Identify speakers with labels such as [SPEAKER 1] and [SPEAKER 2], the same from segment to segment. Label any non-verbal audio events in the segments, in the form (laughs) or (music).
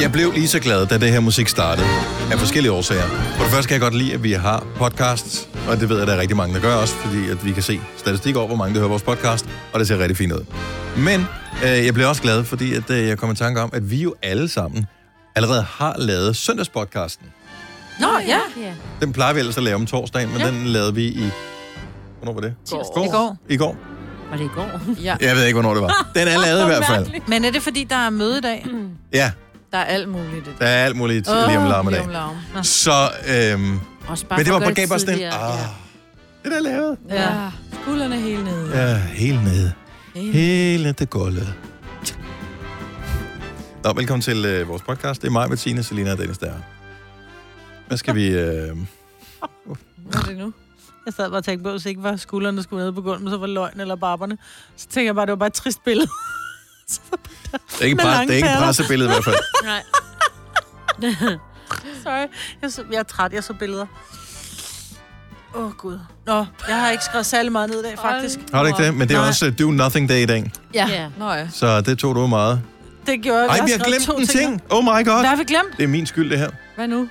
[SPEAKER 1] Jeg blev lige så glad, da det her musik startede. Af forskellige årsager. For det første kan jeg godt lide, at vi har podcasts. Og det ved jeg, at der er rigtig mange, der gør også. Fordi at vi kan se statistik over, hvor mange der hører vores podcast. Og det ser rigtig fint ud. Men øh, jeg blev også glad, fordi at, øh, jeg kom i tanke om, at vi jo alle sammen allerede har lavet søndagspodcasten.
[SPEAKER 2] Nå, ja.
[SPEAKER 1] Den plejer vi ellers at lave om torsdagen, men ja. den lavede vi i... Hvornår var det?
[SPEAKER 2] I går.
[SPEAKER 1] I går.
[SPEAKER 3] Var det i går?
[SPEAKER 2] ja.
[SPEAKER 1] Jeg ved ikke, hvornår det (laughs) var. Den er lavet i hvert fald.
[SPEAKER 2] (laughs) Men er det, fordi der er møde i dag?
[SPEAKER 1] Ja,
[SPEAKER 2] Der er alt muligt i det.
[SPEAKER 1] der er alt muligt oh, lige om larmedag.
[SPEAKER 2] larm.
[SPEAKER 1] Så, øhm,
[SPEAKER 3] Også bare
[SPEAKER 1] men det var
[SPEAKER 3] for at
[SPEAKER 1] på
[SPEAKER 3] gøre
[SPEAKER 1] gav bare sådan en,
[SPEAKER 3] tidligere.
[SPEAKER 1] ah, det der er lavet.
[SPEAKER 2] Ja. Skuldrene helt nede.
[SPEAKER 1] Ja, helt nede.
[SPEAKER 2] Helt
[SPEAKER 1] Helt ned til gulvet. Nå, velkommen til øh, vores podcast. Det er mig, Bettine, Selina og Dennis der. er her. Hvad skal vi... Øh...
[SPEAKER 2] Hvad er det nu?
[SPEAKER 4] Jeg sad bare og tænkte på, hvis ikke var skuldrene, der skulle ned på gulvet, men så var løgn eller barberne. Så tænkte jeg bare, det var bare et trist billede. (laughs)
[SPEAKER 1] Det er ikke,
[SPEAKER 4] Med
[SPEAKER 1] pres,
[SPEAKER 4] lange
[SPEAKER 1] det er ikke et
[SPEAKER 4] patter.
[SPEAKER 1] pressebillede i hvert
[SPEAKER 4] (laughs)
[SPEAKER 1] fald.
[SPEAKER 3] Nej.
[SPEAKER 4] Sorry. Jeg, så, jeg er træt, jeg så billeder. Åh, oh, Gud. Nå, jeg har ikke skrevet særlig meget ned i dag, faktisk.
[SPEAKER 1] Har du ikke det? Men det er
[SPEAKER 4] Nej.
[SPEAKER 1] også øh, do nothing day i dag.
[SPEAKER 2] Ja.
[SPEAKER 3] Ja.
[SPEAKER 2] Nå ja.
[SPEAKER 1] Så det tog du meget.
[SPEAKER 4] Det gjorde jeg.
[SPEAKER 1] Ej,
[SPEAKER 4] har
[SPEAKER 1] vi har
[SPEAKER 4] skrevet to
[SPEAKER 1] glemt en
[SPEAKER 4] ting.
[SPEAKER 1] ting. Oh my god.
[SPEAKER 4] Hvad har vi glemt?
[SPEAKER 1] Det er min skyld, det her.
[SPEAKER 2] Hvad nu?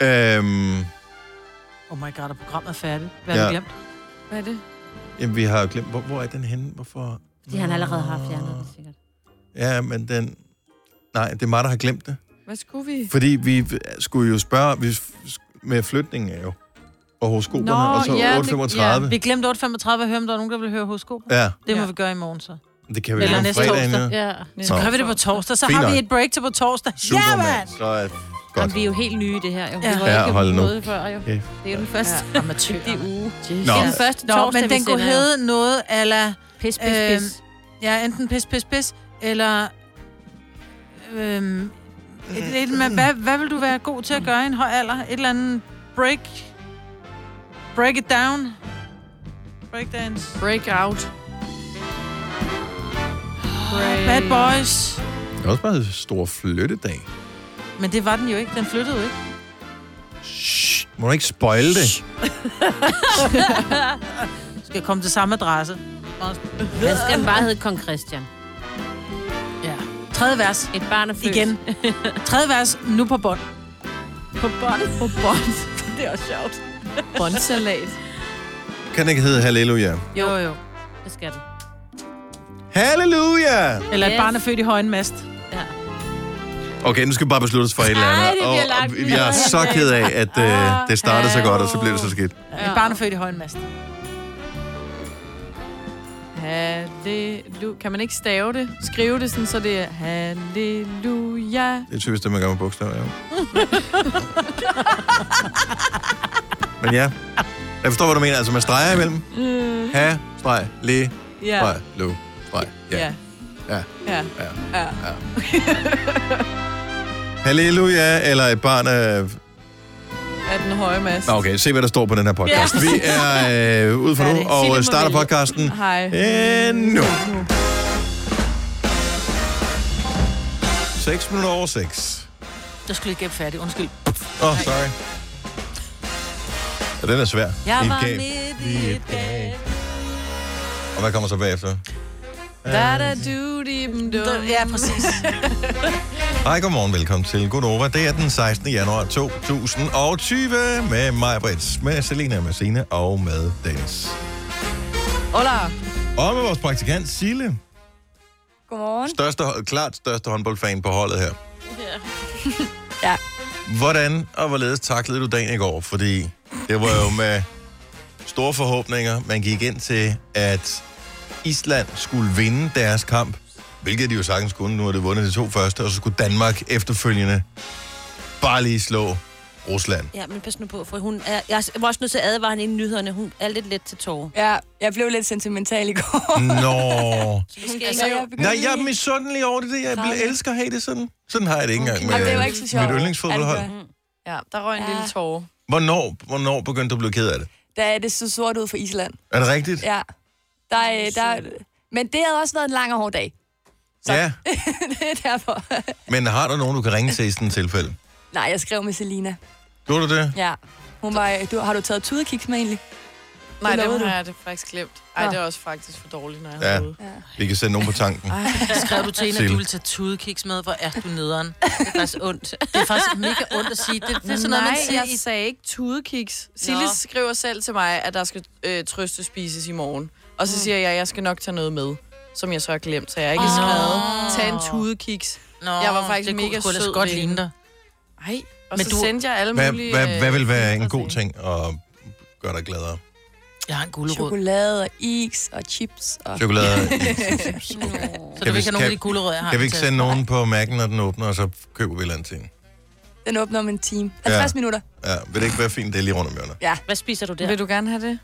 [SPEAKER 1] Øhm,
[SPEAKER 4] Oh my god, er programmet færdigt? Hvad har
[SPEAKER 1] Ja.
[SPEAKER 4] vi glemt?
[SPEAKER 2] Hvad er det?
[SPEAKER 1] jamen, vi har jo glemt... Hvor, hvor er den henne? Hvorfor?
[SPEAKER 3] Fordi han allerede har fjernet den sikkert.
[SPEAKER 1] Ja, men den... Nej, det er mig, der har glemt det.
[SPEAKER 2] Hvad skulle vi?
[SPEAKER 1] Fordi vi skulle jo spørge... Vi f- med flytningen er jo. Og horoskoperne,
[SPEAKER 2] Nå,
[SPEAKER 1] og så
[SPEAKER 2] ja, det-
[SPEAKER 1] 835.
[SPEAKER 4] Vi glemte 8.35 at høre, om der var nogen, der ville høre hosko.
[SPEAKER 1] Ja, ja,
[SPEAKER 4] Det må
[SPEAKER 2] Ja.
[SPEAKER 4] vi gøre i morgen så.
[SPEAKER 1] det kan vi
[SPEAKER 4] Eller
[SPEAKER 1] jo om
[SPEAKER 4] næste
[SPEAKER 1] fredagen
[SPEAKER 4] torsdag.
[SPEAKER 1] nu.
[SPEAKER 3] Ja.
[SPEAKER 1] Så
[SPEAKER 4] Gør vi det på torsdag, så
[SPEAKER 1] Fint
[SPEAKER 4] har vi
[SPEAKER 1] nok.
[SPEAKER 4] et break til på torsdag.
[SPEAKER 1] Super,
[SPEAKER 4] Ja,
[SPEAKER 1] mand.
[SPEAKER 4] mand!
[SPEAKER 1] Så er
[SPEAKER 3] Jamen,
[SPEAKER 1] godt.
[SPEAKER 3] vi er jo helt nye i det her. Jo. Vi
[SPEAKER 4] Ja.
[SPEAKER 3] var
[SPEAKER 1] Ja,
[SPEAKER 3] ikke
[SPEAKER 1] hold nu.
[SPEAKER 3] noget før, jo.
[SPEAKER 1] Okay.
[SPEAKER 3] Det er jo den første.
[SPEAKER 4] Ja, amatører.
[SPEAKER 3] uge.
[SPEAKER 1] Nå.
[SPEAKER 3] Det er den første
[SPEAKER 4] Nå,
[SPEAKER 3] torsdag,
[SPEAKER 4] men den
[SPEAKER 3] vi
[SPEAKER 4] kunne
[SPEAKER 3] sender.
[SPEAKER 4] hedde noget, eller...
[SPEAKER 3] Pis, pis, pis.
[SPEAKER 4] Ja, enten pis, pis, pis, eller... Øhm, et, et, et, med, hvad, hvad vil du være god til at gøre i en høj alder? Et eller andet break... Break it down. Breakdance.
[SPEAKER 2] Breakout. Break.
[SPEAKER 4] Bad boys.
[SPEAKER 1] Det er også bare en stor flyttedag.
[SPEAKER 4] Men det var den jo ikke. Den flyttede
[SPEAKER 3] (laughs)
[SPEAKER 4] jo ikke.
[SPEAKER 1] Shh, må du ikke spoil det?
[SPEAKER 4] Du skal komme til samme adresse.
[SPEAKER 3] Den skal den bare hedde Kong Christian.
[SPEAKER 4] Ja. Tredje vers.
[SPEAKER 3] Et barn er født. (laughs)
[SPEAKER 4] Igen. (laughs) Tredje vers. Nu på bånd.
[SPEAKER 2] På bånd. På
[SPEAKER 4] (laughs)
[SPEAKER 2] bånd. det er også sjovt. Båndsalat.
[SPEAKER 1] Kan det ikke hedde halleluja?
[SPEAKER 4] Jo, jo.
[SPEAKER 3] Det skal den.
[SPEAKER 1] Halleluja!
[SPEAKER 4] Eller et
[SPEAKER 3] Yes.
[SPEAKER 4] barn er født i højen mast.
[SPEAKER 3] Ja.
[SPEAKER 1] Okay, nu skal vi bare beslutte os for et eller andet.
[SPEAKER 3] Ej, det bliver
[SPEAKER 1] og,
[SPEAKER 3] langt
[SPEAKER 1] og
[SPEAKER 3] ned.
[SPEAKER 1] jeg er så ked af, at øh, det startede så godt, og så blev det så skidt.
[SPEAKER 4] Ja. Et barn er født i højen mast.
[SPEAKER 2] Halleluja. Kan man ikke stave det? Skrive det sådan, så det er halleluja.
[SPEAKER 1] Det er typisk det, man gør med bogstaver, ja. Men ja, jeg forstår, hvad du mener. Altså med streger imellem. Ha, streg, le,
[SPEAKER 2] Ja.
[SPEAKER 1] streg, lo, streg. Ja.
[SPEAKER 2] Ja.
[SPEAKER 1] Ja.
[SPEAKER 2] Ja.
[SPEAKER 1] Ja.
[SPEAKER 2] Ja.
[SPEAKER 1] Halleluja, eller et barn af...
[SPEAKER 2] Af den høje mast.
[SPEAKER 1] Nå, okay, se hvad der står på den her podcast. Vi er øh, ude for
[SPEAKER 3] Hvad er
[SPEAKER 1] nu,
[SPEAKER 3] det? Sig det,
[SPEAKER 1] og
[SPEAKER 3] må
[SPEAKER 1] øh, starter
[SPEAKER 3] vælge.
[SPEAKER 1] podcasten
[SPEAKER 2] Hej.
[SPEAKER 1] øh, nu. 6 minutter over 6.
[SPEAKER 4] Jeg skulle ikke gæbe færdig. Undskyld.
[SPEAKER 1] Åh, oh, sorry. Ja, den er svær.
[SPEAKER 4] Jeg
[SPEAKER 1] I et
[SPEAKER 4] var
[SPEAKER 1] gab.
[SPEAKER 4] midt
[SPEAKER 1] I
[SPEAKER 4] i
[SPEAKER 1] et
[SPEAKER 4] et
[SPEAKER 1] gab. Og hvad kommer så bagefter?
[SPEAKER 2] Da da du dim dum.
[SPEAKER 4] Ja, præcis.
[SPEAKER 1] Hej, godmorgen. Velkommen til Godova. Det er den 16. januar 2020 med mig, Brits, med Selina, med Sine og med Dennis.
[SPEAKER 2] Hola.
[SPEAKER 1] Og med vores praktikant, Sille.
[SPEAKER 5] Godmorgen.
[SPEAKER 1] Største, klart største håndboldfan på holdet her.
[SPEAKER 5] Ja.
[SPEAKER 1] Hvordan og hvorledes taklede du dagen i går? Fordi det var jo med store forhåbninger, man gik ind til, at Island skulle vinde deres kamp, hvilket de jo sagtens kunne. Nu har de vundet de to første, og så skulle Danmark efterfølgende bare lige slå
[SPEAKER 5] (laughs)
[SPEAKER 1] Rusland.
[SPEAKER 3] Ja, men pas nu på, for hun er... Jeg var også nødt til at advare hende i nyhederne. Hun er lidt let til tårer.
[SPEAKER 5] Ja, jeg blev lidt sentimental (laughs) i går.
[SPEAKER 1] Nå.
[SPEAKER 5] Altså, jeg begyndte
[SPEAKER 1] Nej, jeg er
[SPEAKER 5] lige-
[SPEAKER 1] misundelig over det. Jeg vil- elsker at have det sådan. Sådan har jeg det ikke engang med
[SPEAKER 5] Jamen, det var ikke så sjovt.
[SPEAKER 1] mit yndlingsfodboldhold.
[SPEAKER 5] Altså,
[SPEAKER 2] Ja, der røg en
[SPEAKER 5] Ja.
[SPEAKER 2] lille tårer.
[SPEAKER 1] Hvornår, hvornår begyndte du at blive ked af det?
[SPEAKER 5] Da er det så sort ud for Island.
[SPEAKER 1] Er det rigtigt?
[SPEAKER 5] Ja. Der, er- der, er- men det havde også været en lang og hård dag. (laughs) Så.
[SPEAKER 1] ja.
[SPEAKER 5] det er derfor.
[SPEAKER 1] Men har du nogen, du kan ringe til i sådan et tilfælde?
[SPEAKER 5] Nej, jeg skrev med Selina.
[SPEAKER 1] Gjorde du det?
[SPEAKER 5] Ja. Hun var, øh, du, har du taget tudekiks med egentlig?
[SPEAKER 6] Nej,
[SPEAKER 5] Det
[SPEAKER 6] dem
[SPEAKER 5] lovede
[SPEAKER 6] har jeg det faktisk glemt. Ej,
[SPEAKER 3] Nå.
[SPEAKER 6] det er også faktisk for dårligt, når jeg
[SPEAKER 1] Ja.
[SPEAKER 6] har hovedet.
[SPEAKER 1] Vi kan sætte nogen på tanken.
[SPEAKER 4] Skrev du til en, at
[SPEAKER 1] Sild.
[SPEAKER 4] du ville tage tudekiks med? Hvor er du (laughs) nederen?
[SPEAKER 3] Det er faktisk ondt.
[SPEAKER 4] Det er faktisk mega ondt at sige. Det, det er sådan noget,
[SPEAKER 6] Nej,
[SPEAKER 4] man siger
[SPEAKER 6] jeg
[SPEAKER 4] i...
[SPEAKER 6] sagde ikke tudekiks. Silly
[SPEAKER 4] Nå.
[SPEAKER 6] skriver selv til mig, at der skal øh, trøste spises i morgen. Og så siger jeg, at jeg skal nok tage noget med, som jeg så har glemt, så jeg har ikke
[SPEAKER 4] Åh.
[SPEAKER 6] oh. skrevet. Tag en tudekiks.
[SPEAKER 4] Nå,
[SPEAKER 6] jeg var faktisk
[SPEAKER 4] det kunne
[SPEAKER 6] mega
[SPEAKER 4] sgu ellers
[SPEAKER 6] sød
[SPEAKER 4] godt
[SPEAKER 6] ved
[SPEAKER 4] ligne
[SPEAKER 6] hende.
[SPEAKER 4] dig.
[SPEAKER 6] Ej, og
[SPEAKER 4] Men
[SPEAKER 6] så
[SPEAKER 4] du-
[SPEAKER 6] sendte jeg alle
[SPEAKER 1] Hvad,
[SPEAKER 6] mulige...
[SPEAKER 1] hvad, hvad vil være en
[SPEAKER 6] øh,
[SPEAKER 1] god ting at gøre dig gladere?
[SPEAKER 4] Jeg har en gulerod.
[SPEAKER 5] Chokolade og is og chips. Og... (laughs)
[SPEAKER 1] Chokolade?
[SPEAKER 4] Så
[SPEAKER 1] Kan
[SPEAKER 4] du
[SPEAKER 1] vi-
[SPEAKER 4] vil ikke have nogen af de
[SPEAKER 1] kan-
[SPEAKER 4] gulerødder, jeg har.
[SPEAKER 1] Kan
[SPEAKER 4] på
[SPEAKER 1] vi ikke
[SPEAKER 4] tasken?
[SPEAKER 1] sende nogen på mærken, når den åbner, og så køber vi et eller andet ting?
[SPEAKER 5] Den åbner om en time. 50
[SPEAKER 1] Ja.
[SPEAKER 5] ja. minutter.
[SPEAKER 1] Ja, vil det ikke være fint, det er lige rundt om hjørnet?
[SPEAKER 3] Hvad spiser du der?
[SPEAKER 6] Vil du gerne have det?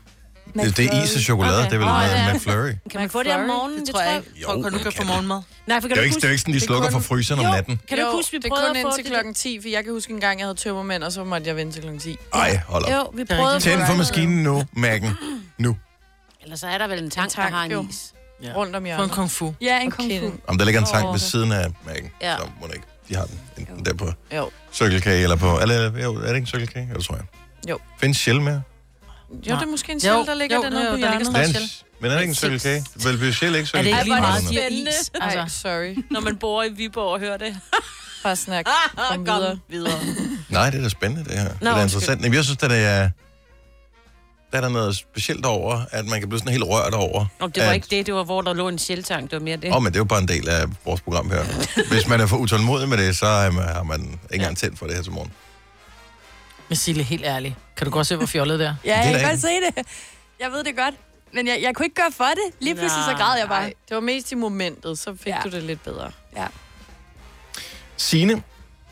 [SPEAKER 1] Det er is og chokolade,
[SPEAKER 3] Okay.
[SPEAKER 1] det er vel
[SPEAKER 3] Åh, ja.
[SPEAKER 1] oh, McFlurry.
[SPEAKER 3] Kan man få det om
[SPEAKER 6] McFlurry?
[SPEAKER 3] morgenen?
[SPEAKER 4] Det tror jeg ikke.
[SPEAKER 1] Jo,
[SPEAKER 4] Tror du, du
[SPEAKER 1] man
[SPEAKER 4] kan få
[SPEAKER 1] kan.
[SPEAKER 4] morgenmad?
[SPEAKER 3] Nej, for kan
[SPEAKER 1] Det er
[SPEAKER 3] du
[SPEAKER 1] jo ikke,
[SPEAKER 3] huske...
[SPEAKER 1] det er jo ikke sådan, de slukker for fryseren om
[SPEAKER 3] Jo,
[SPEAKER 1] natten.
[SPEAKER 3] Kan du ikke huske, vi
[SPEAKER 6] det er
[SPEAKER 3] prøvede
[SPEAKER 6] kun
[SPEAKER 3] at få
[SPEAKER 6] indtil
[SPEAKER 3] det? der-
[SPEAKER 6] klokken 10, for jeg kan huske en gang, jeg havde tømmermænd, og så måtte jeg vente til klokken 10.
[SPEAKER 1] Ej, hold op.
[SPEAKER 3] Jo, vi prøvede at få
[SPEAKER 1] Tænd for
[SPEAKER 3] det.
[SPEAKER 1] maskinen nu, Mærken. Nu.
[SPEAKER 2] Eller så er der vel en tank,
[SPEAKER 6] tank,
[SPEAKER 2] der har en
[SPEAKER 6] jo.
[SPEAKER 2] is.
[SPEAKER 4] Ja.
[SPEAKER 6] Rundt om
[SPEAKER 4] Få en
[SPEAKER 6] hjørnet.
[SPEAKER 4] kung fu.
[SPEAKER 5] Ja, en
[SPEAKER 6] Og
[SPEAKER 5] kung fu.
[SPEAKER 6] kende.
[SPEAKER 1] Om der ligger en tank
[SPEAKER 3] Åh,
[SPEAKER 1] ved
[SPEAKER 3] det-
[SPEAKER 1] siden af Mærken,
[SPEAKER 3] Ja.
[SPEAKER 1] så må det ikke. De har den enten der på
[SPEAKER 6] Jo.
[SPEAKER 1] Circle K eller på... Eller, jo, er det ikke Circle K? Jo, det tror jeg.
[SPEAKER 6] Jo.
[SPEAKER 1] Findes Shell med?
[SPEAKER 6] Jo, det er måske en sjæl, der ligger
[SPEAKER 4] jo,
[SPEAKER 6] den
[SPEAKER 4] jo,
[SPEAKER 6] nede på
[SPEAKER 4] der ligger
[SPEAKER 6] hjørnet.
[SPEAKER 4] sådan-
[SPEAKER 1] Den,
[SPEAKER 4] Shell.
[SPEAKER 1] men er det ikke en Circle K? Vel, bliver Shell ikke
[SPEAKER 4] Er det
[SPEAKER 1] Circle
[SPEAKER 4] ikke
[SPEAKER 1] K?
[SPEAKER 4] lige meget,
[SPEAKER 1] Ej,
[SPEAKER 4] siger is? Altså,
[SPEAKER 6] Ej, sorry.
[SPEAKER 3] Når man bor i Viborg og hører det.
[SPEAKER 6] (laughs)
[SPEAKER 3] Ah,
[SPEAKER 6] Bare snak.
[SPEAKER 3] Kom
[SPEAKER 6] Kom
[SPEAKER 3] videre.
[SPEAKER 6] videre.
[SPEAKER 3] videre.
[SPEAKER 1] Nej, det er da spændende, det her. det er da
[SPEAKER 3] undskyld.
[SPEAKER 1] interessant. Jamen, jeg synes, at det er... Der er der noget specielt over, at man kan blive sådan helt rørt over.
[SPEAKER 2] Om det var
[SPEAKER 1] at-
[SPEAKER 2] ikke det, det var, hvor der lå en sjeltank. Det var mere det.
[SPEAKER 1] Åh, oh, men det er jo bare en del af vores program her. Hvis man er for utålmodig med det, så er man, har man ikke engang tændt for det her til morgen.
[SPEAKER 4] men Sille, helt ærligt. Kan du godt se, hvor fjollet det er?
[SPEAKER 5] Ja,
[SPEAKER 1] da
[SPEAKER 5] jeg kan
[SPEAKER 1] ikke-
[SPEAKER 5] godt se det. Jeg ved det godt. Men jeg, jeg kunne ikke gøre for det. Lige pludselig så græd jeg bare.
[SPEAKER 6] Nej, det var mest i momentet, så fik
[SPEAKER 5] Ja.
[SPEAKER 6] ja. du det lidt bedre. Mm.
[SPEAKER 1] Signe,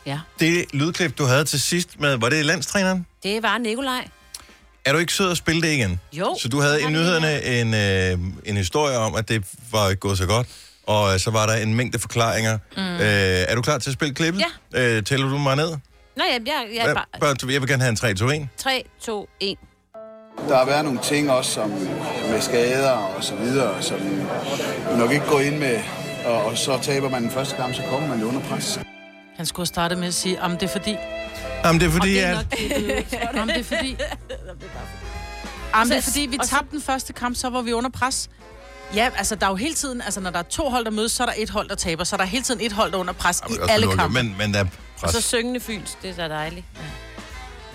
[SPEAKER 2] Ja.
[SPEAKER 1] det lydklip, du havde til sidst med, var det landstræneren?
[SPEAKER 3] Det var Nikolaj.
[SPEAKER 1] Er du ikke sød at spille det igen?
[SPEAKER 3] Jo.
[SPEAKER 1] Så du havde i
[SPEAKER 3] det
[SPEAKER 1] nyhederne en, øh, en historie om, at det var ikke gået så godt, og øh, så var der en mængde forklaringer. Mm. Øh, er du klar til at spille klippet? Ja. Øh, tæller du mig ned?
[SPEAKER 3] Nå, jeg, jeg, jeg,
[SPEAKER 1] Jeg,
[SPEAKER 3] bare...
[SPEAKER 1] jeg vil gerne have en 3, 2, 1.
[SPEAKER 3] 3, 2, 1.
[SPEAKER 7] Der har været nogle ting også som med skader og så videre, som nok ikke går ind med, og, og så taber man den første kamp, så kommer man jo under pres.
[SPEAKER 4] Han skulle have startet med at sige, om det er fordi,
[SPEAKER 1] Jamen, det er fordi,
[SPEAKER 2] Det er
[SPEAKER 1] at...
[SPEAKER 2] nok det, det
[SPEAKER 3] (laughs)
[SPEAKER 2] er.
[SPEAKER 4] Jamen, det er fordi... Jamen, det er fordi, vi tabte den første kamp, så var vi under pres. Ja, altså der er jo hele tiden, altså når der er to hold, der mødes, så er der et hold, der taber, så er der hele tiden et hold, der er under pres
[SPEAKER 1] Ej,
[SPEAKER 4] i
[SPEAKER 1] men også
[SPEAKER 4] alle
[SPEAKER 1] lukket,
[SPEAKER 4] kampe.
[SPEAKER 1] Men, men der altså, er
[SPEAKER 3] Og
[SPEAKER 1] pres.
[SPEAKER 3] så syngende fyns. Det er da dejligt.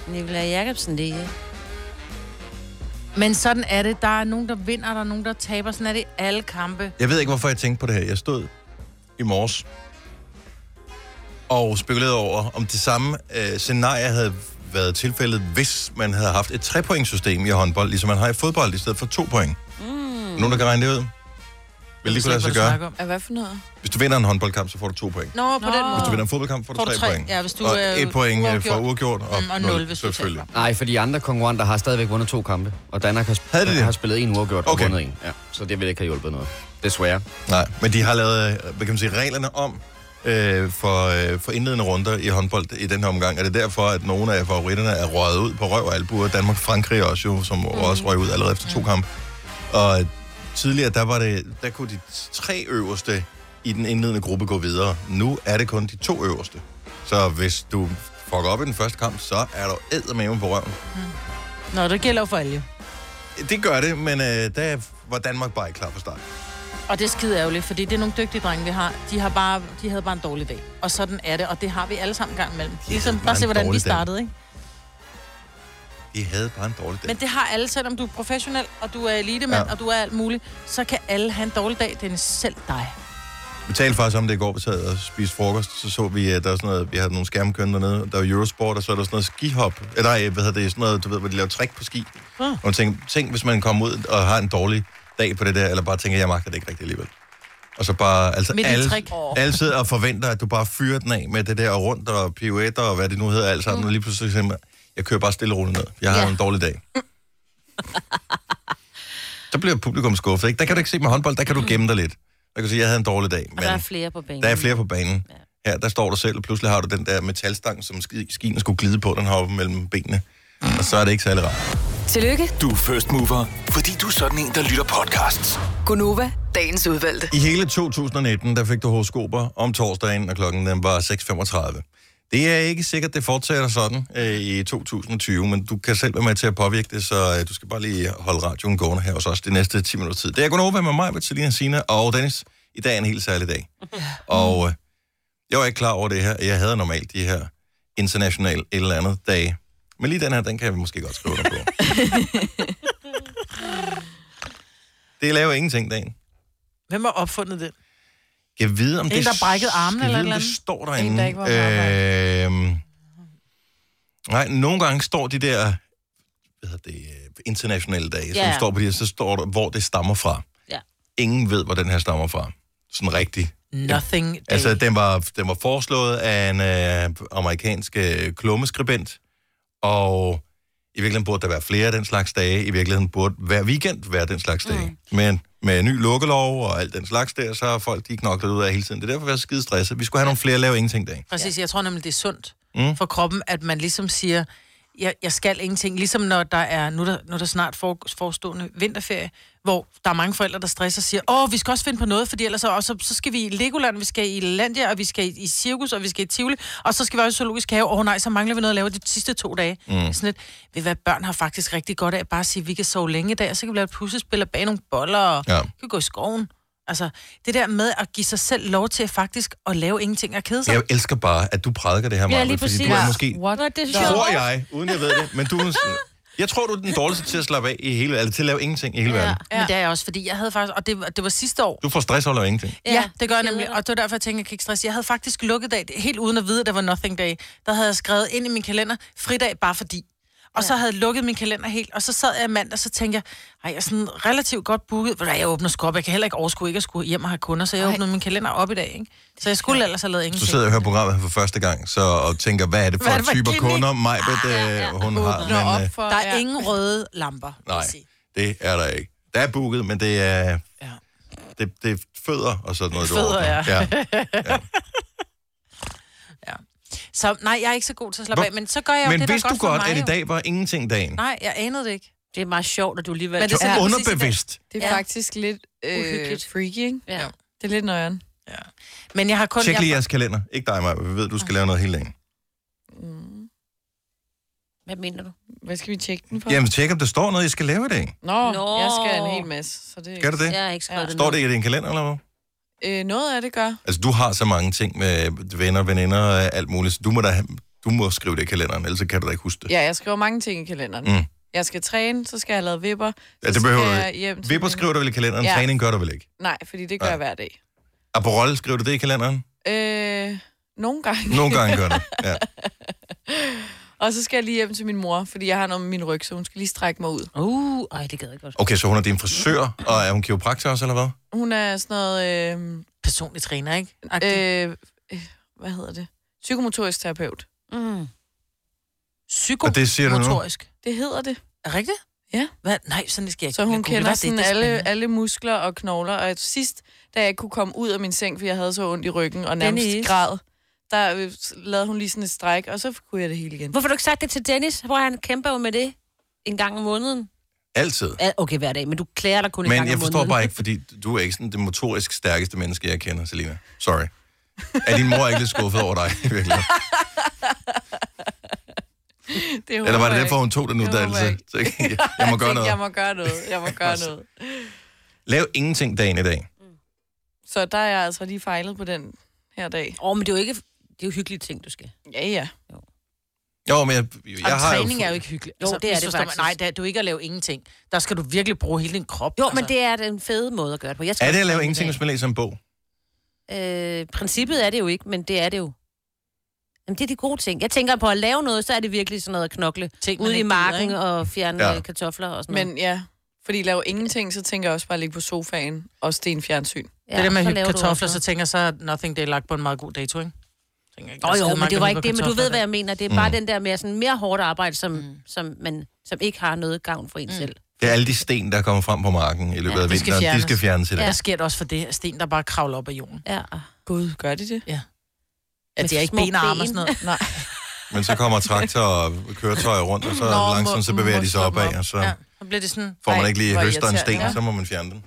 [SPEAKER 3] Nikolaj Jacobsen, det er...
[SPEAKER 4] Men sådan er det. Der er nogen, der vinder, og der er nogen, der taber. Sådan er det i alle kampe.
[SPEAKER 1] Jeg ved ikke, hvorfor jeg tænkte på det her. Jeg stod i morges og spekulerede over, om det samme øh, scenarie havde været tilfældet, hvis man havde haft et trepointsystem i håndbold, ligesom man har i fodbold, i stedet for to point. Mm. Nogen, der kan regne det ud? Vil lige kunne lade sig gøre.
[SPEAKER 6] Er hvad for noget?
[SPEAKER 1] Hvis du vinder en håndboldkamp, så får du to point.
[SPEAKER 4] Nå, på Nå. den
[SPEAKER 1] Hvis du
[SPEAKER 4] måde.
[SPEAKER 1] vinder en fodboldkamp, får du
[SPEAKER 4] Får du
[SPEAKER 1] tre
[SPEAKER 4] tre,
[SPEAKER 1] point.
[SPEAKER 4] ja, hvis du,
[SPEAKER 1] og
[SPEAKER 4] øh,
[SPEAKER 1] et point øh, for
[SPEAKER 4] uafgjort.
[SPEAKER 1] uregjort, og,
[SPEAKER 4] Mm, og nul, hvis du
[SPEAKER 1] selvfølgelig.
[SPEAKER 8] Nej, for de andre konkurrenter har stadigvæk vundet to kampe, og Danmark har, sp-
[SPEAKER 1] Havde de det?
[SPEAKER 8] har spillet en uafgjort
[SPEAKER 1] Okay.
[SPEAKER 8] og vundet en. Ja, så det ville ikke have hjulpet noget. Desværre.
[SPEAKER 1] Nej, men de har lavet, øh, hvad kan man sige, reglerne om øh, for, øh, for indledende runder i håndbold i den her omgang. Er det derfor, at nogle af favoritterne er røget ud på røv og albuer? Danmark Frankrig også jo, som mm. også røg ud allerede efter
[SPEAKER 8] Mm.
[SPEAKER 1] to kampe. Og tidligere, der, var det, der kunne de tre øverste i den indledende gruppe gå videre. Nu er det kun de to øverste. Så hvis du fucker op i den første kamp, så er du eddermame på røven.
[SPEAKER 4] Nå, det gælder jo for alle.
[SPEAKER 1] Det gør det, men øh, der var Danmark bare ikke klar fra start.
[SPEAKER 4] Og det er skide ærgerligt, fordi det er nogle dygtige drenge, vi har. De, har bare, de havde bare en dårlig dag. Og sådan er det, og det har vi alle sammen en gang imellem. Ligesom,
[SPEAKER 1] bare
[SPEAKER 4] bare
[SPEAKER 1] en
[SPEAKER 4] se, hvordan vi
[SPEAKER 1] dårlig dag.
[SPEAKER 4] startede, ikke?
[SPEAKER 1] De havde bare en dårlig dag.
[SPEAKER 4] Men det har alle, selvom du er professionel, og du er elitemand,
[SPEAKER 1] Ja.
[SPEAKER 4] ja. og du er alt muligt, så kan alle have en dårlig dag. Det er selv dig.
[SPEAKER 1] Vi talte faktisk om det i går, vi sad og spiste frokost, så så vi, at der er sådan noget, vi havde nogle skærme kørende dernede, der var Eurosport, og så er der sådan noget skihop, eller nej, hvad hedder det, sådan noget, du ved, hvor de laver trick på ski.
[SPEAKER 4] Ah.
[SPEAKER 1] Og jeg tænkte, tænk, hvis man kommer ud og har en dårlig dag på det der, eller bare tænker, jeg magter det ikke rigtigt alligevel. Og så bare, altså
[SPEAKER 4] Midt i
[SPEAKER 1] alle,
[SPEAKER 4] trick.
[SPEAKER 1] alle sidder og forventer, at du bare fyrer den af med det der og rundt og pirouetter og hvad det nu hedder alt sammen, mm. og lige pludselig siger man, jeg kører bare stille og roligt ned, jeg har
[SPEAKER 3] Ja.
[SPEAKER 1] en dårlig dag. så bliver publikum skuffet, ikke? Der kan du ikke se med håndbold, der kan du gemme dig lidt. Der kan du sige, jeg havde en dårlig dag.
[SPEAKER 3] Og der er flere på banen.
[SPEAKER 1] Der er flere på banen. Ja. Her, der står du selv, og pludselig har du den der metalstang, som ski- skien skulle glide på, den har oppe mellem benene. Og så er det ikke særlig rart.
[SPEAKER 9] Tillykke,
[SPEAKER 10] Du er first mover, fordi du er sådan en, der lytter podcasts.
[SPEAKER 9] Gunova, dagens udvalgte.
[SPEAKER 1] I hele 2019, der fik du horoskoper om torsdagen, og klokken den var 6.35. Det er ikke sikkert, det fortsætter sådan øh, i 2020, men du kan selv være med til at påvirke det, så øh, du skal bare lige holde radioen gående her hos os de næste 10 minutter tid. Det er Gunova med mig, med Selina Sina og Dennis. I dag er en helt særlig dag. Og øh, jeg var ikke klar over det her. Jeg havde normalt de her internationale et eller andet dage. Men lige den her, den kan jeg måske godt skrive under på. det laver ingenting dagen.
[SPEAKER 4] Hvem har opfundet det?
[SPEAKER 1] Jeg ved, om
[SPEAKER 4] En,
[SPEAKER 1] det...
[SPEAKER 4] der brækkede armen
[SPEAKER 1] jeg
[SPEAKER 4] eller
[SPEAKER 1] ved,
[SPEAKER 4] et eller
[SPEAKER 1] om
[SPEAKER 4] andet?
[SPEAKER 1] det står
[SPEAKER 6] En, der ikke var på
[SPEAKER 1] derinde. Øhm, nej, nogle gange står de der hvad hedder det, øh, internationale dage,
[SPEAKER 3] Ja.
[SPEAKER 1] som står på de her, så står der, hvor det stammer fra.
[SPEAKER 3] Ja.
[SPEAKER 1] Ingen ved, hvor den her stammer fra. Sådan rigtigt.
[SPEAKER 4] Nothing day.
[SPEAKER 1] Altså, den var, den var foreslået af en øh, amerikansk øh, klummeskribent, og i virkeligheden burde der være flere af den slags dage. I virkeligheden burde hver weekend være den slags dage. Mm. Men med ny lukkelov og alt den slags der, så er folk de knoklet ud af hele tiden. Det er derfor, vi er så skide stresset. Vi skulle have nogle flere lave ingenting dage.
[SPEAKER 4] Præcis, jeg tror nemlig, det er sundt
[SPEAKER 1] Mm.
[SPEAKER 4] mm. for kroppen, at man ligesom siger, jeg, jeg skal ingenting. Ligesom når der er, nu er der, nu er der snart for, forestående vinterferie, hvor der er mange forældre, der stresser og siger, åh, vi skal også finde på noget, fordi ellers så, og så, så skal vi i Legoland, vi skal i Landia, og vi skal i, i Cirkus, og vi skal i Tivoli, og så skal vi også i Zoologisk Have. Åh nej, så mangler vi noget at lave de sidste to dage. Mm. Sådan et, ved hvad, børn har faktisk rigtig godt af at bare sige, vi kan sove længe i dag, og så kan vi lave et puslespil og bage nogle boller, og
[SPEAKER 1] Ja.
[SPEAKER 4] ja. kan gå i skoven. Altså, det der med at give sig selv lov til faktisk at lave ingenting og kede sig.
[SPEAKER 1] Jeg elsker bare, at du prædiker det her,
[SPEAKER 3] Ja,
[SPEAKER 1] Maja,
[SPEAKER 3] lige
[SPEAKER 1] fordi
[SPEAKER 3] præcis.
[SPEAKER 1] du er
[SPEAKER 3] Ja.
[SPEAKER 1] måske
[SPEAKER 3] What? Nå, det er sjovt.
[SPEAKER 1] tror jeg, uden jeg ved det, men du er sådan- jeg tror, du er den dårligste til at slappe af i hele eller til at lave ingenting i hele verden.
[SPEAKER 4] Ja. Men det er jeg også, fordi jeg havde faktisk... Og det, det var sidste år.
[SPEAKER 1] Du får stress over at lave ingenting.
[SPEAKER 4] Ja, ja det gør jeg nemlig. Og det var derfor, jeg tænkte, jeg kan ikke stresse. Jeg havde faktisk lukket dag, helt uden at vide, at der var nothing day. Der havde jeg skrevet ind i min kalender, fridag bare fordi. Og så havde jeg lukket min kalender helt, og så sad jeg mandag, og så tænkte jeg, ej, jeg er sådan relativt godt booket. Ved du hvad, Jeg åbner sgu op, jeg kan heller ikke overskue ikke at skulle hjem og have kunder, så jeg
[SPEAKER 5] Ej.
[SPEAKER 4] åbnede min kalender op i dag, ikke? Så jeg skulle ellers have lavet
[SPEAKER 1] Så
[SPEAKER 4] ingenting.
[SPEAKER 1] sidder jeg og hører programmet her for første gang, så, og tænker, hvad er det
[SPEAKER 4] Mm-hmm.
[SPEAKER 1] for
[SPEAKER 4] Hvad er det for Ah,
[SPEAKER 1] typer
[SPEAKER 4] gimmick?
[SPEAKER 1] kunder, Majbet, øh, hun har.
[SPEAKER 6] Åbner op
[SPEAKER 1] Men, øh,
[SPEAKER 6] for...
[SPEAKER 4] Der er ingen røde lamper, vil jeg
[SPEAKER 1] nej,
[SPEAKER 4] sige.
[SPEAKER 1] det er der ikke. Der er booket, men det er...
[SPEAKER 4] Ja.
[SPEAKER 1] Det, det er fødder og sådan noget. du
[SPEAKER 4] Fødder,
[SPEAKER 1] ordner.
[SPEAKER 4] ja. (laughs)
[SPEAKER 1] ja.
[SPEAKER 4] Så nej, jeg er ikke så god til at slappe
[SPEAKER 1] Hvor-
[SPEAKER 4] af, men så gør jeg jo
[SPEAKER 1] Men
[SPEAKER 4] det, der er
[SPEAKER 1] vidste du
[SPEAKER 4] for
[SPEAKER 1] godt,
[SPEAKER 4] mig,
[SPEAKER 1] at i
[SPEAKER 4] jo.
[SPEAKER 1] dag var ingenting dagen?
[SPEAKER 4] Nej, jeg anede det ikke.
[SPEAKER 3] Det er meget sjovt, at du alligevel...
[SPEAKER 6] Men
[SPEAKER 4] altså
[SPEAKER 1] Det
[SPEAKER 6] det
[SPEAKER 1] er
[SPEAKER 6] er præcis i dag.
[SPEAKER 1] underbevidst.
[SPEAKER 6] Det er
[SPEAKER 3] Ja.
[SPEAKER 6] faktisk lidt øh,
[SPEAKER 3] Uhyggeligt.
[SPEAKER 6] freaky, ikke?
[SPEAKER 3] Ja.
[SPEAKER 6] Det er lidt nøjeren.
[SPEAKER 4] Men jeg har kun...
[SPEAKER 1] Tjek
[SPEAKER 4] jeg-
[SPEAKER 1] lige jeres kalender. Ikke dig, Maja. Vi ved, du skal lave noget helt længe.
[SPEAKER 3] Hvad mener du?
[SPEAKER 6] Mm. Hvad skal vi tjekke den for?
[SPEAKER 1] Jamen, tjek, om der står noget, I skal lave i dag.
[SPEAKER 6] Nå,
[SPEAKER 3] Nå.
[SPEAKER 6] Nå, jeg skal en hel masse. Så det er
[SPEAKER 1] Gør det det?
[SPEAKER 3] Jeg har ikke skrevet
[SPEAKER 6] Ja.
[SPEAKER 3] det
[SPEAKER 1] Står
[SPEAKER 3] ned.
[SPEAKER 1] det i din kalender, eller hvad?
[SPEAKER 6] Øh, noget af det gør.
[SPEAKER 1] Altså, du har så mange ting med venner, veninder og alt muligt, så du må, da, have- du må skrive det i kalenderen, ellers så kan du da ikke huske det.
[SPEAKER 6] Ja, jeg skriver mange ting i kalenderen.
[SPEAKER 1] Mm.
[SPEAKER 6] Mm. Jeg skal træne, så skal jeg have lavet vipper. Så
[SPEAKER 1] Ja, det behøver
[SPEAKER 6] skal
[SPEAKER 1] du
[SPEAKER 6] jeg hjem til
[SPEAKER 1] Vipper
[SPEAKER 6] min-
[SPEAKER 1] skriver du vel i kalenderen,
[SPEAKER 6] Ja.
[SPEAKER 1] træning gør du vel ikke?
[SPEAKER 6] Nej, fordi det gør
[SPEAKER 1] Nej.
[SPEAKER 6] jeg hver dag.
[SPEAKER 1] Aperol, skriver du det i kalenderen?
[SPEAKER 6] Øh, nogle gange.
[SPEAKER 1] Nogle gange gør du. Ja.
[SPEAKER 6] (laughs) Og så skal jeg lige hjem til min mor, fordi jeg har noget med min ryg, så hun skal lige strække mig ud.
[SPEAKER 3] Uh, ej, det gad jeg ikke godt.
[SPEAKER 1] Okay, så hun er din frisør, og er hun kiropraktor også, eller hvad?
[SPEAKER 6] Hun er sådan noget... Øh,
[SPEAKER 4] personlig træner, ikke? Øh,
[SPEAKER 6] øh, øh, hvad hedder det? Psykomotorisk terapeut.
[SPEAKER 3] Mm.
[SPEAKER 1] Og det siger du nu?
[SPEAKER 4] psykomotorisk.
[SPEAKER 6] Det hedder det.
[SPEAKER 4] Er rigtigt?
[SPEAKER 6] Ja.
[SPEAKER 4] Hvad? Nej, sådan det skal jeg ikke.
[SPEAKER 6] Så hun
[SPEAKER 4] Jeg googler
[SPEAKER 6] kender
[SPEAKER 4] det,
[SPEAKER 6] sådan
[SPEAKER 4] det er
[SPEAKER 6] alle,
[SPEAKER 4] spændende.
[SPEAKER 6] alle muskler og knogler. Og sidst, da jeg ikke kunne komme ud af min seng, fordi jeg havde så ondt i ryggen og nærmest
[SPEAKER 3] Dennis.
[SPEAKER 6] græd, der øh, lavede hun lige sådan et stræk, og
[SPEAKER 3] (laughs)
[SPEAKER 6] så kunne jeg det hele igen.
[SPEAKER 3] Hvorfor har du ikke sagt det til Dennis? Hvor han kæmper jo med det en gang om måneden.
[SPEAKER 1] Altid.
[SPEAKER 3] Ja, Okay, hver dag, men du klæder dig kun en
[SPEAKER 1] Men
[SPEAKER 3] gang
[SPEAKER 1] jeg
[SPEAKER 3] om
[SPEAKER 1] forstår
[SPEAKER 3] måneden.
[SPEAKER 1] bare ikke, fordi du er ikke sådan det motorisk stærkeste menneske, jeg kender, Selina. Sorry. Er din mor ikke lidt skuffet over dig, (laughs) virkelig?
[SPEAKER 6] Det
[SPEAKER 1] Eller var
[SPEAKER 6] håber
[SPEAKER 1] det
[SPEAKER 6] jeg
[SPEAKER 1] derfor, hun tog den
[SPEAKER 6] Det håber jeg
[SPEAKER 1] uddannelse?
[SPEAKER 6] ikke.
[SPEAKER 1] Så
[SPEAKER 6] (laughs)
[SPEAKER 1] jeg, jeg må
[SPEAKER 6] Jeg
[SPEAKER 1] gøre
[SPEAKER 6] tænkte, Jeg
[SPEAKER 1] noget. Altså.
[SPEAKER 6] må gøre noget. Jeg må gøre noget.
[SPEAKER 1] Lav ingenting dagen i dag.
[SPEAKER 6] Så der er jeg altså lige fejlet på den her dag.
[SPEAKER 3] Åh, oh, men det er jo ikke... Det er jo hyggelige ting, du skal.
[SPEAKER 6] Ja, ja.
[SPEAKER 1] Jo, men jeg, jeg
[SPEAKER 4] Jamen,
[SPEAKER 1] har jo...
[SPEAKER 4] træning er jo ikke hyggeligt.
[SPEAKER 3] Jo, det er det
[SPEAKER 4] misforstå mig.
[SPEAKER 3] faktisk.
[SPEAKER 4] Nej, det er, du er ikke at lave ingenting. Der skal du virkelig bruge hele din krop.
[SPEAKER 3] Jo, altså. men det er den fede måde at gøre det på. Jeg skal
[SPEAKER 1] Er det at
[SPEAKER 3] også
[SPEAKER 1] lave
[SPEAKER 3] træne i
[SPEAKER 1] ingenting, hvis man læser en bog?
[SPEAKER 3] dag. Øh, princippet er det jo ikke, men det er det jo. Jamen, det er de gode ting. Jeg tænker på at lave noget, så er det virkelig sådan noget at knokle.
[SPEAKER 4] ting, man
[SPEAKER 3] Ude i
[SPEAKER 4] ikke gider,
[SPEAKER 3] marken
[SPEAKER 4] ikke?
[SPEAKER 3] og fjerne øh,
[SPEAKER 1] Ja.
[SPEAKER 3] ja. kartofler og sådan noget.
[SPEAKER 6] Men ja, fordi laver ingenting, så tænker jeg også bare at ligge på sofaen og sten fjernsyn.
[SPEAKER 3] Ja,
[SPEAKER 4] det der med
[SPEAKER 3] så
[SPEAKER 4] at hygge
[SPEAKER 3] laver du
[SPEAKER 4] kartofler,
[SPEAKER 3] også
[SPEAKER 4] så
[SPEAKER 3] noget.
[SPEAKER 4] tænker jeg så, at nothing day er lagt på en meget god dato, ikke? Tænker ikke, der
[SPEAKER 3] Åh
[SPEAKER 4] er
[SPEAKER 3] oh,
[SPEAKER 4] skide
[SPEAKER 3] jo, men
[SPEAKER 4] mange,
[SPEAKER 3] det
[SPEAKER 4] der
[SPEAKER 3] var
[SPEAKER 4] hygger
[SPEAKER 3] ikke det, men du
[SPEAKER 4] kartofler
[SPEAKER 3] ved, hvad
[SPEAKER 4] der.
[SPEAKER 3] jeg mener. Det er bare den der med sådan mere hårdt arbejde, som, mm. som, man, som ikke har noget gavn for en mm. selv.
[SPEAKER 1] Det er alle de sten, der kommer frem på marken i løbet
[SPEAKER 3] Ja,
[SPEAKER 1] af
[SPEAKER 4] de skal
[SPEAKER 1] vinteren. De
[SPEAKER 4] fjernes.
[SPEAKER 1] skal fjernes i dag.
[SPEAKER 4] Der sker det også for det, at sten, der bare kravler op af jorden.
[SPEAKER 3] Ja.
[SPEAKER 6] Gud, gør de det?
[SPEAKER 4] Ja,
[SPEAKER 3] Med
[SPEAKER 4] de er ikke
[SPEAKER 3] små
[SPEAKER 4] ben og arme og
[SPEAKER 3] ben.
[SPEAKER 4] sådan noget.
[SPEAKER 3] (laughs)
[SPEAKER 4] Nej.
[SPEAKER 1] Men så kommer traktor og køretøjer rundt, og så
[SPEAKER 4] Nå,
[SPEAKER 1] langsomt så
[SPEAKER 4] må-
[SPEAKER 1] bevæger
[SPEAKER 4] må
[SPEAKER 1] de sig
[SPEAKER 4] slå
[SPEAKER 1] opad,
[SPEAKER 4] dem op.
[SPEAKER 1] og så
[SPEAKER 4] Ja, så bliver det sådan...
[SPEAKER 1] får man
[SPEAKER 6] Ej,
[SPEAKER 1] ikke lige
[SPEAKER 6] hvor
[SPEAKER 1] høster en sten,
[SPEAKER 6] irriterende.
[SPEAKER 1] så må man fjerne den.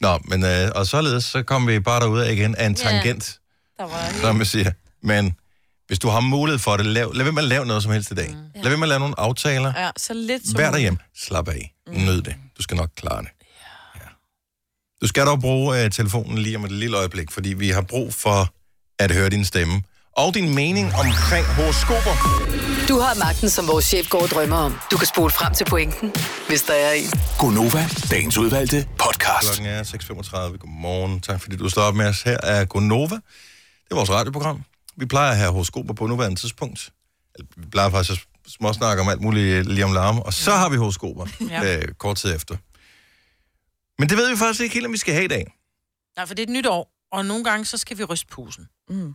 [SPEAKER 1] Nå, men øh, og således, så kom vi bare derud af igen af en
[SPEAKER 3] Ja.
[SPEAKER 1] tangent,
[SPEAKER 6] Der var
[SPEAKER 1] som vi siger. Men Hvis du har mulighed for det, lav, lad være med at lave noget som helst i dag. Mm. Lad være med at lave nogle aftaler.
[SPEAKER 6] Ja, så lidt som...
[SPEAKER 1] Vær derhjemme. Slap af. Nyd det. Du skal nok klare det. Ja. Du skal dog bruge uh, telefonen lige om et lille øjeblik, fordi vi har brug for at høre din stemme. Og din mening omkring horoskoper.
[SPEAKER 9] Du har magten, som vores chef går og drømmer om. Du kan spole frem til pointen, hvis der er en.
[SPEAKER 10] Gonova, dagens udvalgte podcast.
[SPEAKER 1] Klokken er 6.35. Godmorgen. Tak fordi du står op med os. Her er Gonova. Det er vores radioprogram. Vi plejer at have horoskoper på nuværende tidspunkt. Eller, Vi plejer faktisk at småsnakke om alt muligt øh, lige om larm. Og så har vi horoskoper
[SPEAKER 4] Ja.
[SPEAKER 1] ja. øh, kort tid efter. Men det ved vi faktisk ikke helt, om vi skal have i dag.
[SPEAKER 4] Nej, for det er et nyt år, og nogle gange, så skal vi ryste posen. Mm.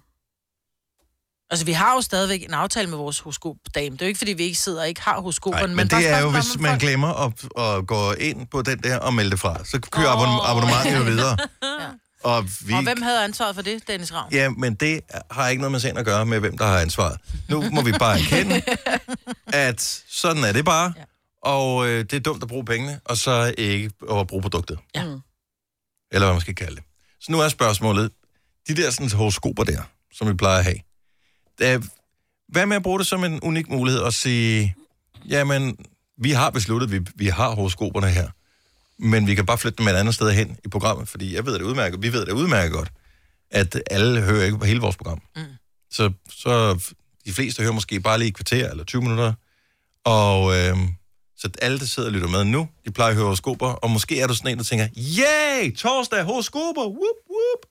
[SPEAKER 4] Altså, vi har jo stadigvæk en aftale med vores horoskopdame. Det er jo ikke, fordi vi ikke sidder og ikke har horoskoperne.
[SPEAKER 1] Nej, men, men
[SPEAKER 4] bare
[SPEAKER 1] det er
[SPEAKER 4] snakker
[SPEAKER 1] jo,
[SPEAKER 4] om,
[SPEAKER 1] hvis
[SPEAKER 4] at
[SPEAKER 1] man
[SPEAKER 4] folk-
[SPEAKER 1] glemmer at, at gå ind på den der og melde det fra. Så kører oh. abonnementet jo videre.
[SPEAKER 4] (laughs) Ja.
[SPEAKER 1] Og
[SPEAKER 4] (laughs)
[SPEAKER 1] vi...
[SPEAKER 4] Og hvem havde ansvaret for det? Dennis Ravn.
[SPEAKER 1] Ja, men det har ikke noget med sagen at gøre med, hvem der har ansvaret. Nu må vi bare
[SPEAKER 4] (laughs)
[SPEAKER 1] erkende, at sådan er det bare. Og øh, det er dumt at bruge pengene, og så ikke at bruge produktet.
[SPEAKER 4] Ja.
[SPEAKER 1] Eller hvad man skal kalde det. Så nu er spørgsmålet, de der sådan, horoskoper der, som vi plejer at have. Øh, hvad med at bruge det som en unik mulighed at sige, jamen, vi har besluttet, vi, vi har horoskoperne her, men vi kan bare flytte dem et andet sted hen i programmet, fordi jeg ved det udmærket, vi ved det udmærket godt, at alle hører ikke på hele vores program. Mm. Så, så de fleste hører måske bare lige et kvarter eller 20 minutter, og øh, så alle, der sidder og lytter med nu, de plejer at høre horoskoper, og måske er du sådan en, der tænker, yay, torsdag, horoskoper, whoop, whoop.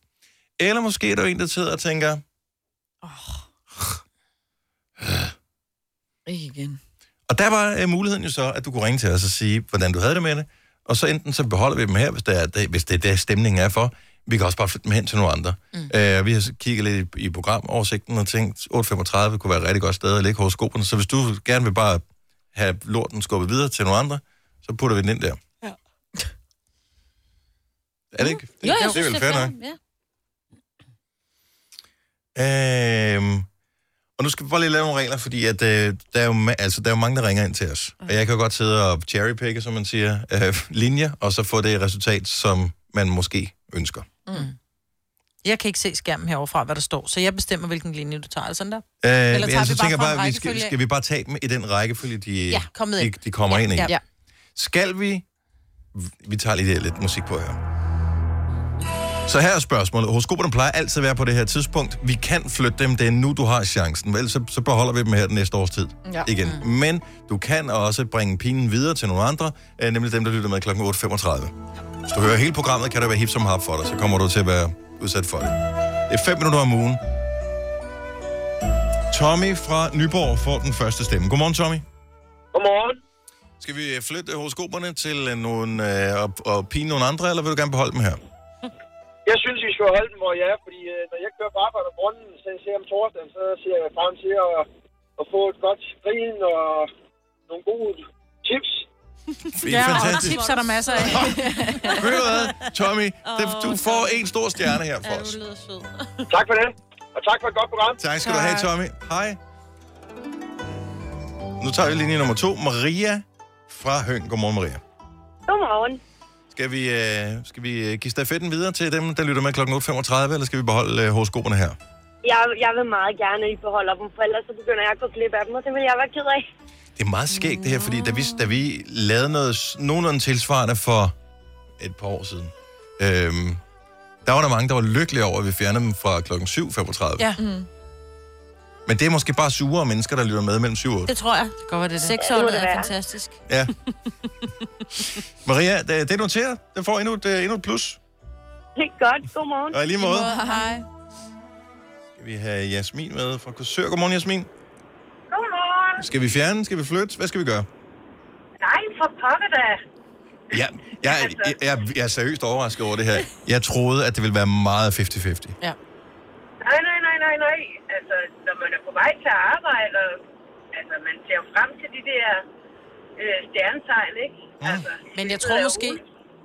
[SPEAKER 1] Eller måske er du en, der sidder og tænker,
[SPEAKER 6] Ikke igen.
[SPEAKER 1] Og der var øh, muligheden jo så, at du kunne ringe til os og sige, hvordan du havde det med det, og så enten så beholder vi dem her, hvis det er det, hvis det, er det stemningen er for. Vi kan også bare flytte dem hen til nogle andre. Mm. Øh, vi har så kigget lidt i, i programoversigten og tænkt, 8.35 kunne være et rigtig godt sted at lægge horoskoperne, så hvis du gerne vil bare have lorten skubbet videre til nogle andre, så putter vi den ind der. Ja. Er det ikke? Det,
[SPEAKER 3] Jo,
[SPEAKER 1] det
[SPEAKER 3] jeg
[SPEAKER 1] er
[SPEAKER 3] synes,
[SPEAKER 1] vel
[SPEAKER 3] det er
[SPEAKER 1] fair nok.
[SPEAKER 3] fair.
[SPEAKER 1] (laughs)
[SPEAKER 3] Ja.
[SPEAKER 1] Øhm, og nu skal vi bare lige lave nogle regler, fordi at, øh, der, er jo ma- altså, der er jo mange, der ringer ind til os. Og jeg kan jo godt sidde og cherrypicke, som man siger, øh, linjer, og så få det resultat, som man måske ønsker. Øh,
[SPEAKER 4] Mm. Jeg kan ikke se skærmen heroverfra, hvad der står, så jeg bestemmer, hvilken linje du tager. Er det sådan der?
[SPEAKER 1] Øh,
[SPEAKER 4] Eller
[SPEAKER 1] men
[SPEAKER 4] tager
[SPEAKER 1] altså,
[SPEAKER 4] vi bare
[SPEAKER 1] tænker
[SPEAKER 4] fra en
[SPEAKER 1] bare, vi skal,
[SPEAKER 4] rækkefølge?
[SPEAKER 1] skal vi bare tage dem i den rækkefølge, de,
[SPEAKER 4] Ja, kom med
[SPEAKER 1] de,
[SPEAKER 4] ind.
[SPEAKER 1] de kommer ind i?
[SPEAKER 4] Ja. ja.
[SPEAKER 1] Skal vi... Vi tager lige lidt musik på her. Så her er spørgsmålet. Horoskoperne plejer altid at være på det her tidspunkt. Vi kan flytte dem, det er nu, du har chancen. Vel, så, så beholder vi dem her den næste års tid
[SPEAKER 6] Ja.
[SPEAKER 1] igen. Men du kan også bringe pinen videre til nogle andre, øh, nemlig dem, der lytter med kl. 8.35. Hvis du hører hele programmet, kan det være hip som hap for dig, så kommer du til at være udsat for det. Det er 5 minutter om ugen. Tommy fra Nyborg får den første stemme. Godmorgen, Tommy.
[SPEAKER 11] Godmorgen.
[SPEAKER 1] Skal vi øh, flytte horoskoperne til øh, nogle, øh, og, og pine nogle andre, eller vil du gerne beholde dem her?
[SPEAKER 11] Jeg synes, vi skal holde dem, hvor jeg er, fordi øh, når jeg kører på arbejde om morgenen, så jeg ser om torsdagen, så ser jeg frem til at, at få et godt grin og nogle gode tips.
[SPEAKER 4] Ja, og tips er der masser af.
[SPEAKER 1] Ved du hvad, Tommy? Det, du får en stor stjerne her for os.
[SPEAKER 11] tak for det, og tak for et godt program.
[SPEAKER 1] Tak skal du have, Tommy. Hej. Nu tager vi linje nummer to. Maria fra Høng. Godmorgen, Maria.
[SPEAKER 12] Godmorgen.
[SPEAKER 1] Skal vi, øh, skal vi øh, give stafetten videre til dem, der lytter med kl. 8.35, eller skal vi beholde øh, horoskoperne her?
[SPEAKER 12] Jeg, jeg vil meget gerne, at I beholder dem, for ellers så begynder jeg at gå glip af dem, og det vil jeg være ked
[SPEAKER 13] (laughs)
[SPEAKER 12] af.
[SPEAKER 1] Det er meget skægt det her, fordi da vi, da vi lavede noget s- nogenlunde tilsvarende for et par år siden, øhm, der var der mange, der var lykkelige over, at vi fjernede dem fra kl. 7.35. Ja.
[SPEAKER 4] Ja. Mm.
[SPEAKER 1] Men det er måske bare sure mennesker, der lytter med mellem 7 og 8.
[SPEAKER 3] Det tror jeg. Det
[SPEAKER 4] godt, det
[SPEAKER 3] det. 600 er fantastisk.
[SPEAKER 1] Ja. Maria, det, det er noteret. Den får endnu et, øh, endnu et plus.
[SPEAKER 12] Det er godt. Godmorgen.
[SPEAKER 1] Og i lige måde. I måde,
[SPEAKER 12] Hej.
[SPEAKER 1] Skal vi have Jasmin med fra Korsør? Godmorgen, Jasmin.
[SPEAKER 14] Godmorgen.
[SPEAKER 1] Skal vi fjerne? Skal vi flytte? Hvad skal vi gøre?
[SPEAKER 14] Nej, for pokker da.
[SPEAKER 1] Ja, jeg, jeg, jeg, jeg er seriøst overrasket over det her. Jeg troede, at det ville være meget 50-50.
[SPEAKER 14] Nej, nej, nej, nej, nej. Altså, når man er på vej til arbejde, og, altså, man ser jo frem til de der øh, stjernetegn, ikke? Altså,
[SPEAKER 4] Men jeg tror måske...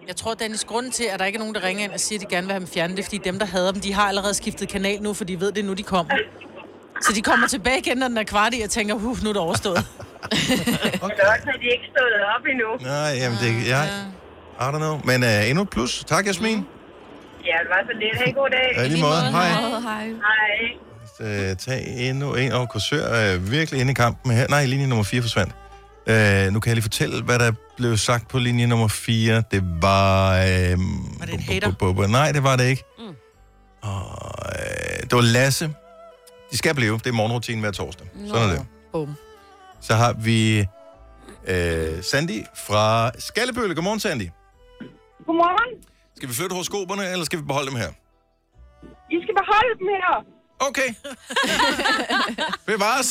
[SPEAKER 4] Jeg tror, Dennis, grunden til, at der ikke er nogen, der ringer ind og siger, at de gerne vil have dem fjernet, det er, fordi dem, der hader dem, de har allerede skiftet kanal nu, for de ved, det er nu, de kommer. Så de kommer tilbage igen, når den er kvart i, og tænker, huh, nu (laughs) er det overstået.
[SPEAKER 14] Okay. Også har de ikke stået op endnu.
[SPEAKER 1] Nej, jamen det... Jeg, I don't know. Men uh, endnu et plus. Tak,
[SPEAKER 14] Ja,
[SPEAKER 1] Jasmin.
[SPEAKER 14] det var så lidt. Ha' en god dag.
[SPEAKER 1] Ja, i lige måde. Hej.
[SPEAKER 14] Hej.
[SPEAKER 1] øh, tage endnu en. Og Korsør er virkelig inde i kampen her. Nej, linje nummer 4 forsvandt. Øh, nu kan jeg lige fortælle, hvad der blev sagt på linje nummer 4. Det var... Øh, var det en hater? Nej, det var det ikke. Mm. Og, øh, det var Lasse. De skal blive. Det er morgenrutinen hver torsdag. Nå. Sådan er det.
[SPEAKER 6] Bum.
[SPEAKER 1] Så har vi øh, Sandy fra Skallebølle. Godmorgen, Sandy.
[SPEAKER 15] Godmorgen.
[SPEAKER 1] Skal vi flytte horoskoperne, eller skal vi beholde dem her?
[SPEAKER 15] I skal beholde dem her.
[SPEAKER 1] Okay. Bevares.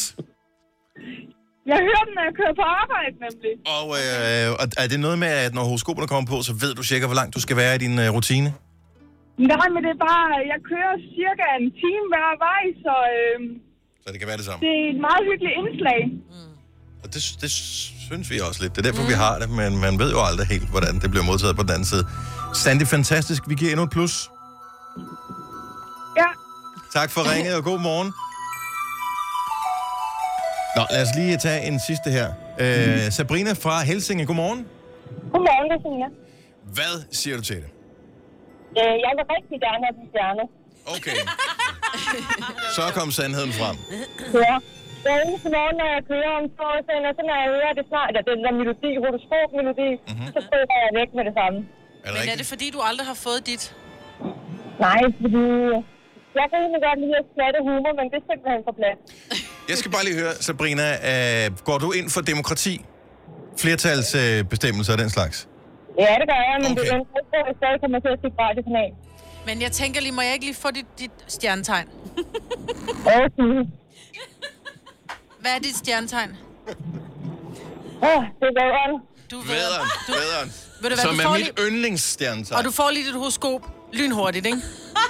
[SPEAKER 15] Jeg hører den, når jeg kører på arbejde, nemlig.
[SPEAKER 1] Og øh, og er det noget med, at når horoskoperne kommer på, så ved du cirka, hvor langt du skal være i din øh, rutine?
[SPEAKER 15] Nej, men det er bare, jeg kører cirka en time hver vej, så øh,
[SPEAKER 1] Så det kan være det samme.
[SPEAKER 15] det er et meget hyggeligt indslag.
[SPEAKER 1] Og det, det synes vi også lidt. Det er derfor, vi har det, men man ved jo aldrig helt, hvordan det bliver modtaget på den anden side. Sandy, fantastisk. Vi giver endnu et plus.
[SPEAKER 15] Ja.
[SPEAKER 1] Tak for ringet, og god morgen. Nå, lad os lige tage en sidste her. Øh, Sabrina fra Helsinge, godmorgen.
[SPEAKER 13] Godmorgen, Christina.
[SPEAKER 1] Hvad siger du til det?
[SPEAKER 13] Øh, jeg vil rigtig gerne have den stjerne.
[SPEAKER 1] Okay. Så kom sandheden frem.
[SPEAKER 13] Ja. Hver eneste morgen, når jeg kører om torsdagen, og så når jeg hører det snart, eller den der melodi, horoskop-melodi, mm-hmm. så prøver jeg væk med det samme.
[SPEAKER 4] Men er det fordi, du aldrig har fået dit?
[SPEAKER 13] Nej, fordi
[SPEAKER 15] øh,
[SPEAKER 13] jeg kan egentlig godt lide at smatte humor, men det er simpelthen for plat.
[SPEAKER 1] Jeg skal bare lige høre, Sabrina, øh, går du ind for demokrati? Flertalsbestemmelser øh, bestemmelser og den slags?
[SPEAKER 13] Ja, det gør jeg, men okay. det ønsker ikke, at jeg stadig kommer til at se radiokanal.
[SPEAKER 4] Men jeg tænker lige, må jeg ikke lige få dit, dit
[SPEAKER 13] (laughs)
[SPEAKER 4] stjernetegn?
[SPEAKER 13] Okay.
[SPEAKER 4] Hvad er dit stjernetegn?
[SPEAKER 13] Åh, det er vædderen.
[SPEAKER 4] Du er
[SPEAKER 1] Vædderen,
[SPEAKER 4] Du-
[SPEAKER 1] vædderen.
[SPEAKER 4] Ved du hvad,
[SPEAKER 1] Som
[SPEAKER 4] du
[SPEAKER 1] er
[SPEAKER 4] får
[SPEAKER 1] mit
[SPEAKER 4] lige-
[SPEAKER 1] yndlingsstjernetegn.
[SPEAKER 4] Og du får lige dit horoskop lynhurtigt, ikke? (laughs)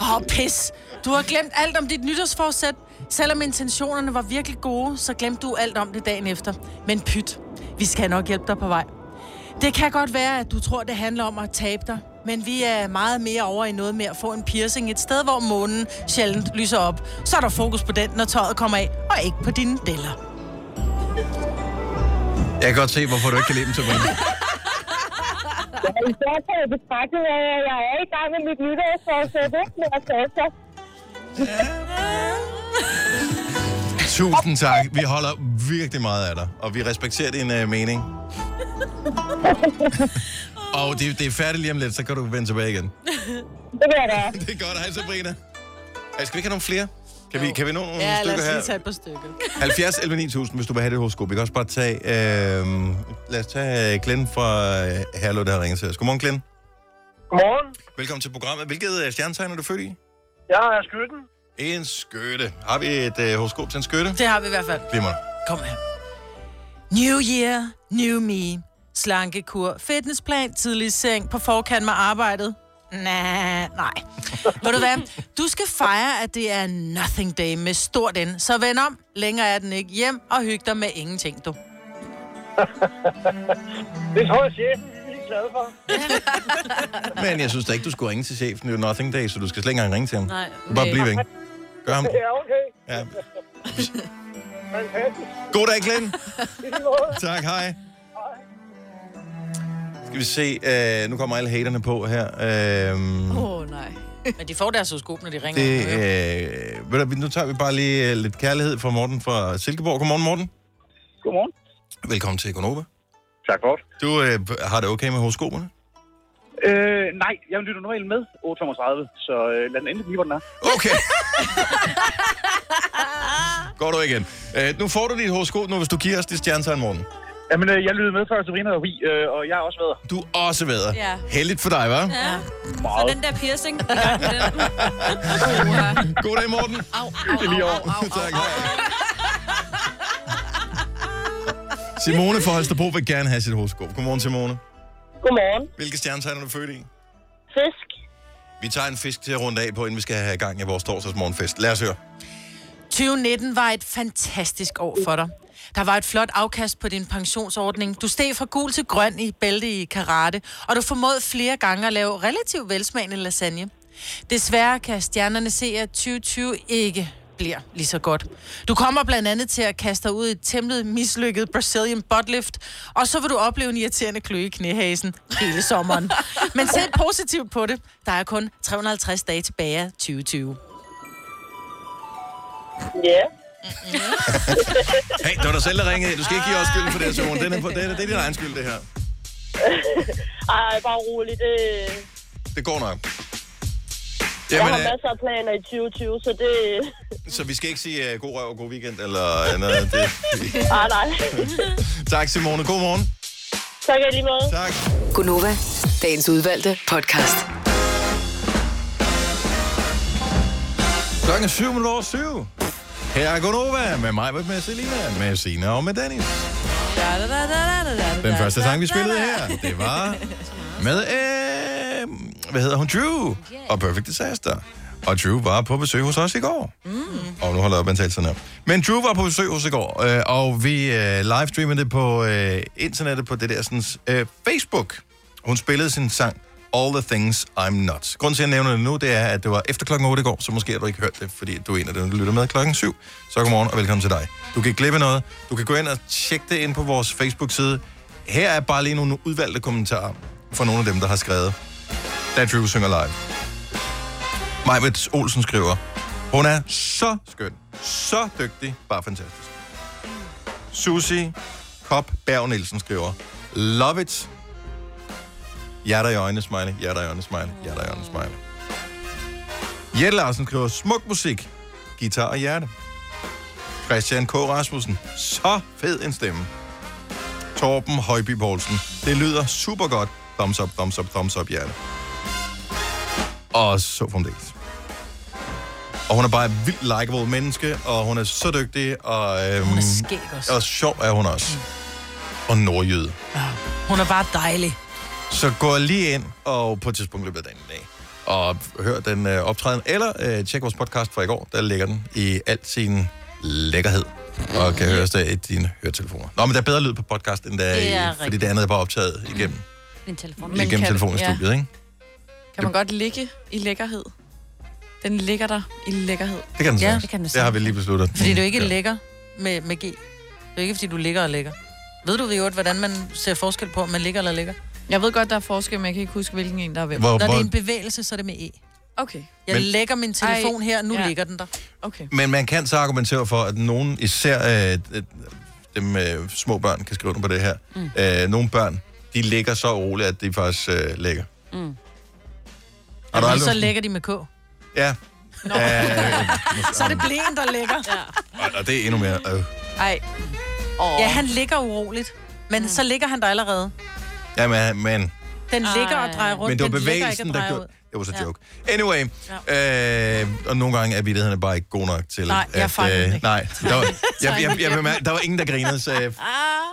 [SPEAKER 4] Åh, oh, pis. Du har glemt alt om dit nytårsforsæt. Selvom intentionerne var virkelig gode, så glemte du alt om det dagen efter. Men pyt, vi skal nok hjælpe dig på vej. Det kan godt være, at du tror, det handler om at tabe dig. Men vi er meget mere over i noget med at få en piercing et sted, hvor månen sjældent lyser op. Så er der fokus på den, når tøjet kommer af, og ikke på dine deller.
[SPEAKER 1] Jeg kan godt se, hvorfor du ikke kan lide dem, Sabrina.
[SPEAKER 13] Jeg er i hvert fald betragtet af, at jeg er i gang med mit nytårsforsæt, ikke? Men altså, jeg skal også.
[SPEAKER 1] Tusind tak. Vi holder virkelig meget af dig, og vi respekterer din øh, mening. og det, det er færdigt lige om lidt, så kan du vende tilbage igen.
[SPEAKER 13] Det vil jeg da.
[SPEAKER 1] (laughs) Det er godt. Hej, Sabrina. Ej, skal vi ikke have nogle flere? Kan vi, kan vi nå nogle
[SPEAKER 4] Ja, lad
[SPEAKER 1] stykker
[SPEAKER 4] os
[SPEAKER 1] her?
[SPEAKER 4] lige tage et par stykker.
[SPEAKER 1] 70 11 9000, hvis du vil have det horoskop. Vi kan også bare tage... Øh, lad os tage øh, Glenn fra øh, Herlev, der har ringet til os. Godmorgen, Glenn.
[SPEAKER 16] Godmorgen.
[SPEAKER 1] Velkommen til programmet. Hvilket øh, stjernetegn er du født i?
[SPEAKER 16] Jeg er skytten.
[SPEAKER 1] En skytte. Har vi et øh, horoskop til en skytte?
[SPEAKER 4] Det har vi i hvert fald.
[SPEAKER 1] Glimmer.
[SPEAKER 4] Kom her. New year, new me. Slankekur, fitnessplan, tidlig i seng, på forkant med arbejdet. Næh, nej. Ved du hvad? Du skal fejre, at det er nothing day med stort N. Så vend om. Længere er den ikke. Hjem og hyg dig med ingenting, du.
[SPEAKER 16] Det tror jeg, chefen er lige glad for.
[SPEAKER 1] Men jeg synes da ikke, du skulle ringe til chefen. Det er jo nothing day, så du skal slet ikke engang ringe til ham.
[SPEAKER 16] Nej,
[SPEAKER 1] Du bare
[SPEAKER 16] okay.
[SPEAKER 1] blive væk. Gør ham.
[SPEAKER 16] Ja, okay.
[SPEAKER 1] Ja.
[SPEAKER 16] Fantastisk.
[SPEAKER 1] (laughs) God dag,
[SPEAKER 13] (laughs)
[SPEAKER 1] Glenn.
[SPEAKER 16] I lige måde.
[SPEAKER 1] Tak, hej. Skal vi se. Øh, nu kommer alle haterne på her. Øh,
[SPEAKER 4] oh, nej. Men de får deres horoskop, når de ringer.
[SPEAKER 1] det, øh, ved du, nu tager vi bare lige øh, lidt kærlighed fra Morten fra Silkeborg. Godmorgen, Morten.
[SPEAKER 16] Godmorgen.
[SPEAKER 1] Velkommen til Gonova.
[SPEAKER 16] Tak for
[SPEAKER 1] Du øh, har det okay med horoskoperne?
[SPEAKER 16] Øh, nej, jeg lytter normalt med 8.35, så øh, lad den endelig blive, hvor den er.
[SPEAKER 1] Okay. Går du igen. Øh, nu får du dit horoskop nu, hvis du giver os det stjernetegn, Morten.
[SPEAKER 16] Jamen, øh, jeg lyttede med før Sabrina var vi, øh, og jeg er også vædder.
[SPEAKER 1] Du er også vædder.
[SPEAKER 16] Ja.
[SPEAKER 1] Heldigt for dig, hva'?
[SPEAKER 2] Ja. Så
[SPEAKER 16] Meget.
[SPEAKER 2] den
[SPEAKER 1] (laughs)
[SPEAKER 2] der piercing, i gang med den.
[SPEAKER 1] God dag, Morten.
[SPEAKER 2] Au,
[SPEAKER 1] Det er lige over. (laughs) Tak, hej. Simone fra Holstebro vil gerne have sit horoskop. Godmorgen, Simone.
[SPEAKER 13] Godmorgen.
[SPEAKER 1] Hvilke stjernetegn er du født i?
[SPEAKER 13] Fisk.
[SPEAKER 1] Vi tager en fisk til at runde af på, inden vi skal have gang i vores torsdagsmorgenfest. Lad os høre.
[SPEAKER 4] 2019 var et fantastisk år for dig. Der var et flot afkast på din pensionsordning. Du steg fra gul til grøn i bælte i karate, og du formåede flere gange at lave relativt velsmagende lasagne. Desværre kan stjernerne se, at 2020 ikke bliver lige så godt. Du kommer blandt andet til at kaste dig ud i et temmelig mislykket Brazilian buttlift, og så vil du opleve en irriterende kløe i knæhasen hele sommeren. Men se positivt på det. Der er kun 350 dage tilbage af 2020.
[SPEAKER 13] Ja.
[SPEAKER 1] Hey, det var dig selv, der ringede. Du skal ikke give os skylden for det her, Simon. Den er, på, det, er, det er din egen skyld, det her.
[SPEAKER 13] Ej, bare rolig. Det...
[SPEAKER 1] Det går nok.
[SPEAKER 13] Jamen, jeg
[SPEAKER 1] Jamen,
[SPEAKER 13] har
[SPEAKER 1] øh,
[SPEAKER 13] masser af planer i 2020, så det...
[SPEAKER 1] så vi skal ikke sige uh, god røv og god weekend eller andet. Det.
[SPEAKER 13] Ej, nej.
[SPEAKER 1] Tak, Simone. God morgen.
[SPEAKER 13] (laughs) tak i lige måde.
[SPEAKER 1] Tak.
[SPEAKER 9] Gunova, dagens udvalgte podcast.
[SPEAKER 1] Klokken er syv minutter over syv. Her er Gunova med mig, med Selina, med Sina og med Dennis. Den første sang, vi spillede her, det var med, øh, hvad hedder hun, Drew og Perfect Disaster. Og Drew var på besøg hos os i går. Og nu holder jeg op med at tale sådan her. Men Drew var på besøg hos os i går, øh, og vi øh, livestreamede det på øh, internettet på det der sådan, øh, Facebook. Hun spillede sin sang All the Things I'm Not. Grunden til, at jeg nævner det nu, det er, at det var efter klokken 8 i går, så måske har du ikke hørt det, fordi du er en af dem, der lytter med klokken 7. Så godmorgen og velkommen til dig. Du kan ikke glemme noget. Du kan gå ind og tjekke det ind på vores Facebook-side. Her er bare lige nogle udvalgte kommentarer fra nogle af dem, der har skrevet. Da Drew synger live. Majvits Olsen skriver, hun er så skøn, så dygtig, bare fantastisk. Susie Kop Berg Nielsen skriver, love it. Hjerter i øjnene, smiley, hjerter i øjnene, smiley, hjerter i øjnene, smiley. Jette Larsen skriver, smuk musik, guitar og hjerte. Christian K. Rasmussen, så fed en stemme. Torben Højby Poulsen, det lyder super godt. Thumbs up, thumbs up, thumbs up, hjerte. Og så fremdeles. Og hun er bare et vildt likeable menneske, og hun er så dygtig, og... Øhm, hun er
[SPEAKER 4] skæg også.
[SPEAKER 1] Og sjov er hun også. Og nordjyde.
[SPEAKER 4] Hun er bare dejlig.
[SPEAKER 1] Så gå lige ind og på et tidspunkt i løbet af dagen i dag og hør den øh, optræden, eller øh, tjek vores podcast fra i går, der ligger den i al sin lækkerhed, og kan høres der i dine høretelefoner. Nå, men der er bedre lyd på podcast, end der
[SPEAKER 3] Det er
[SPEAKER 1] er, i, fordi
[SPEAKER 3] rigtigt.
[SPEAKER 1] det andet er bare optaget igennem,
[SPEAKER 3] Min telefon.
[SPEAKER 1] Men igennem
[SPEAKER 6] kan-
[SPEAKER 1] telefonen i
[SPEAKER 6] ja.
[SPEAKER 1] studiet, ikke?
[SPEAKER 6] Kan man godt ligge i lækkerhed? Den ligger der i lækkerhed.
[SPEAKER 1] Det kan den
[SPEAKER 4] Ja,
[SPEAKER 1] sagtens.
[SPEAKER 4] det kan den
[SPEAKER 1] det har
[SPEAKER 4] sagtens.
[SPEAKER 1] vi lige besluttet.
[SPEAKER 4] Fordi du ikke
[SPEAKER 1] Ja.
[SPEAKER 4] ja. lægger med, med G. Det er ikke, fordi du ligger og ligger. Ved du ved jo, hvordan man ser forskel på, om man ligger eller ligger?
[SPEAKER 6] Jeg ved godt, der er forskel, men jeg kan ikke huske, hvilken en der er hvem.
[SPEAKER 4] Når
[SPEAKER 1] Hvor-
[SPEAKER 4] det
[SPEAKER 1] hvor-
[SPEAKER 4] er en bevægelse, så er det med E.
[SPEAKER 6] Okay.
[SPEAKER 4] Jeg
[SPEAKER 1] Men-
[SPEAKER 4] men... lægger min telefon
[SPEAKER 6] Ej,
[SPEAKER 4] her, nu
[SPEAKER 6] ja.
[SPEAKER 4] ja. ligger den der.
[SPEAKER 6] Okay.
[SPEAKER 1] Men man kan så argumentere for, at nogen, især øh, øh, dem øh, små børn, kan skrive under på det her. Mm. Øh, nogle børn, de ligger så roligt, at de faktisk øh, ligger.
[SPEAKER 4] Mm.
[SPEAKER 1] Har du
[SPEAKER 4] Og
[SPEAKER 1] aldrig...
[SPEAKER 4] så lægger de med K.
[SPEAKER 1] Ja. Øh,
[SPEAKER 4] Så er det blæen, der ligger. Ja.
[SPEAKER 1] og- og det er endnu mere... Øh.
[SPEAKER 4] Ej. Oh. Ja, han ligger uroligt. Men mm. så ligger han der allerede.
[SPEAKER 1] Jamen, men...
[SPEAKER 4] Den ligger og drejer rundt.
[SPEAKER 1] Men det var
[SPEAKER 4] den ligger ikke og
[SPEAKER 1] bevægelsen, der
[SPEAKER 4] drejer
[SPEAKER 1] gjorde...
[SPEAKER 4] ud.
[SPEAKER 1] Det var så
[SPEAKER 4] Ja.
[SPEAKER 1] joke. Anyway, øh, og nogle gange er vittighederne bare ikke gode nok til...
[SPEAKER 4] Nej, jeg fanger
[SPEAKER 1] at, øh,
[SPEAKER 4] den ikke.
[SPEAKER 1] Nej, der
[SPEAKER 4] (laughs)
[SPEAKER 1] var, jeg, jeg, jeg,
[SPEAKER 4] ikke.
[SPEAKER 1] jeg, bemærkede- der var ingen, der grinede, så jeg,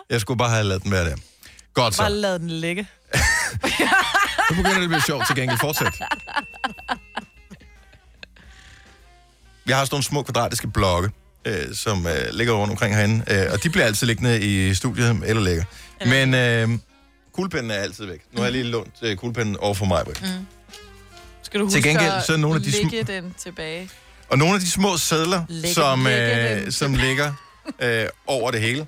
[SPEAKER 1] jeg skulle bare have ladet den være der. Godt
[SPEAKER 4] Bare
[SPEAKER 1] så.
[SPEAKER 4] lad den ligge.
[SPEAKER 1] Nu begynder det at blive sjovt til gengæld. Fortsæt. Vi har sådan nogle små kvadratiske blokke, øh, som øh, ligger rundt omkring herinde, øh, og de bliver altid liggende i studiet, eller ligger. Men øh, kuglepinden er altid væk. Nu har jeg lige lånt øh, kuglepinden over for mig. Mm.
[SPEAKER 6] Skal du
[SPEAKER 1] Til
[SPEAKER 6] huske
[SPEAKER 1] gengæld,
[SPEAKER 6] at
[SPEAKER 1] så er nogle af de sm-
[SPEAKER 6] lægge den tilbage?
[SPEAKER 1] Og nogle af de små sædler,
[SPEAKER 6] Lægge-
[SPEAKER 1] som,
[SPEAKER 6] lægge
[SPEAKER 1] øh,
[SPEAKER 6] dem.
[SPEAKER 1] som ligger øh, over det hele,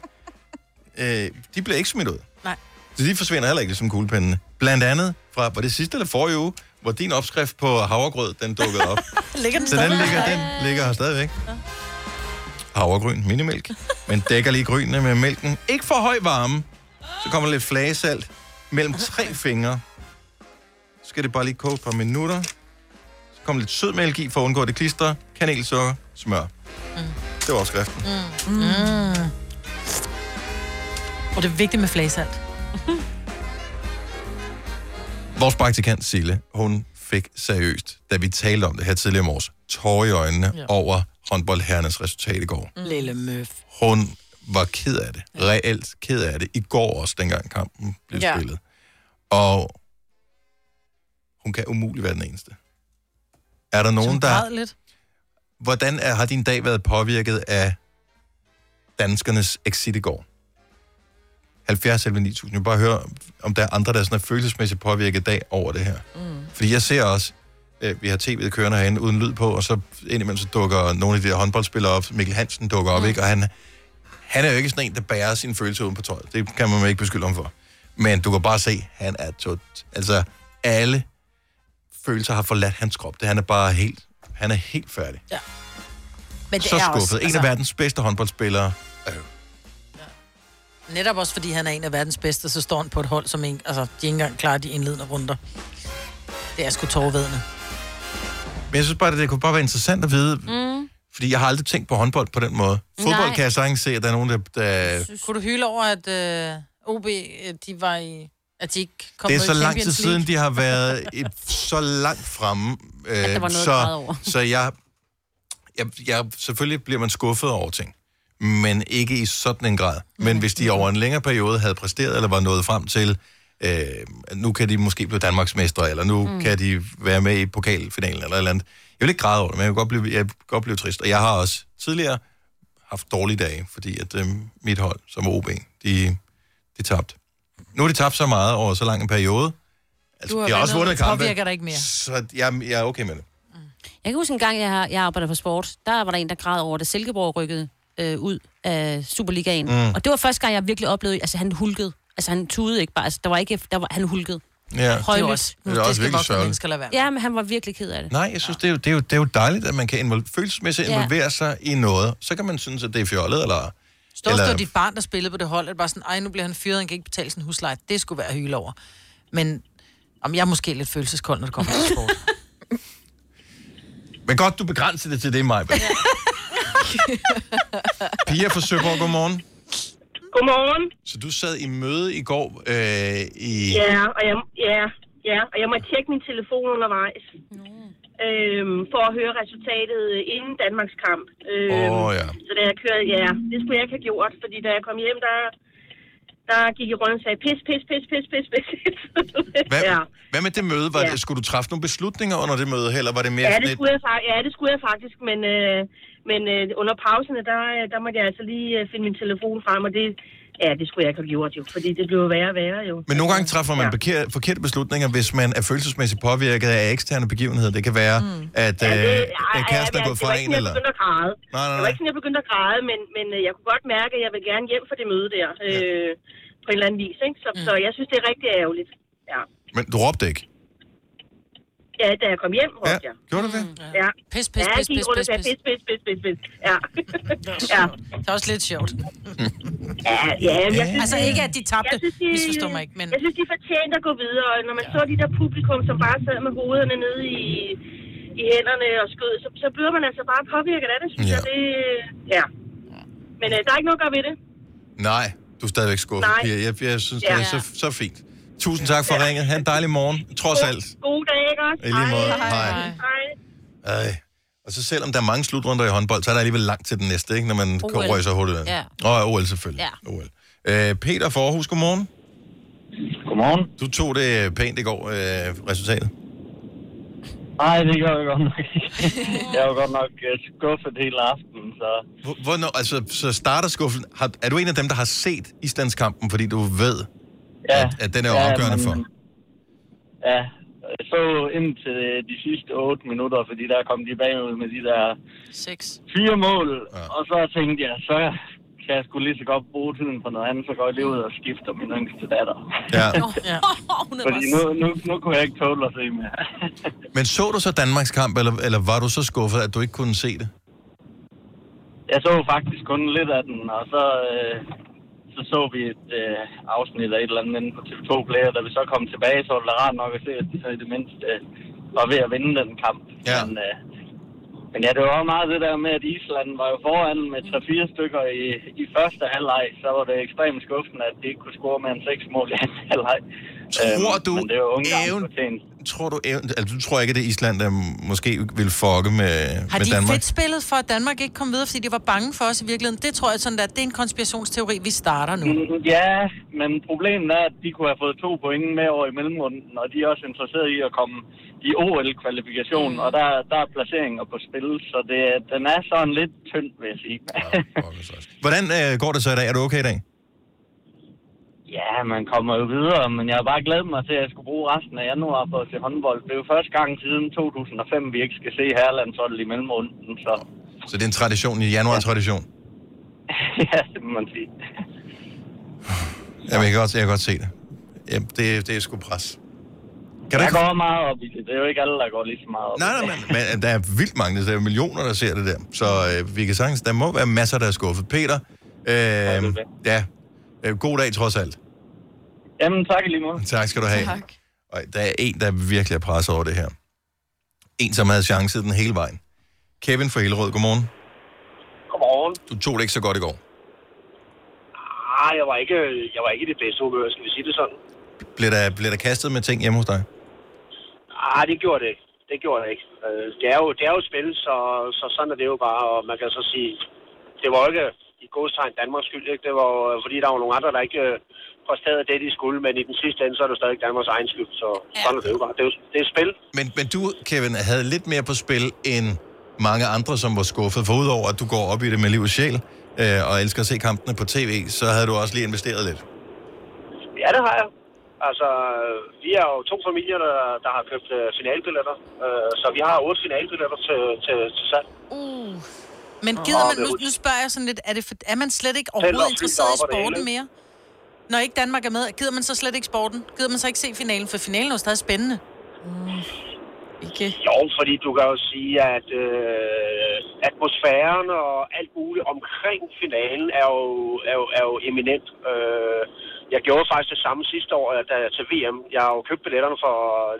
[SPEAKER 1] øh, de bliver ikke smidt ud.
[SPEAKER 4] Nej.
[SPEAKER 1] Så de forsvinder heller ikke, ligesom kuglepindene. Blandt andet fra, var det sidste eller forrige uge, hvor din opskrift på havregrød, den dukkede op.
[SPEAKER 4] Ligger den
[SPEAKER 1] Så den
[SPEAKER 4] stadig?
[SPEAKER 1] ligger, den ligger her stadigvæk. Havregryn, minimælk. Men dækker lige grynene med mælken. Ikke for høj varme. Så kommer lidt flagesalt mellem tre fingre. Så skal det bare lige koge et par minutter. Så kommer lidt sødmælk i for at undgå at det klister. Kanelsukker, smør. Det var opskriften.
[SPEAKER 4] Mm. Mm. Og det er vigtigt med flagesalt.
[SPEAKER 1] Vores praktikant Sille, hun fik seriøst, da vi talte om det her tidligere i morges, tårer i øjnene ja. over håndboldherrenes resultat i går.
[SPEAKER 4] Lille møf.
[SPEAKER 1] Hun var ked af det. Reelt ked af det. I går også, dengang kampen blev
[SPEAKER 6] Ja.
[SPEAKER 1] ja. spillet. Og hun kan umuligt være den eneste. Er der nogen, der...
[SPEAKER 4] lidt.
[SPEAKER 1] Hvordan er, har din dag været påvirket af danskernes exit i går? 70 eller 9000. Jeg vil bare høre, om der er andre, der sådan er følelsesmæssigt påvirket i dag over det her. Mm. Fordi jeg ser også, øh, øh, vi har tv'et kørende herinde uden lyd på, og så indimellem så dukker nogle af de der håndboldspillere op. Mikkel Hansen dukker op, ikke? Og han, han er jo ikke sådan en, der bærer sine følelser uden på tøjet. Det kan man ikke beskylde ham for. Men du kan bare se, han er tot... Altså, alle følelser har forladt hans krop. Det, han er bare helt... Han er helt færdig.
[SPEAKER 3] Ja. Men det
[SPEAKER 1] så
[SPEAKER 3] er
[SPEAKER 1] skuffet.
[SPEAKER 3] Også,
[SPEAKER 1] en altså... af verdens bedste håndboldspillere.
[SPEAKER 4] Netop også fordi han er en af verdens bedste, så står han på et hold, som ikke, altså, de ikke engang klarer de indledende runder. Det er sgu tårvedende.
[SPEAKER 1] Men jeg synes bare, det, det kunne bare være interessant at vide,
[SPEAKER 4] Mm.
[SPEAKER 1] fordi jeg har aldrig tænkt på håndbold på den måde. Fodbold
[SPEAKER 4] Nej.
[SPEAKER 1] kan jeg sagtens se, at der er nogen, der... der
[SPEAKER 4] Kunne du hylde over, at øh, OB, øh, de var i... At de ikke kom
[SPEAKER 1] det er
[SPEAKER 4] med i
[SPEAKER 1] så lang tid
[SPEAKER 4] Champions
[SPEAKER 1] siden,
[SPEAKER 4] League?
[SPEAKER 1] de har
[SPEAKER 4] (laughs)
[SPEAKER 1] været et, så langt fremme. Øh,
[SPEAKER 4] der var noget at græde over.
[SPEAKER 1] så, så jeg, jeg, jeg... Selvfølgelig bliver man skuffet over ting, men ikke i sådan en grad. Men hvis de over en længere periode havde præsteret, eller var nået frem til, øh, nu kan de måske blive Danmarksmestre, eller nu
[SPEAKER 7] Mm.
[SPEAKER 1] mm. kan de være med i pokalfinalen, eller et eller andet. Jeg vil ikke græde over det, men jeg vil godt blive, jeg vil godt blive trist. Og jeg har også tidligere haft dårlige dage, fordi at øh, mit hold, som er OB, de, de tabte. Nu har de tabt så meget over så lang en periode. Altså,
[SPEAKER 4] Du har
[SPEAKER 1] de har også
[SPEAKER 4] vundet,
[SPEAKER 1] vundet
[SPEAKER 4] det
[SPEAKER 1] kampe.
[SPEAKER 4] påvirker dig ikke mere.
[SPEAKER 1] Så jeg, jeg er okay med det.
[SPEAKER 3] Jeg kan huske en gang, jeg, har, jeg arbejder på sport, der var der en, der græd over det. Silkeborg rykkede øh, ud af Superligaen.
[SPEAKER 1] Mm.
[SPEAKER 3] Mm. Og det var første gang, jeg virkelig oplevede, altså han hulkede. Altså han tudede ikke bare, altså der var ikke, der var, han hulkede.
[SPEAKER 1] Ja.
[SPEAKER 3] Højlydt. Det er også-
[SPEAKER 1] det er også virkelig sørgeligt.
[SPEAKER 3] Ja, men han var virkelig ked af det.
[SPEAKER 1] Nej, jeg synes, det er, jo, det, er jo, det er jo dejligt, at man kan involve, følelsesmæssigt
[SPEAKER 4] Ja.
[SPEAKER 1] involvere sig i noget. Så kan man synes, at det er fjollet, eller...
[SPEAKER 4] Stå
[SPEAKER 1] eller
[SPEAKER 4] eller... dit barn, der spillede på det hold, at bare sådan, ej, nu bliver han fyret, han kan ikke betale sin husleje. Det skulle være at hyle over. Men om jeg er måske lidt følelseskold, når det kommer til sport.
[SPEAKER 1] Men godt, du begrænser det til det, Maja. (laughs) Pia fra Søborg, godmorgen.
[SPEAKER 13] Godmorgen.
[SPEAKER 1] Så du sad i møde i går øh, i...
[SPEAKER 13] Ja, og jeg, ja, ja, og jeg må tjekke min telefon undervejs. Øhm, for at høre resultatet øh, inden Danmarks kamp. Øhm,
[SPEAKER 1] Åh, ja.
[SPEAKER 13] Så da jeg kørte, ja, det skulle jeg ikke have gjort, fordi da jeg kom hjem, der, der gik jeg rundt og sagde, pis, pis, pis, pis, pis, pis. (laughs)
[SPEAKER 1] Hvad, ja. hvad med det møde? Var
[SPEAKER 13] Ja.
[SPEAKER 1] ja. det, skulle du træffe nogle beslutninger under det møde, eller var det mere
[SPEAKER 13] Ja,
[SPEAKER 1] sådan
[SPEAKER 13] det
[SPEAKER 1] et...
[SPEAKER 13] skulle jeg, fa- ja, det skulle jeg faktisk, men, øh, men øh, under pauserne, der, øh, der måtte jeg altså lige øh, finde min telefon frem, og det, ja, det skulle jeg ikke have gjort jo, fordi det blev værre og værre jo.
[SPEAKER 1] Men nogle gange træffer man ja. forkerte beslutninger, hvis man er følelsesmæssigt påvirket af eksterne begivenheder. Det kan være, mm. at øh,
[SPEAKER 13] det-
[SPEAKER 1] ja,
[SPEAKER 13] ej,
[SPEAKER 1] kæresten er
[SPEAKER 13] ej,
[SPEAKER 1] gået
[SPEAKER 13] det var
[SPEAKER 1] fra
[SPEAKER 13] ikke
[SPEAKER 1] en,
[SPEAKER 13] sådan,
[SPEAKER 1] eller...
[SPEAKER 13] Jeg begyndte at græde.
[SPEAKER 1] Nej, nej,
[SPEAKER 13] Det var ikke sådan, jeg begyndte at græde, men, men øh, jeg kunne godt mærke, at jeg vil gerne hjem fra det møde der. Øh, på en eller anden vis, ikke? Så,
[SPEAKER 4] Mm.
[SPEAKER 13] så jeg synes, det er rigtig ærgerligt. Ja,
[SPEAKER 1] Men du råbte ikke.
[SPEAKER 13] ja da jeg kom hjem, råbte jeg.
[SPEAKER 1] Gjorde du det?
[SPEAKER 13] Ja.
[SPEAKER 4] Pis, pis,
[SPEAKER 13] ja, jeg
[SPEAKER 4] pis,
[SPEAKER 13] gik
[SPEAKER 4] pis,
[SPEAKER 13] rundt og
[SPEAKER 4] pis,
[SPEAKER 13] sagde,
[SPEAKER 4] pis.
[SPEAKER 13] pis, pis, pis, pis, pis. Ja. ja.
[SPEAKER 4] (laughs) Det er også lidt sjovt.
[SPEAKER 13] Ja, ja, men jeg synes,
[SPEAKER 4] altså
[SPEAKER 13] det-
[SPEAKER 4] ikke, at de tabte.
[SPEAKER 13] jeg synes, de,
[SPEAKER 4] Misforstå mig ikke, men...
[SPEAKER 13] Jeg synes, de fortjente at gå videre, og når man ja. så de der publikum, som bare sad med hovederne nede i, i hænderne og skød, så, så bliver man altså bare påvirket af det, synes ja. jeg. Det, ja. Men øh, der er ikke noget at gøre ved det.
[SPEAKER 1] Nej, du er stadigvæk skuffet,
[SPEAKER 13] Nej.
[SPEAKER 1] Pia. Jeg, jeg synes,
[SPEAKER 13] Ja.
[SPEAKER 1] det er så, så fint. Tusind tak for ringet. Ha' en dejlig morgen, trods alt.
[SPEAKER 13] God dag, ikke også?
[SPEAKER 1] I lige måde. Hej.
[SPEAKER 13] Hej.
[SPEAKER 1] Ej. Og så selvom der er mange slutrunder i håndbold, så er der alligevel langt til den næste, ikke? når man
[SPEAKER 13] OL.
[SPEAKER 1] kommer så hurtigt.
[SPEAKER 13] Ja.
[SPEAKER 1] Og OL selvfølgelig. Ja. OL. Øh, Peter fra Aarhus, godmorgen. Godmorgen. Du tog det pænt i går, øh, resultatet.
[SPEAKER 17] Nej, det gør jeg godt nok
[SPEAKER 4] (laughs)
[SPEAKER 17] ikke. Jeg var godt nok øh, skuffet hele aftenen, så...
[SPEAKER 1] Hvor- Hvornår, altså, så starter skuffen. Har, er du en af dem, der har set islandskampen, fordi du ved, ja. at, at den er jo
[SPEAKER 17] Ja,
[SPEAKER 1] afgørende
[SPEAKER 17] men-
[SPEAKER 1] for?
[SPEAKER 17] Ja, jeg så indtil de sidste 8 minutter, fordi der kom de bagud med de der
[SPEAKER 4] Seks.
[SPEAKER 17] fire mål. Ja. Og så tænkte jeg, så kan jeg sgu lige så godt bruge tiden på noget andet, så går jeg lige ud og skifter min yngste datter. (laughs)
[SPEAKER 1] Ja.
[SPEAKER 4] ja.
[SPEAKER 17] Fordi nu, nu, nu kunne jeg ikke tåle at se mere.
[SPEAKER 1] Men så du så Danmarks kamp, eller, eller var du så skuffet, at du ikke kunne se det?
[SPEAKER 17] Jeg så faktisk kun lidt af den, og så, øh, så så vi et øh, afsnit af et eller andet inde på TV2 Play, og da vi så kom tilbage, så var det da rart nok at se, at de så i det mindste øh, var ved at vinde den kamp. Ja. Men, øh, men ja, det var også meget det der med, at Island var jo foran med 3-4 stykker i, i første halvleg, så var det ekstremt skuffende, at de ikke kunne score mere end 6 mål i anden halvleg. Øhm,
[SPEAKER 1] Tror du
[SPEAKER 17] men det var Ungarn
[SPEAKER 1] even-
[SPEAKER 17] fortjent.
[SPEAKER 1] Tror du, event- altså, du tror ikke, at det er Island, der måske vil fucke med,
[SPEAKER 4] Har
[SPEAKER 1] med
[SPEAKER 4] de
[SPEAKER 1] Danmark?
[SPEAKER 4] fedt spillet for, at Danmark ikke kom videre, fordi de var bange for os i virkeligheden? Det tror jeg sådan, at det er en konspirationsteori, vi starter nu.
[SPEAKER 17] Mm, Ja, men problemet er, at de kunne have fået to point med over i mellemrunden, og de er også interesserede i at komme i OL-kvalifikationen, og der, der er placeringer på spil, så det, den er sådan lidt tynd, vil jeg sige.
[SPEAKER 1] Hvordan øh, går det så i dag? Er du okay i dag?
[SPEAKER 17] (laughs) Ja, man kommer jo videre, men jeg har bare glædet mig til, at jeg skulle bruge resten af januar på at se håndbold. Det er jo første gang siden 2005, vi ikke skal se Herlandsholdet i mellemrunden, så (laughs)
[SPEAKER 1] Så det er en tradition, en januar-tradition.
[SPEAKER 17] ja, det må man sige.
[SPEAKER 1] Jamen, jeg kan godt, jeg kan godt se det. Jamen, det, det er sgu pres. Kan
[SPEAKER 17] jeg
[SPEAKER 1] du ikke-
[SPEAKER 17] går meget op i det. Det er jo ikke alle, der går lige så meget op
[SPEAKER 1] Nej,
[SPEAKER 17] i
[SPEAKER 1] nej,
[SPEAKER 17] det.
[SPEAKER 1] men, men øh, der er vildt mange, der er millioner, der ser det der. Så øh, vi kan sagtens, der må være masser, der er skuffet. Peter, øh, ja, øh, god dag trods alt.
[SPEAKER 17] Jamen, tak i lige måde.
[SPEAKER 1] Tak skal du have.
[SPEAKER 17] Tak.
[SPEAKER 1] Og der er en, der virkelig er presset over det her. En, som havde chancen den hele vejen. Kevin fra Hillerød, godmorgen.
[SPEAKER 18] Godmorgen.
[SPEAKER 1] Du tog det ikke så godt i går.
[SPEAKER 18] Ah, jeg var ikke, jeg var ikke i det bedste humør, skal vi sige det sådan.
[SPEAKER 1] Blev der, blev der kastet med ting hjemme hos dig?
[SPEAKER 18] Ah, det gjorde det ikke. Det gjorde det ikke. Øh, Det er jo, det er jo et spil, så, så sådan er det jo bare, og man kan så sige, det var jo ikke i godstegn Danmarks skyld, ikke? Det var jo, øh, fordi der var nogle andre, der ikke øh, præsterede det, de skulle, men i den sidste ende, så er det stadig Danmarks egen skyld, så sådan er det jo bare. Det er, jo, det er et spil.
[SPEAKER 1] Men, men du, Kevin, havde lidt mere på spil end mange andre, som var skuffet. For udover at du går op i det med liv og sjæl, øh, og elsker at se kampene på tv, så havde du også lige investeret lidt.
[SPEAKER 18] Ja, det har jeg. Altså, øh, vi er jo to familier, der, der har købt øh, finalbilletter, øh, så vi har otte finalbilletter til, til, til salg.
[SPEAKER 4] Uh. Men
[SPEAKER 18] Nå,
[SPEAKER 4] gider man,
[SPEAKER 18] det er
[SPEAKER 4] nu,
[SPEAKER 18] jo-
[SPEAKER 4] nu spørger jeg sådan lidt, er, det for, er man slet ikke
[SPEAKER 18] Tæller og
[SPEAKER 4] overhovedet
[SPEAKER 18] fly
[SPEAKER 4] interesseret i
[SPEAKER 18] deroppe og det
[SPEAKER 4] sporten
[SPEAKER 18] hele.
[SPEAKER 4] mere? Når ikke Danmark er med, gider man så slet ikke sporten? Gider man så ikke se finalen? For finalen er jo stadig spændende.
[SPEAKER 18] Ikke? Jo, fordi du kan jo sige, at øh, atmosfæren og alt muligt omkring finalen er jo, er jo, er jo eminent. Øh, jeg gjorde faktisk det samme sidste år da, til VM. Jeg har jo købt billetterne for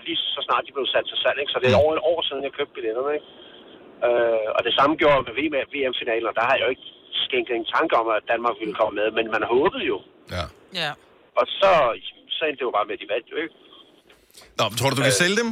[SPEAKER 18] lige så snart de blev sat til salg, ikke? så det er over et år siden, jeg købte billetterne. Ikke? Øh, og det samme gjorde jeg med VM- VM-finalen, og der har jeg jo ikke skænket en tanke om, at Danmark ville komme med, men man håbede jo.
[SPEAKER 1] Ja.
[SPEAKER 4] Ja.
[SPEAKER 18] Og så, så endte det jo bare med, at de vandt jo ikke.
[SPEAKER 1] Nå, men tror du, du kan sælge dem?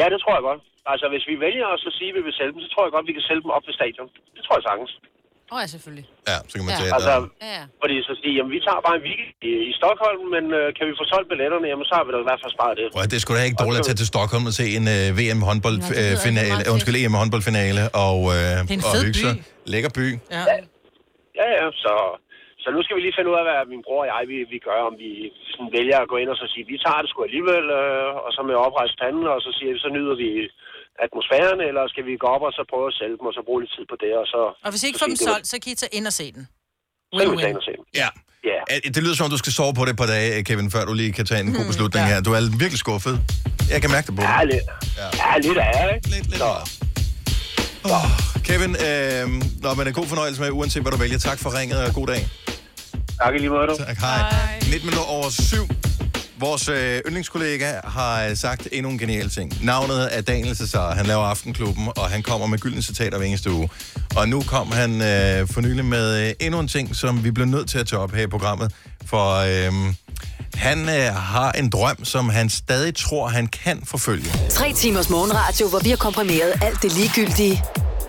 [SPEAKER 18] Ja, det tror jeg godt. Altså, hvis vi vælger os at sige, at vi vil sælge dem, så tror jeg godt, vi kan sælge dem op ved stadion. Det tror jeg sagtens.
[SPEAKER 3] Åh, oh, ja, selvfølgelig.
[SPEAKER 1] Ja, så kan man
[SPEAKER 3] Ja.
[SPEAKER 1] tage
[SPEAKER 18] Altså,
[SPEAKER 1] et,
[SPEAKER 3] Ja, ja.
[SPEAKER 18] fordi så sige, jamen, vi tager bare en weekend i, i Stockholm, men øh, kan vi få solgt billetterne, jamen, så har vi da i hvert fald sparet det.
[SPEAKER 1] Prøv at, det skulle da ikke dårligt at tage til Stockholm og se en uh, VM håndbold
[SPEAKER 18] Nå, det lyder
[SPEAKER 1] øh, finale,
[SPEAKER 18] rigtig
[SPEAKER 1] uh, undskyld, EM håndboldfinale og uh, det er
[SPEAKER 18] en
[SPEAKER 1] og
[SPEAKER 18] fed
[SPEAKER 1] hygge sig.
[SPEAKER 18] by.
[SPEAKER 1] Lækker by.
[SPEAKER 4] Ja.
[SPEAKER 18] Ja, ja, så... Så nu skal vi lige finde ud af, hvad min bror og jeg vi, vi gør, om vi sådan vælger at gå ind og så sige, vi tager det sgu alligevel, øh, og så med oprejst panden, og så siger vi, så nyder vi atmosfæren, eller skal vi gå op og så prøve at sælge dem, og så bruge lidt tid på det, og så...
[SPEAKER 4] Og hvis I ikke
[SPEAKER 18] så
[SPEAKER 4] får dem
[SPEAKER 18] sige, det var-
[SPEAKER 4] solgt, så kan I tage ind og se den.
[SPEAKER 18] Så kan vi tage ind og se dem.
[SPEAKER 1] Ja. Yeah. Det lyder som om, du skal sove på det et par dage, Kevin, før du lige kan tage en
[SPEAKER 18] Hmm,
[SPEAKER 1] god beslutning her. Du er virkelig skuffet. Jeg kan mærke det på dig.
[SPEAKER 18] Ja, lidt.
[SPEAKER 1] (laughs)
[SPEAKER 18] Ja, lidt er, ikke?
[SPEAKER 1] Lidt, lidt. Oh, Kevin, øh, nå, men en god fornøjelse med, uanset hvad du vælger. Tak for ringet, og god dag.
[SPEAKER 18] Tak i lige måde, du.
[SPEAKER 1] Tak, hej. hej. 19 minutter over syv. Vores øh, yndlingskollega har øh, sagt endnu en genial ting. Navnet er Daniel Cesar. Han laver Aftenklubben, og han kommer med gyldne citater hver eneste uge. Og nu kom han øh, for nylig med øh, endnu en ting, som vi bliver nødt til at tage op her i programmet. For øh, han øh, har en drøm, som han stadig tror, han kan forfølge.
[SPEAKER 9] Tre timers morgenradio, hvor vi har komprimeret alt det ligegyldige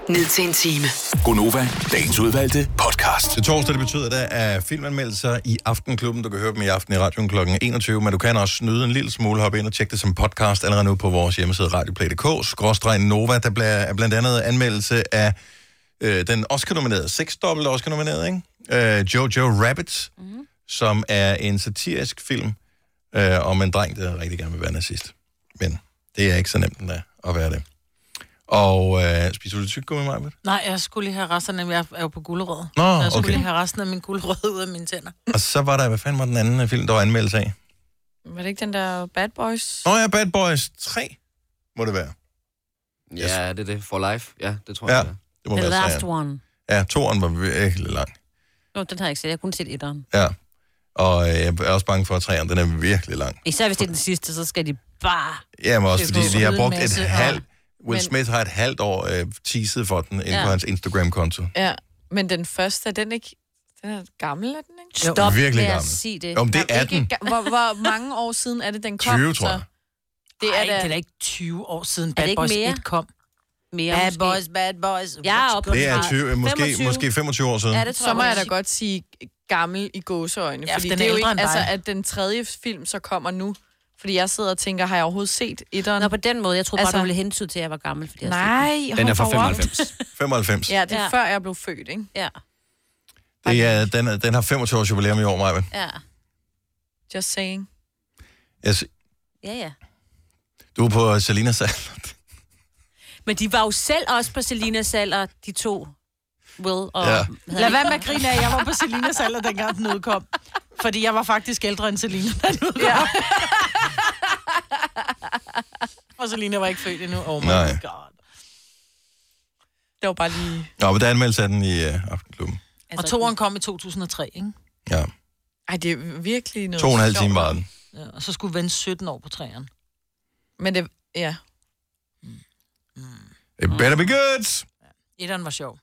[SPEAKER 9] ned til en time.
[SPEAKER 1] Gonova, dagens udvalgte podcast. Det torsdag, det betyder, at der er filmanmeldelser i Aftenklubben. Du kan høre dem i aften i radioen kl. 21, men du kan også snyde en lille smule, hoppe ind og tjekke det som podcast allerede nu på vores hjemmeside radioplay.dk. Skråstreg Nova, der bliver- er blandt andet anmeldelse af øh, den Oscar-nominerede, seksdobbelt Oscar-nominerede, ikke? Øh, Jojo Rabbit, mm. som er en satirisk film øh, om en dreng, der rigtig gerne vil være nazist. Men det er ikke så nemt, den er at være det. Og øh, spiser du tyk med mig,
[SPEAKER 4] Nej, jeg skulle lige have resterne. Jeg er jo på gulerød.
[SPEAKER 1] Nå,
[SPEAKER 4] Så jeg skulle
[SPEAKER 1] okay.
[SPEAKER 4] lige have resten af min gulerød ud af mine tænder.
[SPEAKER 1] Og så var der, hvad fanden var den anden øh, film, der var anmeldelse af?
[SPEAKER 6] Var det ikke den der Bad Boys?
[SPEAKER 1] Nå ja, Bad Boys 3, må det være.
[SPEAKER 8] Ja, det er det. For life. Ja, det tror
[SPEAKER 1] Ja,
[SPEAKER 8] jeg. det er.
[SPEAKER 1] det må
[SPEAKER 3] The
[SPEAKER 1] være
[SPEAKER 3] last
[SPEAKER 1] træeren.
[SPEAKER 3] one.
[SPEAKER 1] Ja, toeren var virkelig lang.
[SPEAKER 3] Nå, den har jeg ikke set. Jeg har kun set etteren.
[SPEAKER 1] Ja. Og øh, jeg er også bange for, at træeren, den er virkelig lang.
[SPEAKER 3] Især hvis det er den sidste, så skal de bare...
[SPEAKER 1] Ja, men også
[SPEAKER 3] Det er
[SPEAKER 1] fordi
[SPEAKER 3] på
[SPEAKER 1] de har
[SPEAKER 3] en
[SPEAKER 1] brugt
[SPEAKER 3] masse,
[SPEAKER 1] et
[SPEAKER 3] og-
[SPEAKER 1] halvt... Will
[SPEAKER 6] Men-
[SPEAKER 1] Smith har et halvt år øh, teaset for den inde
[SPEAKER 6] Ja.
[SPEAKER 1] på hans Instagram-konto.
[SPEAKER 6] Ja, men den første, er den ikke... Den er gammel, er den ikke?
[SPEAKER 1] Jo. Stop Virkelig med at gammel.
[SPEAKER 6] sige
[SPEAKER 1] det. Jo, men det er den.
[SPEAKER 6] Hvor, hvor mange år siden er det, den kom?
[SPEAKER 1] 20,
[SPEAKER 6] så?
[SPEAKER 1] tror jeg.
[SPEAKER 6] Det
[SPEAKER 4] Ej,
[SPEAKER 6] er da...
[SPEAKER 4] det er da ikke 20 år siden
[SPEAKER 6] det
[SPEAKER 4] Bad
[SPEAKER 6] ikke
[SPEAKER 4] Boys
[SPEAKER 6] mere?
[SPEAKER 4] 1 kom.
[SPEAKER 3] Mere
[SPEAKER 4] bad
[SPEAKER 6] måske.
[SPEAKER 4] Boys, Bad Boys.
[SPEAKER 6] Jeg er
[SPEAKER 4] What's
[SPEAKER 6] oppe
[SPEAKER 4] going
[SPEAKER 1] Det er
[SPEAKER 4] on?
[SPEAKER 1] 20, øh, måske, 25. måske 25 år siden.
[SPEAKER 6] Ja, det tror så må
[SPEAKER 4] jeg
[SPEAKER 6] jeg da
[SPEAKER 4] også.
[SPEAKER 6] godt sige gammel i gåseøjne.
[SPEAKER 4] Ja,
[SPEAKER 6] Ja,
[SPEAKER 4] for
[SPEAKER 6] fordi
[SPEAKER 4] den
[SPEAKER 6] det er
[SPEAKER 4] er
[SPEAKER 6] jo ikke,
[SPEAKER 4] ældre end
[SPEAKER 6] altså,
[SPEAKER 4] dig.
[SPEAKER 6] at den tredje film så kommer nu. Fordi jeg sidder og tænker, har jeg overhovedet set etteren? Altså-
[SPEAKER 3] Nå, på den måde. Jeg troede bare, du ville hentyde til, at jeg var gammel. Fordi jeg
[SPEAKER 6] Nej,
[SPEAKER 3] set den. (laughs)
[SPEAKER 6] hold da op.
[SPEAKER 1] 95.
[SPEAKER 6] Ja, det er
[SPEAKER 3] Ja.
[SPEAKER 6] ja. før jeg blev født, ikke?
[SPEAKER 3] Ja.
[SPEAKER 1] Det er, den, er- den har 25 års jubilæum i år, Maja.
[SPEAKER 3] Ja.
[SPEAKER 6] Just saying.
[SPEAKER 1] Altså,
[SPEAKER 3] Ja, ja.
[SPEAKER 1] du er på Salinas (laughs) salg.
[SPEAKER 3] Men de var jo selv også på Selinas alder, de to. Will og...
[SPEAKER 1] Ja.
[SPEAKER 3] Ja.
[SPEAKER 4] Lad være med at grine af, jeg var på Selinas alder, dengang den udkom. Fordi jeg var faktisk ældre end Selina, da den udkom. Ja. (laughs) Og Selina var ikke født endnu. Oh my
[SPEAKER 1] Nej.
[SPEAKER 4] Nej. god. Det var bare lige...
[SPEAKER 1] Nå, men der er anmeldelse af den i øh, Aftenklubben.
[SPEAKER 4] Altså, og toeren kom i 2003, ikke?
[SPEAKER 1] Ja.
[SPEAKER 4] Ej, det er virkelig
[SPEAKER 1] To og en halv time var den.
[SPEAKER 4] Ja, og så skulle vente 17 år på træerne.
[SPEAKER 6] Men det... Ja.
[SPEAKER 1] It better be good!
[SPEAKER 4] Etteren var sjov.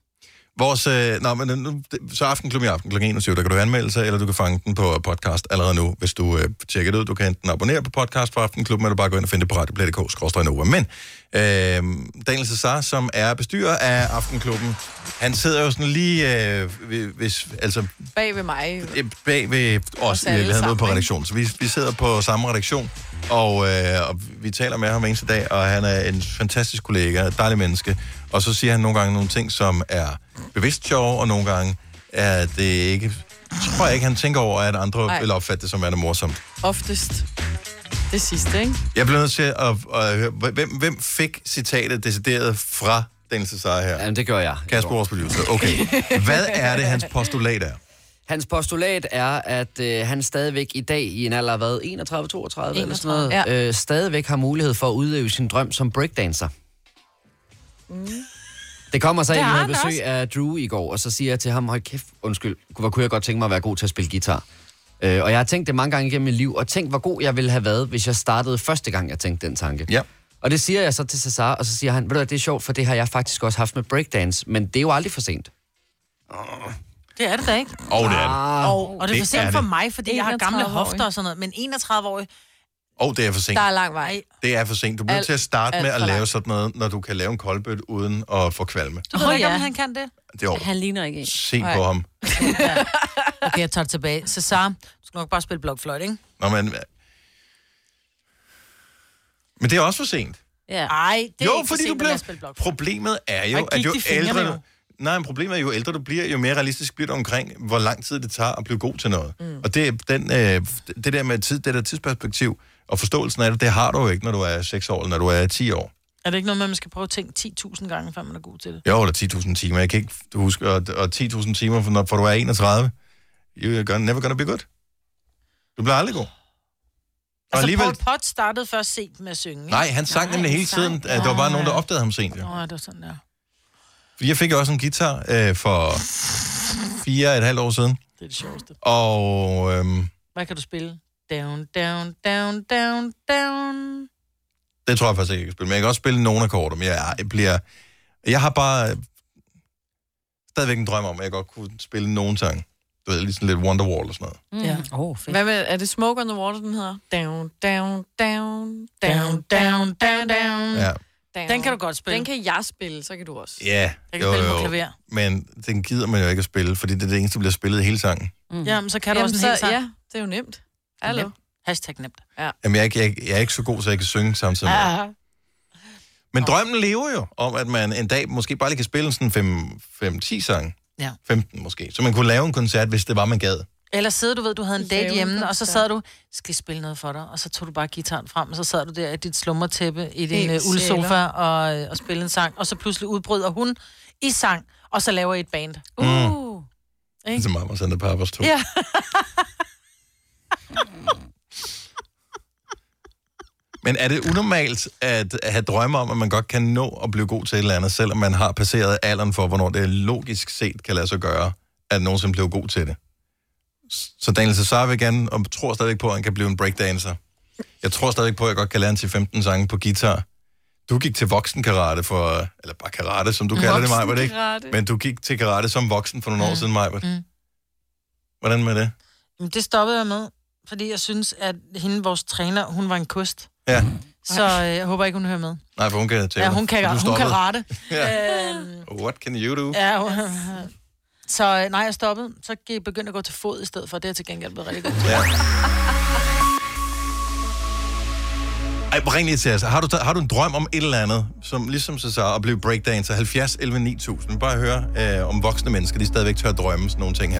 [SPEAKER 1] Vores, øh, nå, men nu, det- så aftenklubben i aften kl. 21, der kan du anmelde sig, eller du kan fange den på podcast allerede nu, hvis du øh, tjekker det ud. Du kan enten abonnere på podcast fra Aftenklubben, eller bare gå ind og finde det på radioplay.dk-nova. Men øh, Daniel Cesar, som er bestyrer af Aftenklubben, han sidder jo sådan lige øh, ved- hvis, altså,
[SPEAKER 6] Bag ved mig.
[SPEAKER 1] øh, bag ved os,
[SPEAKER 6] Os
[SPEAKER 1] vi
[SPEAKER 6] alle
[SPEAKER 1] havde noget
[SPEAKER 6] sammen,
[SPEAKER 1] på
[SPEAKER 6] ikke?
[SPEAKER 1] redaktionen. Så vi, vi sidder på samme redaktion, og, øh, og vi taler med ham hver eneste dag, og han er en fantastisk kollega, et dejligt menneske. Og så siger han nogle gange nogle ting, som er bevidst sjove, og nogle gange er det ikke... Tror jeg ikke, han tænker over, at andre
[SPEAKER 6] Nej.
[SPEAKER 1] Nej. vil opfatte det som værende morsomt.
[SPEAKER 6] Oftest. Det sidste, ikke?
[SPEAKER 1] Jeg bliver nødt til at, at høre, hvem, hvem fik citatet decideret fra Daniel Cesar her? Jamen,
[SPEAKER 8] det gør jeg.
[SPEAKER 1] Kasper, vores producer.
[SPEAKER 8] (laughs)
[SPEAKER 1] Okay. Hvad er det, hans postulat er?
[SPEAKER 8] Hans postulat er, at øh, han stadigvæk i dag, i en alder af hvad, 31, 32 eller sådan noget, ja. øh, stadigvæk har mulighed for at udøve sin drøm som breakdancer.
[SPEAKER 3] Mm.
[SPEAKER 8] Det kommer så
[SPEAKER 4] Det
[SPEAKER 8] ind, vi
[SPEAKER 4] har
[SPEAKER 8] havde
[SPEAKER 4] han
[SPEAKER 8] besøg af Drew i går, og så siger jeg til ham, hold kæft, undskyld, hvor kunne jeg godt tænke mig at være god til at spille guitar. Øh, og jeg har tænkt det mange gange igennem mit liv, og tænkt, hvor god jeg ville have været, hvis jeg startede første gang, jeg tænkte den tanke.
[SPEAKER 1] Ja.
[SPEAKER 8] Og det siger jeg så til Cesar, og så siger han, ved du hvad, det er sjovt, for det har jeg faktisk også haft med breakdance, men det er jo aldrig for sent.
[SPEAKER 4] Det er det da ikke.
[SPEAKER 8] Åh, det er det.
[SPEAKER 4] Og, og det er for
[SPEAKER 8] Det er
[SPEAKER 4] sent for
[SPEAKER 8] det.
[SPEAKER 4] mig, fordi jeg har gamle
[SPEAKER 6] 31-årig.
[SPEAKER 4] hofter og sådan noget. Men 31 år,
[SPEAKER 1] Og det er for sent.
[SPEAKER 4] lang vej.
[SPEAKER 1] Det er for sent. Du bliver
[SPEAKER 4] Alt-
[SPEAKER 1] nødt til at starte
[SPEAKER 4] alt
[SPEAKER 1] med at
[SPEAKER 4] for
[SPEAKER 1] lave
[SPEAKER 4] langt.
[SPEAKER 1] sådan noget, når du kan lave en koldbøt uden at få kvalme.
[SPEAKER 4] Du ved oh, ikke, om han kan det?
[SPEAKER 1] Det er over.
[SPEAKER 4] Han ligner ikke en.
[SPEAKER 1] Se på ham.
[SPEAKER 4] Okay, jeg tager det tilbage. Cesar, du skal nok bare spille blokfløjt, ikke?
[SPEAKER 1] Nå, men... Men det er også for sent.
[SPEAKER 3] Ja.
[SPEAKER 4] Ej, det er
[SPEAKER 1] jo,
[SPEAKER 4] ikke for
[SPEAKER 1] fordi
[SPEAKER 4] sent,
[SPEAKER 1] du
[SPEAKER 4] men lad os spille
[SPEAKER 1] bliver...
[SPEAKER 4] blokfløjte.
[SPEAKER 1] Problemet er jo,
[SPEAKER 4] Og gik
[SPEAKER 1] at jo
[SPEAKER 4] de fingre
[SPEAKER 1] ældre
[SPEAKER 4] med
[SPEAKER 1] du... Nej, men problemet er, jo ældre du bliver, jo mere realistisk bliver du omkring, hvor lang tid det tager at blive god til noget. Mm. Og det, er den, øh, det der med tid, det der tidsperspektiv og forståelsen af det, det har du jo ikke, når du er 6 år, eller når du er 10 år.
[SPEAKER 4] Er det ikke noget med, at man skal prøve at tænke 10.000 gange, før man er god til det?
[SPEAKER 1] Jo, der er 10.000 timer. Jeg kan ikke huske, og, og 10.000 timer, for, når, for du er 31. You're gonna, never gonna be good. Du bliver aldrig god. Og
[SPEAKER 4] Altså,
[SPEAKER 1] alligevel...
[SPEAKER 4] Paul Potts startede først sent med at synge, ikke?
[SPEAKER 1] Nej, han sang nemlig hele tiden. at Der var bare nogen, der opdagede ham sent. Jo.
[SPEAKER 4] Åh, det var sådan der.
[SPEAKER 1] Fordi Jeg fik også en guitar øh, for fire og et halvt år siden.
[SPEAKER 4] Det er det sjoveste.
[SPEAKER 1] Og øhm,
[SPEAKER 4] Hvad kan du spille? Down, down, down, down, down.
[SPEAKER 1] det tror jeg faktisk ikke, jeg kan spille. Men jeg kan også spille nogle akkorder, men jeg, jeg bliver... Jeg har bare øh, stadigvæk en drøm om, at jeg godt kunne spille nogen sang. Du ved, ligesom lidt Wonderwall og sådan noget.
[SPEAKER 6] Mm. Ja.
[SPEAKER 3] Oh,
[SPEAKER 6] Hvad med, er det Smoke on the Water, den hedder? Down, down, down,
[SPEAKER 4] Down, down, down, down.
[SPEAKER 1] Ja.
[SPEAKER 6] down.
[SPEAKER 4] Den kan du godt spille.
[SPEAKER 6] Den kan jeg spille, så kan du også.
[SPEAKER 1] Ja,
[SPEAKER 4] Jeg kan spille på klaver.
[SPEAKER 1] Men den gider man jo ikke at spille, fordi det er det eneste, der bliver spillet i hele sangen.
[SPEAKER 4] Mm. Jamen, så kan du
[SPEAKER 6] Jamen,
[SPEAKER 4] også en
[SPEAKER 6] så-
[SPEAKER 4] hel sang.
[SPEAKER 6] Ja, det er jo nemt. Hallo.
[SPEAKER 4] Nemt. Hashtag nemt.
[SPEAKER 6] Ja.
[SPEAKER 1] Jamen, jeg, er ikke- jeg, jeg er ikke så god, så jeg kan synge samtidig. med.
[SPEAKER 4] Ah.
[SPEAKER 1] Men drømmen lever jo om, at man en dag måske bare lige kan spille sådan 5-10 sange.
[SPEAKER 4] Ja.
[SPEAKER 1] 15 måske. Så man kunne lave en koncert, hvis det var, man gad.
[SPEAKER 4] Eller sidder du ved, du havde en
[SPEAKER 6] Lave
[SPEAKER 4] date
[SPEAKER 6] en
[SPEAKER 4] hjemme, og så
[SPEAKER 6] koncert.
[SPEAKER 4] sad du, skal jeg spille noget for dig? Og så tog du bare gitaren frem, og så sad du der i dit slummertæppe i din
[SPEAKER 6] Helt
[SPEAKER 4] øh, uldsofa
[SPEAKER 6] sjæler.
[SPEAKER 4] og, øh, og spillede en sang. Og så pludselig udbryder hun i sang, og så laver I et band.
[SPEAKER 1] Mm.
[SPEAKER 4] Uh.
[SPEAKER 1] Ikke? Ligesom Mama Santa Papas 2.
[SPEAKER 4] Ja. (laughs)
[SPEAKER 1] Men er det unormalt at have drømme om, at man godt kan nå at blive god til et eller andet, selvom man har passeret alderen for, hvornår det logisk set kan lade sig gøre, at nogen som bliver god til det? Så Daniel Cesar vil gerne, og tror stadigvæk på, at han kan blive en breakdancer. Jeg tror stadigvæk på, at jeg godt kan lære en til 15 sange på guitar. Du gik til voksenkarate for, eller bare karate, som du kalder det, Maja, var det ikke?
[SPEAKER 6] Voksenkarate.
[SPEAKER 1] Men du gik til karate som voksen for nogle år siden, Maja.
[SPEAKER 4] Mm.
[SPEAKER 1] Hvordan med det?
[SPEAKER 4] Men det stoppede jeg med, fordi jeg synes, at hende, vores træner, hun var en kust.
[SPEAKER 1] Ja.
[SPEAKER 4] Så øh, jeg håber ikke, hun hører med.
[SPEAKER 1] Nej, for hun kan tæve
[SPEAKER 4] Ja,
[SPEAKER 1] dig.
[SPEAKER 4] hun kan,
[SPEAKER 1] Du
[SPEAKER 4] hun
[SPEAKER 1] stoppede.
[SPEAKER 4] kan rette. (laughs)
[SPEAKER 1] (laughs) Ja.
[SPEAKER 4] Øhm,
[SPEAKER 1] What can you do?
[SPEAKER 4] Ja, jo. (laughs) så øh, nej, jeg stoppede. Så gik- begyndte jeg at gå til fod i stedet for. Det er jeg til gengæld blevet rigtig godt.
[SPEAKER 1] Ja. Ej, hvor ring lige til os. Har du, har du en drøm om et eller andet, som ligesom så så at blive breakdancer? 70 11 9000. Bare høre, øh, om voksne mennesker, de stadigvæk tør drømme sådan nogle ting her.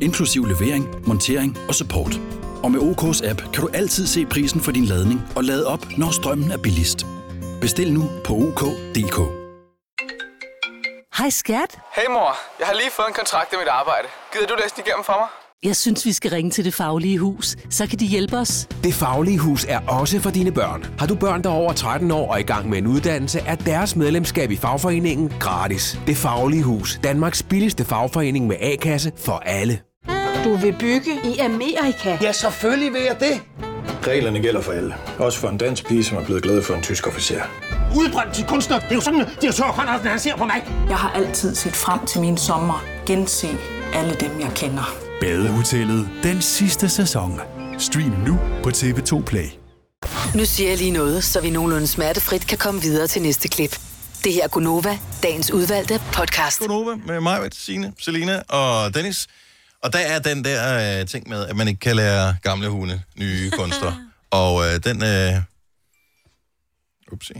[SPEAKER 19] inklusiv levering, montering og support. Og med OK's app kan du altid se prisen for din ladning og lade op, når strømmen er billigst. Bestil nu på OK.dk.
[SPEAKER 20] Hej skat.
[SPEAKER 21] Hey mor, jeg har lige fået en kontrakt med mit arbejde. Gider du læse den igennem for mig?
[SPEAKER 20] Jeg synes, vi skal ringe til Det Faglige Hus. Så kan de hjælpe os.
[SPEAKER 22] Det Faglige Hus er også for dine børn. Har du børn, der er over 13 år og i gang med en uddannelse, er deres medlemskab i fagforeningen gratis. Det Faglige Hus. Danmarks billigste fagforening med A-kasse for alle.
[SPEAKER 23] Du vil bygge i Amerika? Ja, selvfølgelig vil jeg det.
[SPEAKER 24] Reglerne gælder for alle. Også for en dansk pige, som er blevet glad for en tysk officer.
[SPEAKER 23] Udbrændt til kunstner. Det er jo sådan, at de har han ser på mig. Jeg har altid set frem til min sommer. Gense alle dem, jeg kender.
[SPEAKER 25] Badehotellet den sidste sæson. Stream nu på TV2 Play.
[SPEAKER 9] Nu siger jeg lige noget, så vi nogenlunde smertefrit kan komme videre til næste klip. Det her er Gunova, dagens udvalgte podcast.
[SPEAKER 1] Gunova med mig, Signe, Selina og Dennis. Og der er den der øh, ting med, at man ikke kan lære gamle hunde nye kunster. og øh, den... Øh... Upsi.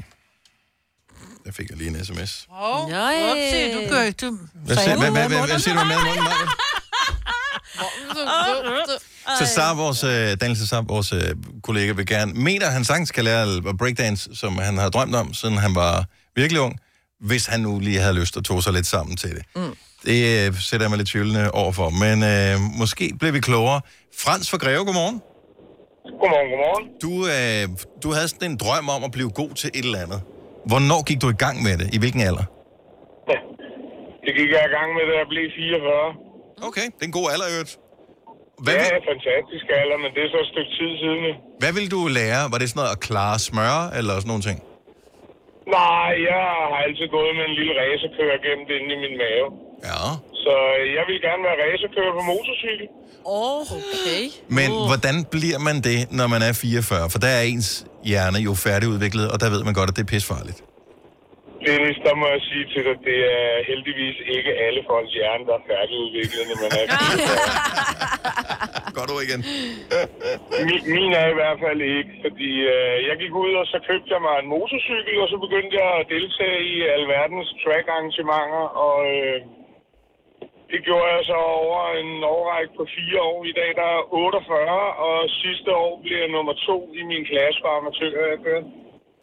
[SPEAKER 1] Der fik jeg lige en sms.
[SPEAKER 4] Åh, oh, upsi, du gør ikke... Du...
[SPEAKER 1] Hvad siger, hvad, hvad, hvad, hvad siger du med munden, Maja? Så Sar, vores, øh, Daniel Cesar, vores øh, kollega, vil gerne, mener han sagtens kan lære at breakdance, som han har drømt om, siden han var virkelig ung, hvis han nu lige havde lyst og tog sig lidt sammen til det.
[SPEAKER 26] Mm.
[SPEAKER 1] Det øh, sætter jeg mig lidt tvivlende over for, men øh, måske bliver vi klogere. Frans fra Greve, godmorgen.
[SPEAKER 27] Godmorgen, godmorgen.
[SPEAKER 1] Du, øh, du havde sådan en drøm om at blive god til et eller andet. Hvornår gik du i gang med det? I hvilken alder?
[SPEAKER 27] Det gik jeg i gang med, da jeg blev 44.
[SPEAKER 1] Okay, det er en god alder, i øvrigt.
[SPEAKER 27] Hvad ja, fantastisk alder, men det er så et stykke tid siden. ikke?
[SPEAKER 1] Hvad ville du lære? Var det sådan noget at klare smøre, eller sådan nogle ting?
[SPEAKER 27] Nej, jeg har altid gået med en lille racerkører gennem inde i min mave.
[SPEAKER 1] Ja.
[SPEAKER 27] Så øh, jeg vil gerne være racerkører på motorcykel.
[SPEAKER 4] Åh, oh, okay.
[SPEAKER 1] Men oh. hvordan bliver man det, når man er 44? For der er ens hjerne jo færdigudviklet, og der ved man godt, at det er pisfarligt.
[SPEAKER 27] Dennis, der må jeg sige til dig, det er heldigvis ikke alle folks hjerne, der er færdigudviklet, når man er
[SPEAKER 1] Godt ord igen.
[SPEAKER 27] min, min er i hvert fald ikke, fordi øh, jeg gik ud, og så købte jeg mig en motorcykel, og så begyndte jeg at deltage i alverdens track-arrangementer, og øh, det gjorde jeg så over en årrække på fire år. I dag der er 48, og sidste år blev jeg nummer to i min klasse for amatører. jeg kører.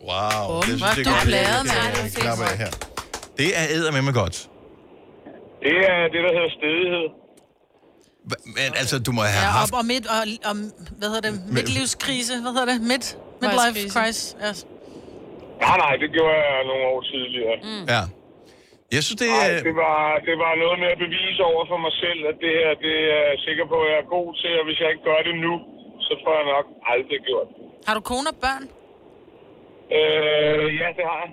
[SPEAKER 1] Wow,
[SPEAKER 27] Åh,
[SPEAKER 1] det synes
[SPEAKER 27] hvor
[SPEAKER 1] jeg
[SPEAKER 27] er du
[SPEAKER 1] godt,
[SPEAKER 27] glad,
[SPEAKER 1] jeg
[SPEAKER 27] mand.
[SPEAKER 1] kan klappe af her. Det er eddermame godt.
[SPEAKER 27] Det er det, der hedder stedighed.
[SPEAKER 1] Men altså, du må have
[SPEAKER 4] Ja,
[SPEAKER 1] haft...
[SPEAKER 4] op og midt, og, og hvad hedder det, midtlivskrise, hvad hedder det, midt, midlife
[SPEAKER 27] Midtlivskrise.
[SPEAKER 4] crisis. Ja.
[SPEAKER 27] Nej, nej, det gjorde jeg nogle år tidligere.
[SPEAKER 1] Mm. Ja. Jeg synes, det...
[SPEAKER 27] Ej, det, var, det var noget med at bevise over for mig selv, at det her, det er jeg sikker på, at jeg er god til, og hvis jeg ikke gør det nu, så får jeg nok aldrig gjort det.
[SPEAKER 4] Har du kone og børn?
[SPEAKER 27] Øh, ja, det har jeg.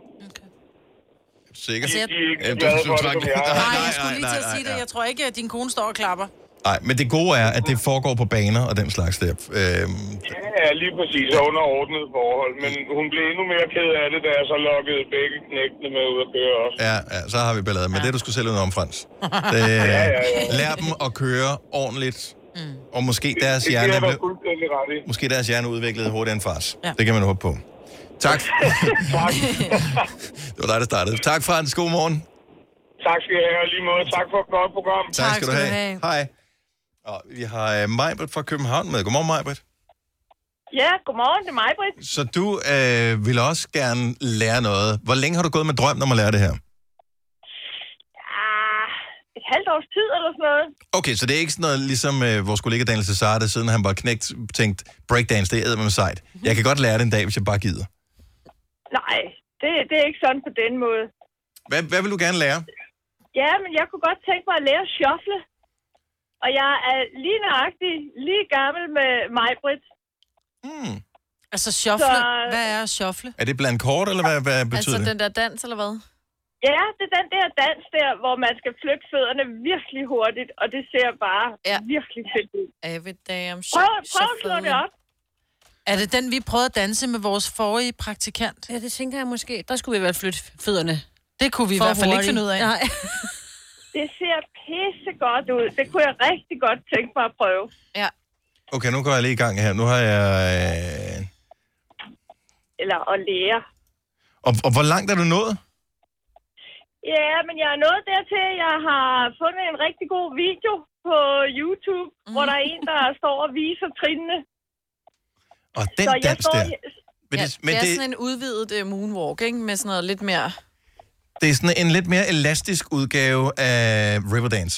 [SPEAKER 1] Sikker?
[SPEAKER 27] Altså, jeg- De er ikke
[SPEAKER 1] Ja, du-
[SPEAKER 27] glade
[SPEAKER 1] du
[SPEAKER 27] for det,
[SPEAKER 1] trak-
[SPEAKER 27] som jeg er.
[SPEAKER 1] Nej,
[SPEAKER 4] Nej, jeg skulle
[SPEAKER 1] nej,
[SPEAKER 4] lige til at
[SPEAKER 1] nej,
[SPEAKER 4] sige det.
[SPEAKER 1] nej.
[SPEAKER 4] Jeg tror ikke, at din kone står og klapper.
[SPEAKER 1] Nej, men det gode er, at det foregår på baner og den slags der. Øhm,
[SPEAKER 27] Ja, lige præcis, og under ordnet forhold. Men hun blev endnu mere ked af det, da jeg så lukkede begge knægtene med ud at køre også.
[SPEAKER 1] Ja, ja, så har vi ballade. Men ja. det er du skulle selv ud om, Frans. Det, øh,
[SPEAKER 27] Ja, ja, ja.
[SPEAKER 1] Lær dem at køre ordentligt. Mm. Og måske deres,
[SPEAKER 27] Det
[SPEAKER 1] hjerne,
[SPEAKER 27] er
[SPEAKER 1] blev,
[SPEAKER 27] der fuldstændig ret i.
[SPEAKER 1] måske deres hjerne udviklede hurtigere end fars. Ja. Det kan man håbe på.
[SPEAKER 27] (laughs)
[SPEAKER 1] Tak. (laughs) det var dig, der startede. Tak, Frans. God morgen.
[SPEAKER 27] Tak skal I have, og lige måde. Tak for et godt program.
[SPEAKER 1] Tak, tak skal du have. have. Hej. Og vi har uh, Majbert fra København med. Godmorgen, Majbert.
[SPEAKER 28] Ja, godmorgen, det er mig, Britt.
[SPEAKER 1] Så du øh, vil også gerne lære noget. Hvor længe har du gået med drømmen om at lære det her?
[SPEAKER 28] Ah, et halvt års tid eller sådan noget.
[SPEAKER 1] Okay, så det er ikke sådan noget, ligesom øh, vores kollega Daniel Cesar, der siden han var knægt, tænkt, breakdance, det er med sejt.
[SPEAKER 13] Mhm.
[SPEAKER 1] Jeg kan godt lære det en dag, hvis jeg bare gider.
[SPEAKER 28] Nej, det, det er ikke sådan på den måde.
[SPEAKER 1] Hvad, hvad vil du gerne lære?
[SPEAKER 28] Ja, men jeg kunne godt tænke mig at lære at shuffle. Og jeg er lige nøjagtig lige gammel med mig, Britt.
[SPEAKER 1] Hmm.
[SPEAKER 4] Altså shuffle. Så... Hvad er at shuffle?
[SPEAKER 1] Er det blandt kort, eller hvad,
[SPEAKER 13] Altså,
[SPEAKER 1] hvad
[SPEAKER 3] Altså,
[SPEAKER 1] betyder det?
[SPEAKER 6] der dans, eller hvad?
[SPEAKER 13] Ja, det er den der dans der, hvor man skal flytte fødderne virkelig hurtigt, og det ser bare ja. virkelig fedt ud.
[SPEAKER 6] Every day I'm
[SPEAKER 13] Prøv, prøv at slå det op.
[SPEAKER 4] Er det den, vi prøvede at danse med vores forrige praktikant?
[SPEAKER 3] Ja, det tænker jeg måske. Der skulle vi i hvert fald flytte fødderne.
[SPEAKER 4] Det kunne vi i hvert fald ikke finde ud af.
[SPEAKER 3] Nej.
[SPEAKER 13] Det ser pisse godt ud. Det kunne jeg rigtig godt tænke mig at prøve.
[SPEAKER 6] Ja.
[SPEAKER 1] Okay, nu går jeg lige i gang her. Nu har jeg... Øh...
[SPEAKER 13] Eller at lære.
[SPEAKER 1] Og, og hvor langt er du nået?
[SPEAKER 13] Ja, men jeg er nået dertil, jeg har fundet en rigtig god video på YouTube,
[SPEAKER 6] Mhm.
[SPEAKER 13] mm. hvor der er en, der står og viser trinene.
[SPEAKER 1] Og den
[SPEAKER 13] Så jeg
[SPEAKER 1] dans
[SPEAKER 13] står
[SPEAKER 1] der,
[SPEAKER 13] i-
[SPEAKER 1] Men
[SPEAKER 6] ja,
[SPEAKER 1] det- men
[SPEAKER 6] det er
[SPEAKER 1] det-
[SPEAKER 6] sådan en udvidet uh, moonwalk, ikke? Med sådan noget lidt mere...
[SPEAKER 1] det er sådan en lidt mere elastisk udgave af Riverdance.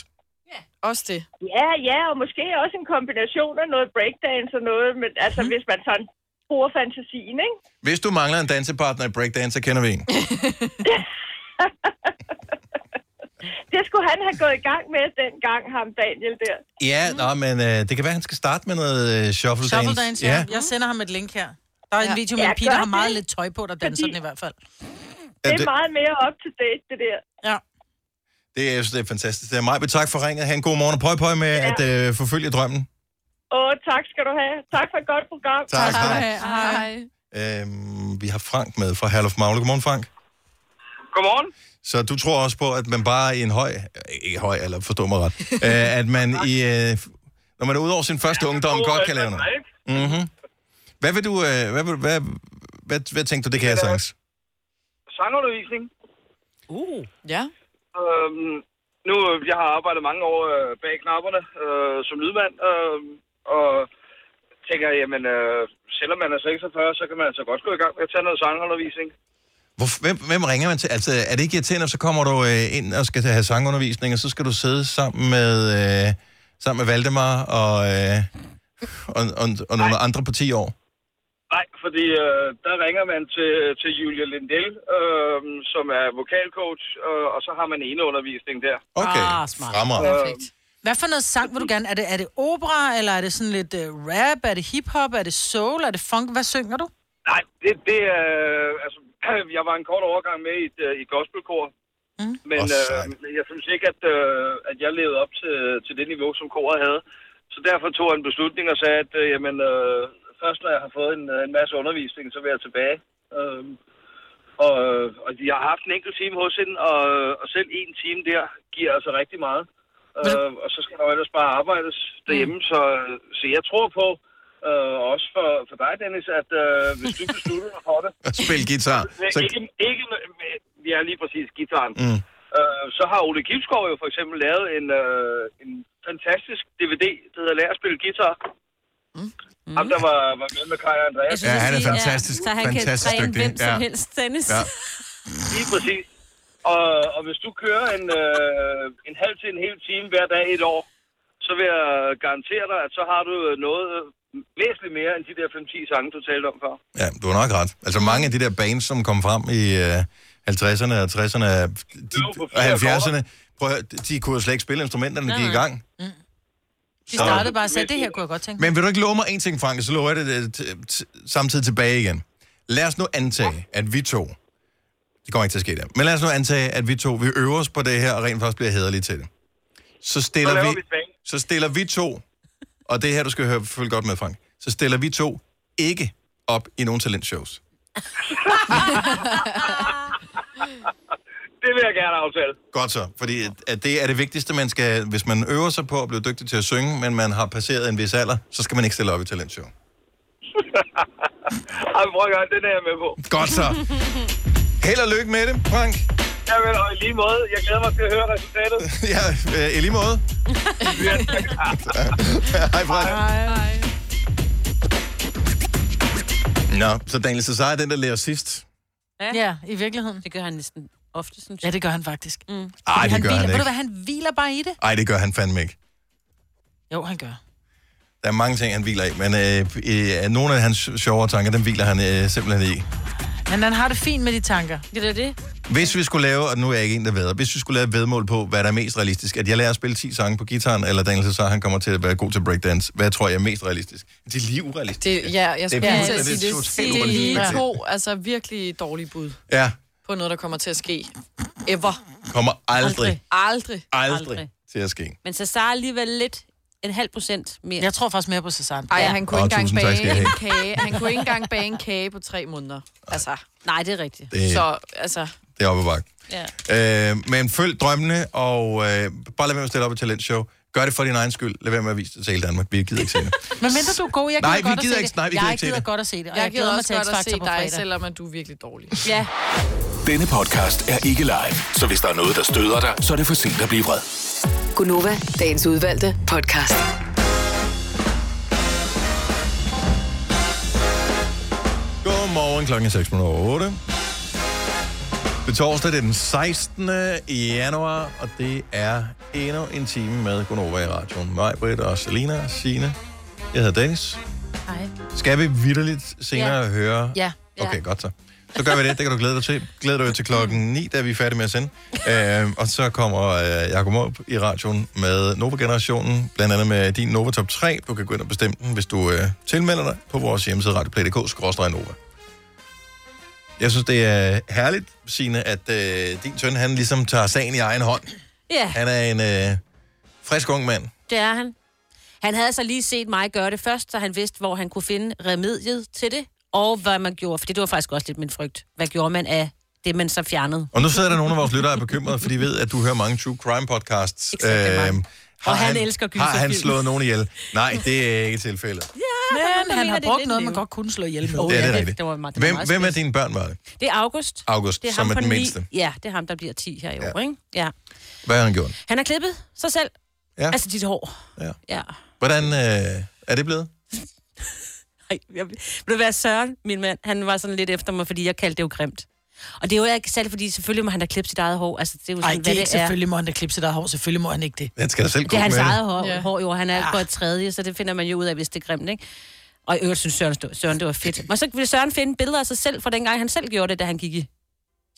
[SPEAKER 6] Også det.
[SPEAKER 13] Ja, ja, og måske også en kombination af noget breakdance og noget, men altså
[SPEAKER 6] Mhm.
[SPEAKER 13] mm. hvis man sådan bruger fantasien, ikke?
[SPEAKER 1] Hvis du mangler en dansepartner i breakdance, så kender vi en.
[SPEAKER 13] Mm. Det skulle han have gået i gang med dengang, ham Daniel der.
[SPEAKER 1] Ja, mm. nå, men øh, det kan være, han skal starte med noget øh, shuffle,
[SPEAKER 4] Shuffle dance, ja. Jeg sender ham et link her. Der er en
[SPEAKER 13] Ja.
[SPEAKER 4] video med
[SPEAKER 13] Ja,
[SPEAKER 4] en pige, der
[SPEAKER 13] gør
[SPEAKER 4] har meget
[SPEAKER 13] det.
[SPEAKER 4] lidt tøj på, der danser den i hvert fald.
[SPEAKER 1] Ja,
[SPEAKER 13] Det er
[SPEAKER 1] det-
[SPEAKER 13] meget mere up to date, det der.
[SPEAKER 4] Ja.
[SPEAKER 1] Det, er, jeg synes, det er fantastisk. Det er mig, tak for ringet. Ha' en god morgen, og pøj, pøj med ja. at øh, forfølge drømmen.
[SPEAKER 13] Åh, tak skal du have. Tak for et godt program.
[SPEAKER 1] Tak skal du
[SPEAKER 13] have. Hej.
[SPEAKER 1] Øhm, vi har Frank med fra Herlof Magle. Godmorgen, Frank.
[SPEAKER 5] Godmorgen.
[SPEAKER 1] Så du tror også på, at man bare i en høj... øh, Ikke høj, eller forstå mig ret. øh, at
[SPEAKER 5] (laughs)
[SPEAKER 1] man i... Øh, når man er ude over sin første ungdom,
[SPEAKER 5] tror,
[SPEAKER 1] godt
[SPEAKER 5] at
[SPEAKER 1] kan lave
[SPEAKER 5] man
[SPEAKER 1] noget. Mm-hmm. Hvad vil du... Øh, hvad, vil, hvad, hvad, hvad tænkte du, det kan jeg sagtens?
[SPEAKER 5] Sangundervisning.
[SPEAKER 6] Uh, ja.
[SPEAKER 5] Øhm, nu, øh, jeg har arbejdet mange år øh, bag knapperne øh, som lydmand, øh, og tænker, jamen, øh, selvom man er 46, så kan man altså godt gå i gang med at tage noget sangundervisning.
[SPEAKER 1] Hvor, hvem, hvem ringer man til? Altså, er det ikke irriterende, at så kommer du øh, ind og skal have sangundervisning, og så skal du sidde sammen med, øh, sammen med Valdemar og, øh, og, og, og nogle andre på 10 år?
[SPEAKER 5] Nej, fordi øh, der ringer man til, til Julia Lindell, øh, som er vokalcoach, øh, og så har man ene undervisning der.
[SPEAKER 1] Okay,
[SPEAKER 4] ah, smart.
[SPEAKER 1] fremragende.
[SPEAKER 4] Perfekt. Hvad for noget sang vil du gerne? Er det, er det opera, eller er det sådan lidt uh, rap? Er det hiphop? Er det soul? Er det funk? Hvad synger du?
[SPEAKER 5] Nej, det, det er... Altså, (clears throat) jeg var en kort overgang med i, et, øh, i et gospelkor,
[SPEAKER 4] Mm.
[SPEAKER 5] men
[SPEAKER 7] Åh,
[SPEAKER 5] øh, jeg synes ikke, at, øh, at jeg levede op til, til det niveau, som koret havde. Så derfor tog jeg en beslutning og sagde, at øh, jamen, øh, først når jeg har fået en, øh, en masse undervisning, så vil jeg tilbage. Øh, og, øh, og jeg har haft en enkelt time hos hende, og, og selv en time der giver altså rigtig meget. Øh, og så skal der jo ellers bare arbejdes derhjemme, så, så jeg tror på, øh, også for, for dig, Dennis, at øh, hvis du beslutter dig
[SPEAKER 1] (laughs)
[SPEAKER 5] for det,
[SPEAKER 1] Spil guitar.
[SPEAKER 5] så... ikke, ikke med, med, ja, lige præcis gitaren.
[SPEAKER 1] Mm.
[SPEAKER 5] Øh, så har Ole Gibskov jo for eksempel lavet en, øh, en fantastisk DVD, der hedder Lær at spille guitar. Mm. Ham, der var, var med med Kai og Andreas.
[SPEAKER 1] Ja,
[SPEAKER 3] Altså,
[SPEAKER 1] han er fantastisk.
[SPEAKER 3] så han
[SPEAKER 1] fantastisk
[SPEAKER 3] kan træne
[SPEAKER 1] dygtig.
[SPEAKER 3] hvem som helst, Dennis.
[SPEAKER 1] Ja.
[SPEAKER 5] Lige præcis. Og, og hvis du kører en, øh, en halv til en hel time hver dag i et år, så vil jeg garantere dig, at så har du noget væsentligt mere end de der 5-10 sange, du talte om før. (laughs)
[SPEAKER 1] Ja, du har nok ret. Altså mange af de der bands, som kom frem i øh, 50'erne og 60'erne og de, og 70'erne, prøv, at høre, de kunne jo slet ikke spille instrumenterne,
[SPEAKER 4] Nej,
[SPEAKER 1] de er i
[SPEAKER 4] nej.
[SPEAKER 1] gang.
[SPEAKER 4] Mm. De
[SPEAKER 1] Så-
[SPEAKER 4] startede bare og sagde, det her kunne jeg godt tænke. mig."
[SPEAKER 1] Men vil du ikke love mig en ting, Frank, så lover jeg det øh, t- t- samtidig tilbage igen. Lad os nu antage, at vi to, det kommer ikke til at ske der, men lad os nu antage, at vi to, vi øver os på det her, og rent faktisk bliver hederlige til det. Så
[SPEAKER 5] Så
[SPEAKER 1] stiller,
[SPEAKER 5] laver
[SPEAKER 1] vi,
[SPEAKER 5] vi et band.
[SPEAKER 1] så stiller vi to, og det er her, du skal høre, følge godt med, Frank, så stiller vi to ikke op i nogen talentshows.
[SPEAKER 5] Det vil jeg gerne aftale.
[SPEAKER 1] Godt så, fordi at- at det er det vigtigste, man skal, hvis man øver sig på at blive dygtig til at synge, men man har passeret en vis alder, så skal man ikke stille op i talentshow.
[SPEAKER 5] Ej, men prøv at gøre, den er jeg med på.
[SPEAKER 1] Godt så. Held og lykke med det, Frank.
[SPEAKER 5] Jamen, og i lige måde, jeg glæder mig til at høre resultatet.
[SPEAKER 1] ja, øh, i lige måde. Hej, Frank.
[SPEAKER 4] Hej, hej.
[SPEAKER 1] Nå, så Daniel Cesar er den, der lærer sidst.
[SPEAKER 4] Ja. ja, i virkeligheden.
[SPEAKER 3] Det gør han næsten ofte, synes
[SPEAKER 4] jeg. Ja, det gør han faktisk. Mm. Ej,
[SPEAKER 1] Ej, det gør
[SPEAKER 4] hviler,
[SPEAKER 1] han
[SPEAKER 4] Ved du
[SPEAKER 1] ikke.
[SPEAKER 4] hvad, han hviler bare i det?
[SPEAKER 1] Nej, det gør han fandme ikke.
[SPEAKER 4] Jo, han gør.
[SPEAKER 1] Der er mange ting, han hviler i, men øh, øh, nogle af hans sjovere tanker, dem hviler han øh, simpelthen i.
[SPEAKER 4] Men han har det fint med de tanker.
[SPEAKER 3] Det er det.
[SPEAKER 1] Hvis vi skulle lave, og nu er jeg ikke en, der ved, hvis vi skulle lave et vedmål på, hvad der er mest realistisk, at jeg lærer at spille 10 sange på gitaren, eller Daniel Cesar, han kommer til at være god til breakdance, hvad tror jeg er mest realistisk? Det er lige urealistisk.
[SPEAKER 6] Det, ja, jeg skulle
[SPEAKER 1] Det er
[SPEAKER 6] lige til at sige
[SPEAKER 1] fuldstændig-
[SPEAKER 6] det.
[SPEAKER 1] totalt
[SPEAKER 6] Det er lige
[SPEAKER 1] urealistisk.
[SPEAKER 6] to altså, virkelig dårlige bud
[SPEAKER 1] Ja,
[SPEAKER 6] på noget, der kommer til at ske. Ever.
[SPEAKER 1] kommer aldrig,
[SPEAKER 6] Aldrig.
[SPEAKER 1] aldrig, til at ske.
[SPEAKER 3] Men Cesar er alligevel lidt en halv procent mere.
[SPEAKER 4] Jeg tror faktisk mere på Cesar.
[SPEAKER 6] Ej, han kunne
[SPEAKER 1] Åh,
[SPEAKER 6] ikke engang
[SPEAKER 1] tusind tak skal
[SPEAKER 6] bage
[SPEAKER 1] I
[SPEAKER 6] en
[SPEAKER 1] have.
[SPEAKER 6] kage. Han kunne ikke engang bage en kage på tre måneder. Altså.
[SPEAKER 3] Nej, det er rigtigt.
[SPEAKER 1] Det-
[SPEAKER 6] Så, altså,
[SPEAKER 1] Det er oppe bakke.
[SPEAKER 6] ja.
[SPEAKER 1] Øh, men følg drømmene, og øh, bare lad være med at stille op i talentshow. Gør det for din egen skyld. Lad være med at vise det til hele Danmark. Vi gider ikke se det.
[SPEAKER 4] Men mindre du er god, jeg gider
[SPEAKER 1] Nej, vi
[SPEAKER 4] godt
[SPEAKER 1] gider
[SPEAKER 4] at se
[SPEAKER 1] ikke-
[SPEAKER 4] det.
[SPEAKER 1] nej, vi gider
[SPEAKER 4] jeg
[SPEAKER 1] ikke se
[SPEAKER 4] gider
[SPEAKER 1] det.
[SPEAKER 4] godt at se det, og
[SPEAKER 6] Jeg,
[SPEAKER 4] jeg, glæder mig til
[SPEAKER 6] også godt at
[SPEAKER 4] X-Factor
[SPEAKER 6] se
[SPEAKER 4] på
[SPEAKER 6] dig,
[SPEAKER 4] fredag.
[SPEAKER 6] selvom at du er virkelig dårlig.
[SPEAKER 3] Ja.
[SPEAKER 10] Denne podcast er ikke live, så hvis der er noget, der støder dig, så er det for sent at blive vred.
[SPEAKER 9] Gunova, dagens udvalgte podcast.
[SPEAKER 1] Godmorgen klokken er 6.08. Det er torsdag, det er den 16. januar, og det er endnu en time med Gunova i radioen. Mig, Britt og Selina, Signe. Jeg hedder Dennis.
[SPEAKER 3] Hej.
[SPEAKER 1] Skal vi vidderligt senere
[SPEAKER 3] Ja.
[SPEAKER 1] høre?
[SPEAKER 3] Ja.
[SPEAKER 1] Okay, godt så. Så gør vi det. Det kan du glæde dig til. Glæder du dig til klokken 9, da vi er færdige med at sende. Øh, og så kommer øh, Jacob op i radioen med Nova-generationen, blandt andet med din Nova Top 3. Du kan gå ind og bestemme den, hvis du øh, tilmelder dig på vores hjemmeside radioplay.dk-nova. Jeg synes, det er herligt, Signe, at øh, din søn, han ligesom tager sagen i egen hånd.
[SPEAKER 3] Ja,
[SPEAKER 1] Han er en øh, frisk ung mand.
[SPEAKER 3] det er han. Han havde så lige set mig gøre det først, så han vidste, hvor han kunne finde remediet til det, og hvad man gjorde. For det var faktisk også lidt min frygt. Hvad gjorde man af det, man så fjernede?
[SPEAKER 1] Og nu sidder der nogle
[SPEAKER 3] (laughs)
[SPEAKER 1] af vores lyttere og er bekymrede, for de ved, at du hører mange true crime podcasts. Exakt, øh,
[SPEAKER 3] Og han elsker gyserfilm.
[SPEAKER 1] Har han slået nogen ihjel? Nej, det er ikke tilfældet.
[SPEAKER 4] Men
[SPEAKER 3] der
[SPEAKER 4] han
[SPEAKER 3] mener,
[SPEAKER 4] har
[SPEAKER 3] det er
[SPEAKER 4] brugt
[SPEAKER 3] lidt
[SPEAKER 4] noget, man
[SPEAKER 3] levende.
[SPEAKER 4] godt kunne slå ihjel med.
[SPEAKER 1] Oh, det er det rigtigt.
[SPEAKER 3] det var meget- det var
[SPEAKER 1] hvem,
[SPEAKER 3] meget
[SPEAKER 1] hvem er dine børn, var det?
[SPEAKER 3] Det er August.
[SPEAKER 1] August,
[SPEAKER 3] det er
[SPEAKER 1] som
[SPEAKER 3] ham
[SPEAKER 1] er
[SPEAKER 3] på
[SPEAKER 1] den
[SPEAKER 3] ni.
[SPEAKER 1] mindste.
[SPEAKER 3] Ja, det er ham, der bliver 10 her i år, ikke? Ja.
[SPEAKER 1] Hvad har han gjort?
[SPEAKER 3] Han har klippet sig selv.
[SPEAKER 1] Ja.
[SPEAKER 3] Altså dit hår.
[SPEAKER 1] Ja.
[SPEAKER 3] ja.
[SPEAKER 1] Hvordan øh, er det blevet?
[SPEAKER 3] Ej, jeg, vil du være Søren, min mand? Han var sådan lidt efter mig, fordi jeg kaldte det jo grimt. Og det er jo ikke særligt, fordi selvfølgelig må han da klippe sit eget hår. Altså, det er jo
[SPEAKER 4] Nej,
[SPEAKER 3] sådan,
[SPEAKER 4] det
[SPEAKER 3] hvad
[SPEAKER 4] er ikke selvfølgelig må han da klippe sit eget hår. Selvfølgelig må han ikke det.
[SPEAKER 1] Han skal da selv Ah.
[SPEAKER 3] Det er hans eget hår,
[SPEAKER 4] Ja.
[SPEAKER 3] ja. hår jo, og han er ja. på et tredje, så det finder man jo ud af, hvis det er grimt, ikke? Og i øvrigt synes Søren, stod- Søren det var fedt. Og så ville Søren finde billeder af sig selv fra dengang, han selv gjorde det, da han gik i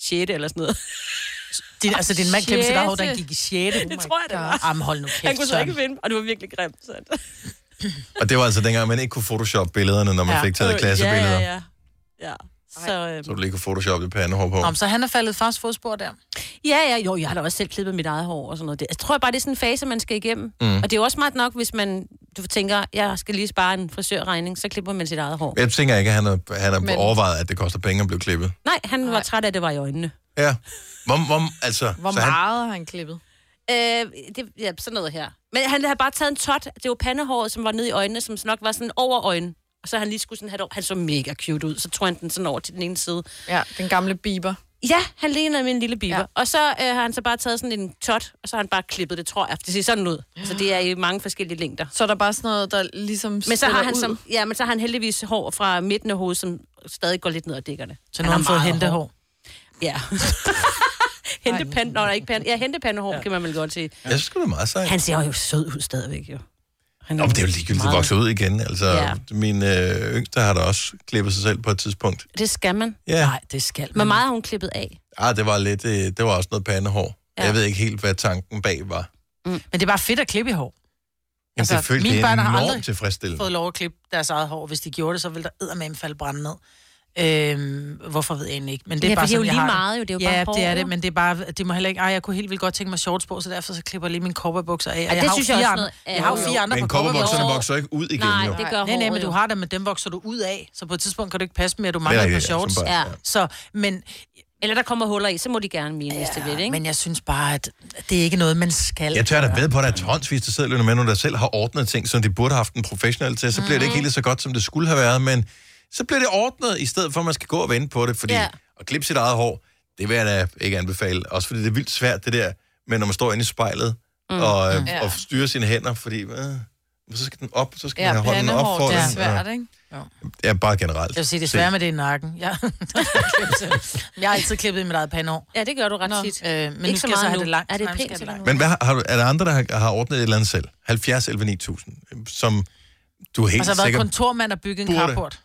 [SPEAKER 3] 6. eller sådan noget.
[SPEAKER 4] (laughs) Din, altså, din mand klippede sit eget hår, da han
[SPEAKER 3] Sjette.
[SPEAKER 4] gik i 6.
[SPEAKER 3] Det tror jeg, det var.
[SPEAKER 4] Jamen, hold nu kæft,
[SPEAKER 3] Han kunne så
[SPEAKER 4] Søren.
[SPEAKER 3] ikke finde, og det var virkelig grimt. Så.
[SPEAKER 1] Og det var altså dengang, man ikke kunne photoshoppe billederne, når man ja. fik taget klassebilleder.
[SPEAKER 3] Ja, ja, ja. ja. Så, øh,
[SPEAKER 1] Så du lige kunne photoshoppe pandehår på.
[SPEAKER 4] Om, så han er faldet fars fodspor der.
[SPEAKER 3] Ja, ja, jo, jeg har da også selv klippet mit eget hår og sådan noget. Det, jeg tror bare, det er sådan en fase, man skal igennem.
[SPEAKER 1] Mm.
[SPEAKER 3] Mm. Og det er jo også smart nok, hvis man du tænker, jeg skal lige spare en frisørregning, så klipper man sit eget hår.
[SPEAKER 1] Jeg tænker ikke, at han har, han har
[SPEAKER 3] Men-
[SPEAKER 1] overvejet, at det koster penge at blive klippet.
[SPEAKER 3] Nej, han var træt af, at det var i øjnene.
[SPEAKER 1] Ja. Hvor, hvor, altså,
[SPEAKER 3] Hvor
[SPEAKER 1] så han,
[SPEAKER 3] meget har han klippet? Øh, det, ja, sådan noget her. Men han havde bare taget en tot. Det var pandehåret, som var nede i øjnene, som nok var sådan over øjnene. Og så han lige skulle sådan have det over. Han så mega cute ud. Så tog han den sådan over til den ene side.
[SPEAKER 6] ja, den gamle Bieber.
[SPEAKER 3] Ja, han lignede min lille biber. Ja. Og så øh, har han så bare taget sådan en tot, og så har han bare klippet det, tror jeg. Det ser sådan ud. Så det er i mange forskellige længder.
[SPEAKER 6] Så er der bare sådan noget, der ligesom
[SPEAKER 3] Men så har
[SPEAKER 6] spiller
[SPEAKER 3] han,
[SPEAKER 6] ud.
[SPEAKER 3] som, ja, men så har han heldigvis hår fra midten af hovedet, som stadig går lidt ned ad dækkerne.
[SPEAKER 4] Så nu har han fået
[SPEAKER 3] meget
[SPEAKER 4] hentehår.
[SPEAKER 3] Ja. (laughs) hentepand, nej, ikke pand. Ja, hentepandehår, ja. kan man vel godt sige.
[SPEAKER 1] jeg synes, det er meget sejt.
[SPEAKER 3] Han ser jo sød ud stadigvæk, jo. Han
[SPEAKER 1] Nå, men det er jo ligegyldigt, det
[SPEAKER 3] meget-
[SPEAKER 1] vokser ud igen. Altså,
[SPEAKER 3] Ja.
[SPEAKER 1] min øh, yngste har da også klippet sig selv på et tidspunkt.
[SPEAKER 3] Det skal man.
[SPEAKER 1] Ja. Nej,
[SPEAKER 4] det skal
[SPEAKER 3] Hvor meget har hun klippet af?
[SPEAKER 1] Ah, det var lidt, øh, det var også noget pandehår. Ja.
[SPEAKER 3] Ja.
[SPEAKER 1] Jeg ved ikke helt, hvad tanken bag var.
[SPEAKER 4] Mm. Men det er bare fedt at klippe i hår.
[SPEAKER 1] Men altså, selvfølgelig, det er
[SPEAKER 4] børn
[SPEAKER 1] enormt tilfredsstillende.
[SPEAKER 4] fået lov at klippe deres eget hår. Hvis de gjorde det, så ville der eddermame falde brænde ned. Øhm, hvorfor ved jeg egentlig ikke? Men det er
[SPEAKER 3] Ja, for
[SPEAKER 4] bare
[SPEAKER 3] det er jo
[SPEAKER 4] sådan, jeg
[SPEAKER 3] lige
[SPEAKER 4] har
[SPEAKER 3] meget jo, det er jo
[SPEAKER 4] ja,
[SPEAKER 3] bare hår,
[SPEAKER 4] det er det,
[SPEAKER 3] jo.
[SPEAKER 4] men det er bare, det må heller ikke, ej, jeg kunne helt vildt godt tænke mig shorts på, så derfor så klipper jeg lige mine cowboybukser af. Og
[SPEAKER 3] Ej, det
[SPEAKER 4] har jo
[SPEAKER 3] synes jeg
[SPEAKER 4] fire
[SPEAKER 3] også
[SPEAKER 4] andre-
[SPEAKER 3] noget af.
[SPEAKER 4] Jeg har jo
[SPEAKER 3] Jo,
[SPEAKER 4] fire
[SPEAKER 3] jo.
[SPEAKER 4] andre
[SPEAKER 1] Men
[SPEAKER 4] par
[SPEAKER 1] kobberbukserne
[SPEAKER 4] cowboybukser.
[SPEAKER 1] vokser ikke ud igen,
[SPEAKER 4] Nej,
[SPEAKER 1] jo.
[SPEAKER 4] det gør nej, nej, men du har det, men dem vokser du ud af, så på et tidspunkt kan du ikke passe mere, du mangler
[SPEAKER 1] Det er
[SPEAKER 4] et par
[SPEAKER 1] rigtigt, ja,
[SPEAKER 4] shorts.
[SPEAKER 1] som børn, ja.
[SPEAKER 4] Så, men,
[SPEAKER 3] Eller der kommer huller i, så må de gerne mine, ja, hvis det vil, ikke?
[SPEAKER 4] men jeg synes bare, at det er ikke noget, man skal
[SPEAKER 1] Jeg tør da ved på, at der er tonsvis, der sidder med nogen, der selv har ordnet ting, som de burde have haft en professionel til, så bliver det
[SPEAKER 3] Mm.
[SPEAKER 1] ikke helt så godt, som det skulle have været, men så bliver det ordnet, i stedet for, at man skal gå og vente på det, fordi
[SPEAKER 3] Ja.
[SPEAKER 1] at klippe sit eget hår, det vil jeg da ikke anbefale, også fordi det er vildt svært, det der, men når man står inde i spejlet, mm.
[SPEAKER 3] Mm.
[SPEAKER 1] og, øh,
[SPEAKER 6] Ja.
[SPEAKER 1] og styrer sine hænder, fordi øh, så skal den op, så skal ja,
[SPEAKER 6] Ja,
[SPEAKER 1] man have hånden op
[SPEAKER 6] pandehår,
[SPEAKER 1] for
[SPEAKER 6] det er
[SPEAKER 1] den,
[SPEAKER 6] svært,
[SPEAKER 1] og-
[SPEAKER 6] ikke?
[SPEAKER 1] Ja, bare generelt.
[SPEAKER 4] Jeg vil sige, det er svært med det i nakken. Jeg, jeg har altid klippet i mit eget pandehår.
[SPEAKER 3] Ja, det gør du ret Nå. tit.
[SPEAKER 4] Øh, men nu skal
[SPEAKER 3] Ikke så
[SPEAKER 4] jeg så
[SPEAKER 3] meget
[SPEAKER 4] have
[SPEAKER 3] nu.
[SPEAKER 4] det langt.
[SPEAKER 3] Er det
[SPEAKER 4] Nej, nu skal
[SPEAKER 3] pænt
[SPEAKER 4] jeg have det
[SPEAKER 1] Men hvad, har- har, du- er der andre, der har, har ordnet et eller andet selv? 70 11 9000, som du er
[SPEAKER 4] langt. Altså, jeg har
[SPEAKER 1] helt
[SPEAKER 4] været
[SPEAKER 1] sikkert
[SPEAKER 4] kontormand og bygget en
[SPEAKER 1] burde.
[SPEAKER 4] carport.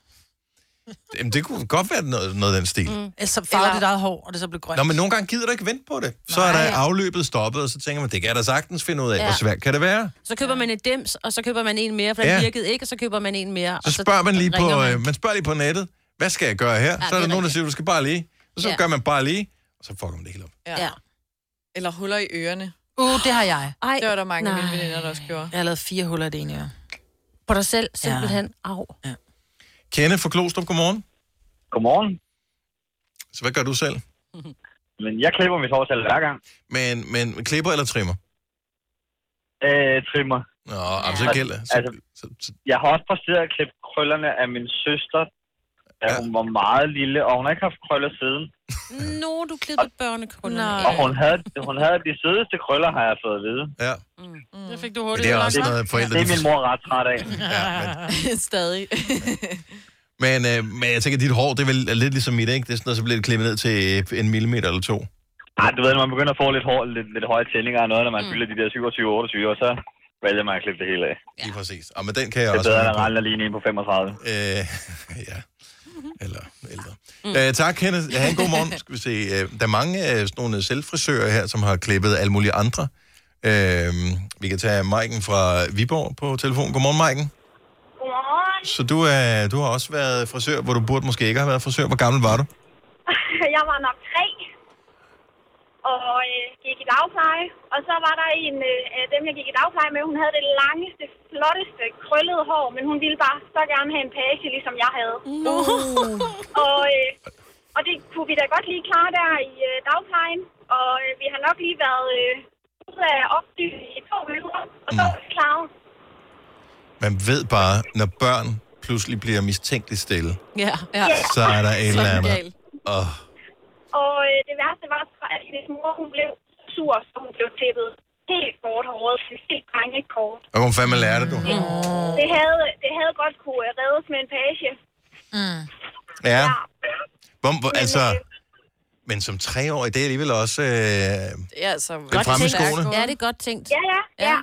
[SPEAKER 1] Jamen, det kunne godt være noget, noget af den stil. Mm.
[SPEAKER 4] Mm. Ellers så farvede dit eget hår, og det så blev grønt.
[SPEAKER 1] Nå, men nogle gange gider du ikke vente på det. Så er der afløbet stoppet, og så tænker man, det kan jeg da sagtens finde ud af.
[SPEAKER 3] Ja.
[SPEAKER 1] Ja. Hvor svært kan det være?
[SPEAKER 3] Så køber man et dims, og så køber man en mere, for den
[SPEAKER 1] Ja.
[SPEAKER 3] virkede ikke, og så køber man en mere.
[SPEAKER 1] Så
[SPEAKER 3] og
[SPEAKER 1] spørger man lige på, øh,
[SPEAKER 3] ringer
[SPEAKER 1] man. man spørger lige på nettet, hvad skal jeg gøre her? Ja, så er
[SPEAKER 3] det
[SPEAKER 1] der
[SPEAKER 3] er
[SPEAKER 1] nogen, der siger, du skal bare lige. Og så
[SPEAKER 3] Ja.
[SPEAKER 1] ja. gør man bare lige, og så fucker man det hele op.
[SPEAKER 6] Ja. ja. Eller huller i ørerne.
[SPEAKER 4] Uh, det har jeg.
[SPEAKER 3] Ej,
[SPEAKER 6] det var der mange af mine
[SPEAKER 4] nej.
[SPEAKER 6] veninder, der også gjorde.
[SPEAKER 4] Jeg har lavet fire huller i det ene øre.
[SPEAKER 3] På dig selv, simpelthen. Ja. Au.
[SPEAKER 1] Kenne fra Klostrup, godmorgen.
[SPEAKER 2] Godmorgen.
[SPEAKER 1] Så hvad gør du selv?
[SPEAKER 2] (laughs) Men jeg klipper mit hår selv hver gang.
[SPEAKER 1] Men, men klipper eller trimmer?
[SPEAKER 2] Øh, trimmer.
[SPEAKER 1] Nå, ja. så gælder. Så,
[SPEAKER 2] altså, jeg har også præsteret at klippe krøllerne af min søster, da ja. hun var meget lille, og hun har ikke haft krøller siden.
[SPEAKER 1] øhm,
[SPEAKER 3] Nå, du klippede børnekunder.
[SPEAKER 2] Og hun havde, hun havde de sødeste krøller, har jeg fået at vide.
[SPEAKER 1] Ja.
[SPEAKER 4] Det fik du
[SPEAKER 1] hurtigt det er ødelagt, også hva'? noget, forældre-
[SPEAKER 2] Det er min mor ret træt af.
[SPEAKER 3] (laughs)
[SPEAKER 6] Stadig.
[SPEAKER 1] Men, øh, men jeg tænker, at dit hår, det er vel er lidt ligesom mit, ikke? Det er sådan noget, så bliver det klippet ned til øh, en millimeter eller to.
[SPEAKER 2] Ej, du ved, når man begynder at få lidt, hår, lidt, lidt høje tændinger og noget, når man mm. fylder de der 27-28, og så vælger man at klippe det hele af.
[SPEAKER 1] Ja. Lige præcis. Og med den kan jeg
[SPEAKER 2] det er
[SPEAKER 1] også
[SPEAKER 2] bedre,
[SPEAKER 1] være
[SPEAKER 2] end at
[SPEAKER 1] på.
[SPEAKER 2] rende lige ind på 35.
[SPEAKER 1] Øh, ja. Eller ældre. Mm. Øh, tak, Kenneth. Ha' en god morgen. Skal vi se. Øh, der er mange af sådan nogle øh, selvfrisører her, som har klippet alle mulige andre. Øh, vi kan tage Maiken fra Viborg på telefon. Godmorgen, Maiken.
[SPEAKER 28] Godmorgen.
[SPEAKER 1] Så du, er, du har også været frisør, hvor du burde måske ikke have været frisør. Hvor gammel var du?
[SPEAKER 28] (laughs) Jeg var nok tre, og øh, gik i dagpleje. Og så var der en øh, af dem, jeg gik i dagpleje med, hun havde det langeste, flotteste, krøllede hår, men hun ville bare så gerne have en page, ligesom jeg havde. No. (laughs) og, øh, og det kunne vi da godt lige klare der i øh, dagplejen, og øh, vi har nok lige været øh, ude af opdyb i to minutter, og så var vi klaret.
[SPEAKER 1] Man ved bare, når børn pludselig bliver mistænkeligt stille,
[SPEAKER 3] Ja. ja.
[SPEAKER 1] så er der et eller andet. Åh,
[SPEAKER 28] Og øh, det værste var, så, at hendes mor hun blev sur, så hun blev tippet helt kort håret, helt drengekort.
[SPEAKER 1] og hun fandme lærer det, du.
[SPEAKER 28] Det, havde, det havde godt kunne øh, reddes med en page.
[SPEAKER 4] Mm.
[SPEAKER 1] Ja. Hvor, hvor, altså, men som treårig, det er alligevel også... Øh,
[SPEAKER 6] Ja, så
[SPEAKER 1] Det er fremme i skoene.
[SPEAKER 3] Ja, det er godt tænkt.
[SPEAKER 28] Ja, ja, ja.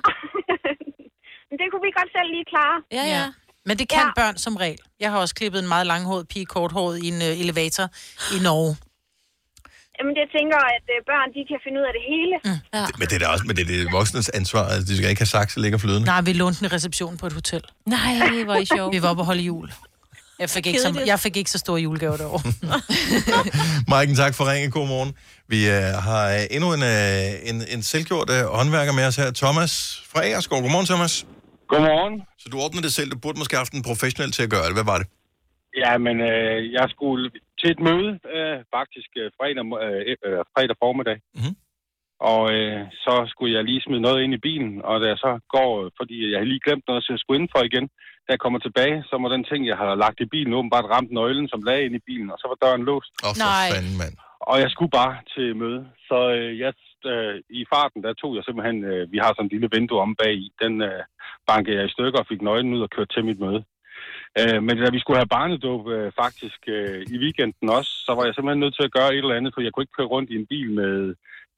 [SPEAKER 28] Men det kunne vi godt selv lige klare.
[SPEAKER 3] Ja, ja.
[SPEAKER 4] Men det kan ja. børn som regel. Jeg har også klippet en meget langhåret pige korthåret i en øh, elevator i Norge.
[SPEAKER 28] Jamen, det tænker, at øh, børn de kan finde ud af det hele. Mm.
[SPEAKER 4] Ja.
[SPEAKER 1] Men det er da også men det, er det voksnes ansvar. Altså, de skal ikke have sakse ligger flydende.
[SPEAKER 4] Nej, vi lånte en reception på et hotel.
[SPEAKER 3] Nej, hvor er I sjov.
[SPEAKER 4] Vi var oppe og holde jul. Jeg fik, ikke så,
[SPEAKER 3] Kedeligt.
[SPEAKER 4] jeg fik ikke så store julegaver derovre.
[SPEAKER 1] Maiken, tak for ringen. God morgen. Vi øh, har øh, endnu en, øh, en, en selvgjort øh, håndværker med os her. Thomas fra Agerskov. Godmorgen, Thomas.
[SPEAKER 7] Godmorgen.
[SPEAKER 1] Så du ordnede det selv. Du burde måske have haft en professionel til at gøre det. Hvad var det?
[SPEAKER 7] Ja, men øh, jeg skulle til et møde, øh, faktisk øh, fredag, mo- øh, øh, fredag formiddag.
[SPEAKER 1] Mm-hmm.
[SPEAKER 7] Og øh, så skulle jeg lige smide noget ind i bilen, og da jeg så går, øh, fordi jeg havde lige glemt noget, så jeg skulle indenfor igen. Da jeg kommer tilbage, så må den ting, jeg havde lagt i bilen, åbenbart ramt nøglen, som lagde ind i bilen, og så var døren låst.
[SPEAKER 1] Åh,
[SPEAKER 7] for Nej. fanden,
[SPEAKER 1] mand.
[SPEAKER 7] Og jeg skulle bare til møde, så øh, jeg, øh, i farten, der tog jeg simpelthen, øh, vi har sådan en lille vindue om bag i, den øh, bankede jeg i stykker og fik nøglen ud og kørte til mit møde. Øh, men da vi skulle have barnedåb øh, faktisk øh, i weekenden også, så var jeg simpelthen nødt til at gøre et eller andet, for jeg kunne ikke køre rundt i en bil med,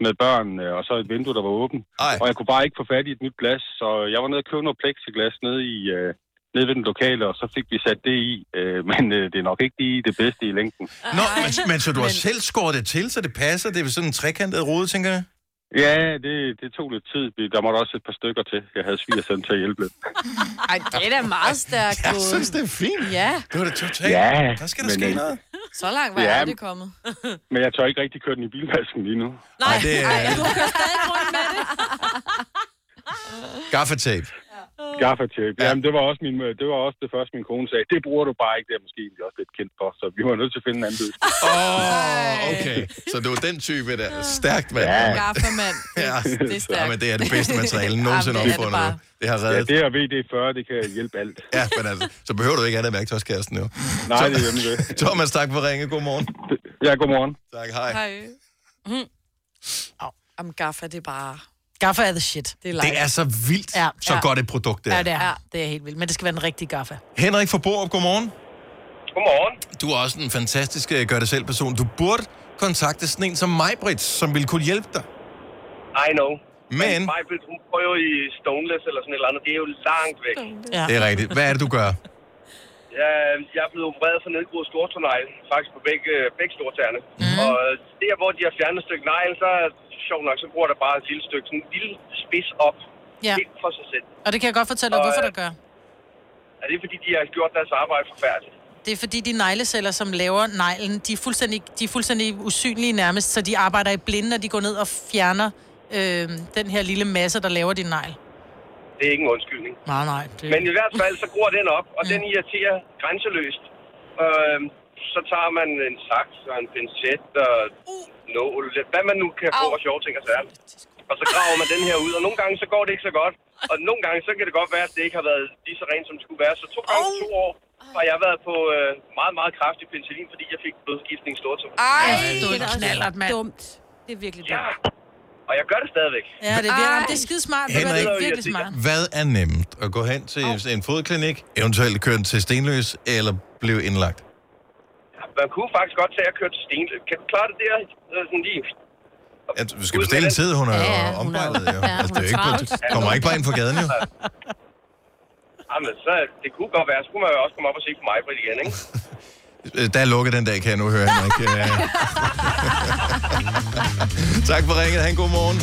[SPEAKER 7] med børn, øh, og så et vindue, der var åbent.
[SPEAKER 1] Ej.
[SPEAKER 7] Og jeg kunne bare ikke få fat i et nyt glas, så jeg var nede og købte noget plexiglas nede, i, øh, nede ved den lokale, og så fik vi sat det i. Øh, (laughs) men øh, det er nok ikke lige det bedste i længden.
[SPEAKER 1] Nå, men, men så du har selv skåret det til, så det passer. Det er vel sådan en trekantet rode, tænker jeg.
[SPEAKER 7] Ja, det, det tog lidt tid. Der måtte også et par stykker til. Jeg havde svigersendt til at hjælpe lidt.
[SPEAKER 6] (laughs) Ej, det er da meget stærkt.
[SPEAKER 7] Jeg synes,
[SPEAKER 1] det er fint.
[SPEAKER 6] Ja.
[SPEAKER 1] Det var da totalt.
[SPEAKER 7] Ja,
[SPEAKER 1] Der skal der
[SPEAKER 7] men,
[SPEAKER 1] ske
[SPEAKER 7] øh,
[SPEAKER 1] noget.
[SPEAKER 6] Så langt var
[SPEAKER 7] Ja.
[SPEAKER 6] jeg det kommet.
[SPEAKER 7] Men jeg tør ikke rigtig køre den i bilvasken lige nu.
[SPEAKER 1] Nej, det er
[SPEAKER 6] Du kører stadig rundt med
[SPEAKER 1] (laughs)
[SPEAKER 6] det.
[SPEAKER 1] gaffatape.
[SPEAKER 7] Gaffatape. Ja. Jamen, det var, også min, det var også det første, min kone sagde. Det bruger du bare ikke. Det er måske egentlig også lidt kendt for, så vi var nødt til at finde en anden løsning.
[SPEAKER 1] Åh, oh, okay. Så du er den type der. Stærkt, mand.
[SPEAKER 7] Ja.
[SPEAKER 6] Gaffermand.
[SPEAKER 1] (laughs) Ja,
[SPEAKER 6] Det er stærkt.
[SPEAKER 1] Ja, men Altså, det er det bedste materiale nogensinde
[SPEAKER 6] (laughs) Jamen, det er det
[SPEAKER 1] opfundet. Det, det har reddet.
[SPEAKER 7] Ja, det og VD40, det kan hjælpe alt.
[SPEAKER 1] (laughs) Ja, men altså, så behøver du ikke andet værktøjskassen jo.
[SPEAKER 7] Nej,
[SPEAKER 1] Så-
[SPEAKER 7] det er nemlig det.
[SPEAKER 1] Thomas, tak for ringe. God morgen.
[SPEAKER 7] Ja, god morgen.
[SPEAKER 1] Tak, hej.
[SPEAKER 6] Hej. Mm. Au. Jamen, gaffa, det er bare...
[SPEAKER 4] Gaffa er the shit.
[SPEAKER 6] Det er,
[SPEAKER 1] Det er så vildt, ja, så godt et produkt det
[SPEAKER 4] det er.
[SPEAKER 1] er.
[SPEAKER 4] Ja, det er. Ja, det er helt vildt. Men det skal være den rigtige gaffa.
[SPEAKER 1] Henrik fra Borup, godmorgen.
[SPEAKER 7] Godmorgen.
[SPEAKER 1] Du er også en fantastisk øh, gør-det-selv-person. Du burde kontakte sådan en som mig, Britt, som ville kunne hjælpe dig.
[SPEAKER 5] I know.
[SPEAKER 1] Men...
[SPEAKER 5] Majbrit, hun prøver jo i Stoneless eller sådan et eller andet. Det er jo langt væk.
[SPEAKER 1] Ja. Det er rigtigt. Hvad er det, du gør?
[SPEAKER 5] Jeg, jeg er blevet opereret for nedgroet stortånegl, faktisk på begge, begge stortærne.
[SPEAKER 4] Mhm.
[SPEAKER 5] Mm. Og der, hvor de har fjernet et stykke negl, så er sjovt nok, så bruger der bare et lille stykke, sådan en lille spids op,
[SPEAKER 4] Ja,
[SPEAKER 5] helt for sig selv.
[SPEAKER 4] og det kan jeg godt fortælle dig,
[SPEAKER 5] Og,
[SPEAKER 4] hvorfor
[SPEAKER 5] øh,
[SPEAKER 4] der gør.
[SPEAKER 5] Er det fordi, de har gjort deres arbejde forfærdeligt?
[SPEAKER 4] Det er fordi de negleceller, som laver neglen, de er fuldstændig, de er fuldstændig usynlige nærmest, så de arbejder i blinde, når de går ned og fjerner øh, den her lille masse, der laver din negl.
[SPEAKER 5] Det er ikke en undskyldning.
[SPEAKER 4] Nej, nej. Det... Mm.
[SPEAKER 5] Men i hvert fald, så gror den op, og den irriterer grænseløst. Øh, så tager man en saks og en pincet og
[SPEAKER 4] Uh.
[SPEAKER 5] nål, hvad man nu kan få af sjove ting og sager. Og så graver man den her ud, og nogle gange så går det ikke så godt. Og nogle gange så kan det godt være, at det ikke har været lige så rent, som det skulle være. Så to gange to år har jeg været på øh, meget, meget kraftig penicillin, fordi jeg fik blodforgiftning i stortum.
[SPEAKER 3] Ej,
[SPEAKER 4] det er da knallert, mand.
[SPEAKER 3] dumt. Det er virkelig dumt.
[SPEAKER 5] Og jeg gør det stadigvæk.
[SPEAKER 4] Ja, det er, virkelig, det er skidesmart. Det er
[SPEAKER 1] Henrik,
[SPEAKER 4] virkelig smart.
[SPEAKER 1] hvad er nemt? At gå hen til en fodklinik, eventuelt køre til Stenløs, eller blive indlagt?
[SPEAKER 5] Man kunne faktisk godt tage at køre til Stenløb. Kan du klare det der? Øh, Sådan lige.
[SPEAKER 1] Ja, du skal bestille en tid, hun er
[SPEAKER 5] Ja,
[SPEAKER 1] ja,
[SPEAKER 5] ja, hun er-
[SPEAKER 1] ombejlet. Jo.
[SPEAKER 5] (laughs) ja, hun
[SPEAKER 1] Altså, det
[SPEAKER 5] er
[SPEAKER 1] er ikke,
[SPEAKER 5] travlt.
[SPEAKER 1] du kommer ikke bare ind for gaden, jo.
[SPEAKER 5] Jamen, så det kunne godt være. Så kunne man jo også komme op og se på mig på igen, ikke?
[SPEAKER 1] Øh, Der er lukket den dag, kan jeg nu høre,
[SPEAKER 5] (laughs)
[SPEAKER 1] Henrik. Øh. Ja. (laughs) tak for ringet. Ha' en god morgen.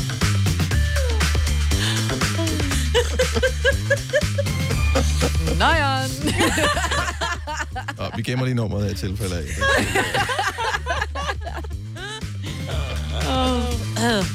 [SPEAKER 1] (laughs)
[SPEAKER 6] Nøjeren.
[SPEAKER 1] Nå, vi gemmer lige nummeret af i tilfælde
[SPEAKER 5] (laughs)
[SPEAKER 1] af. (laughs)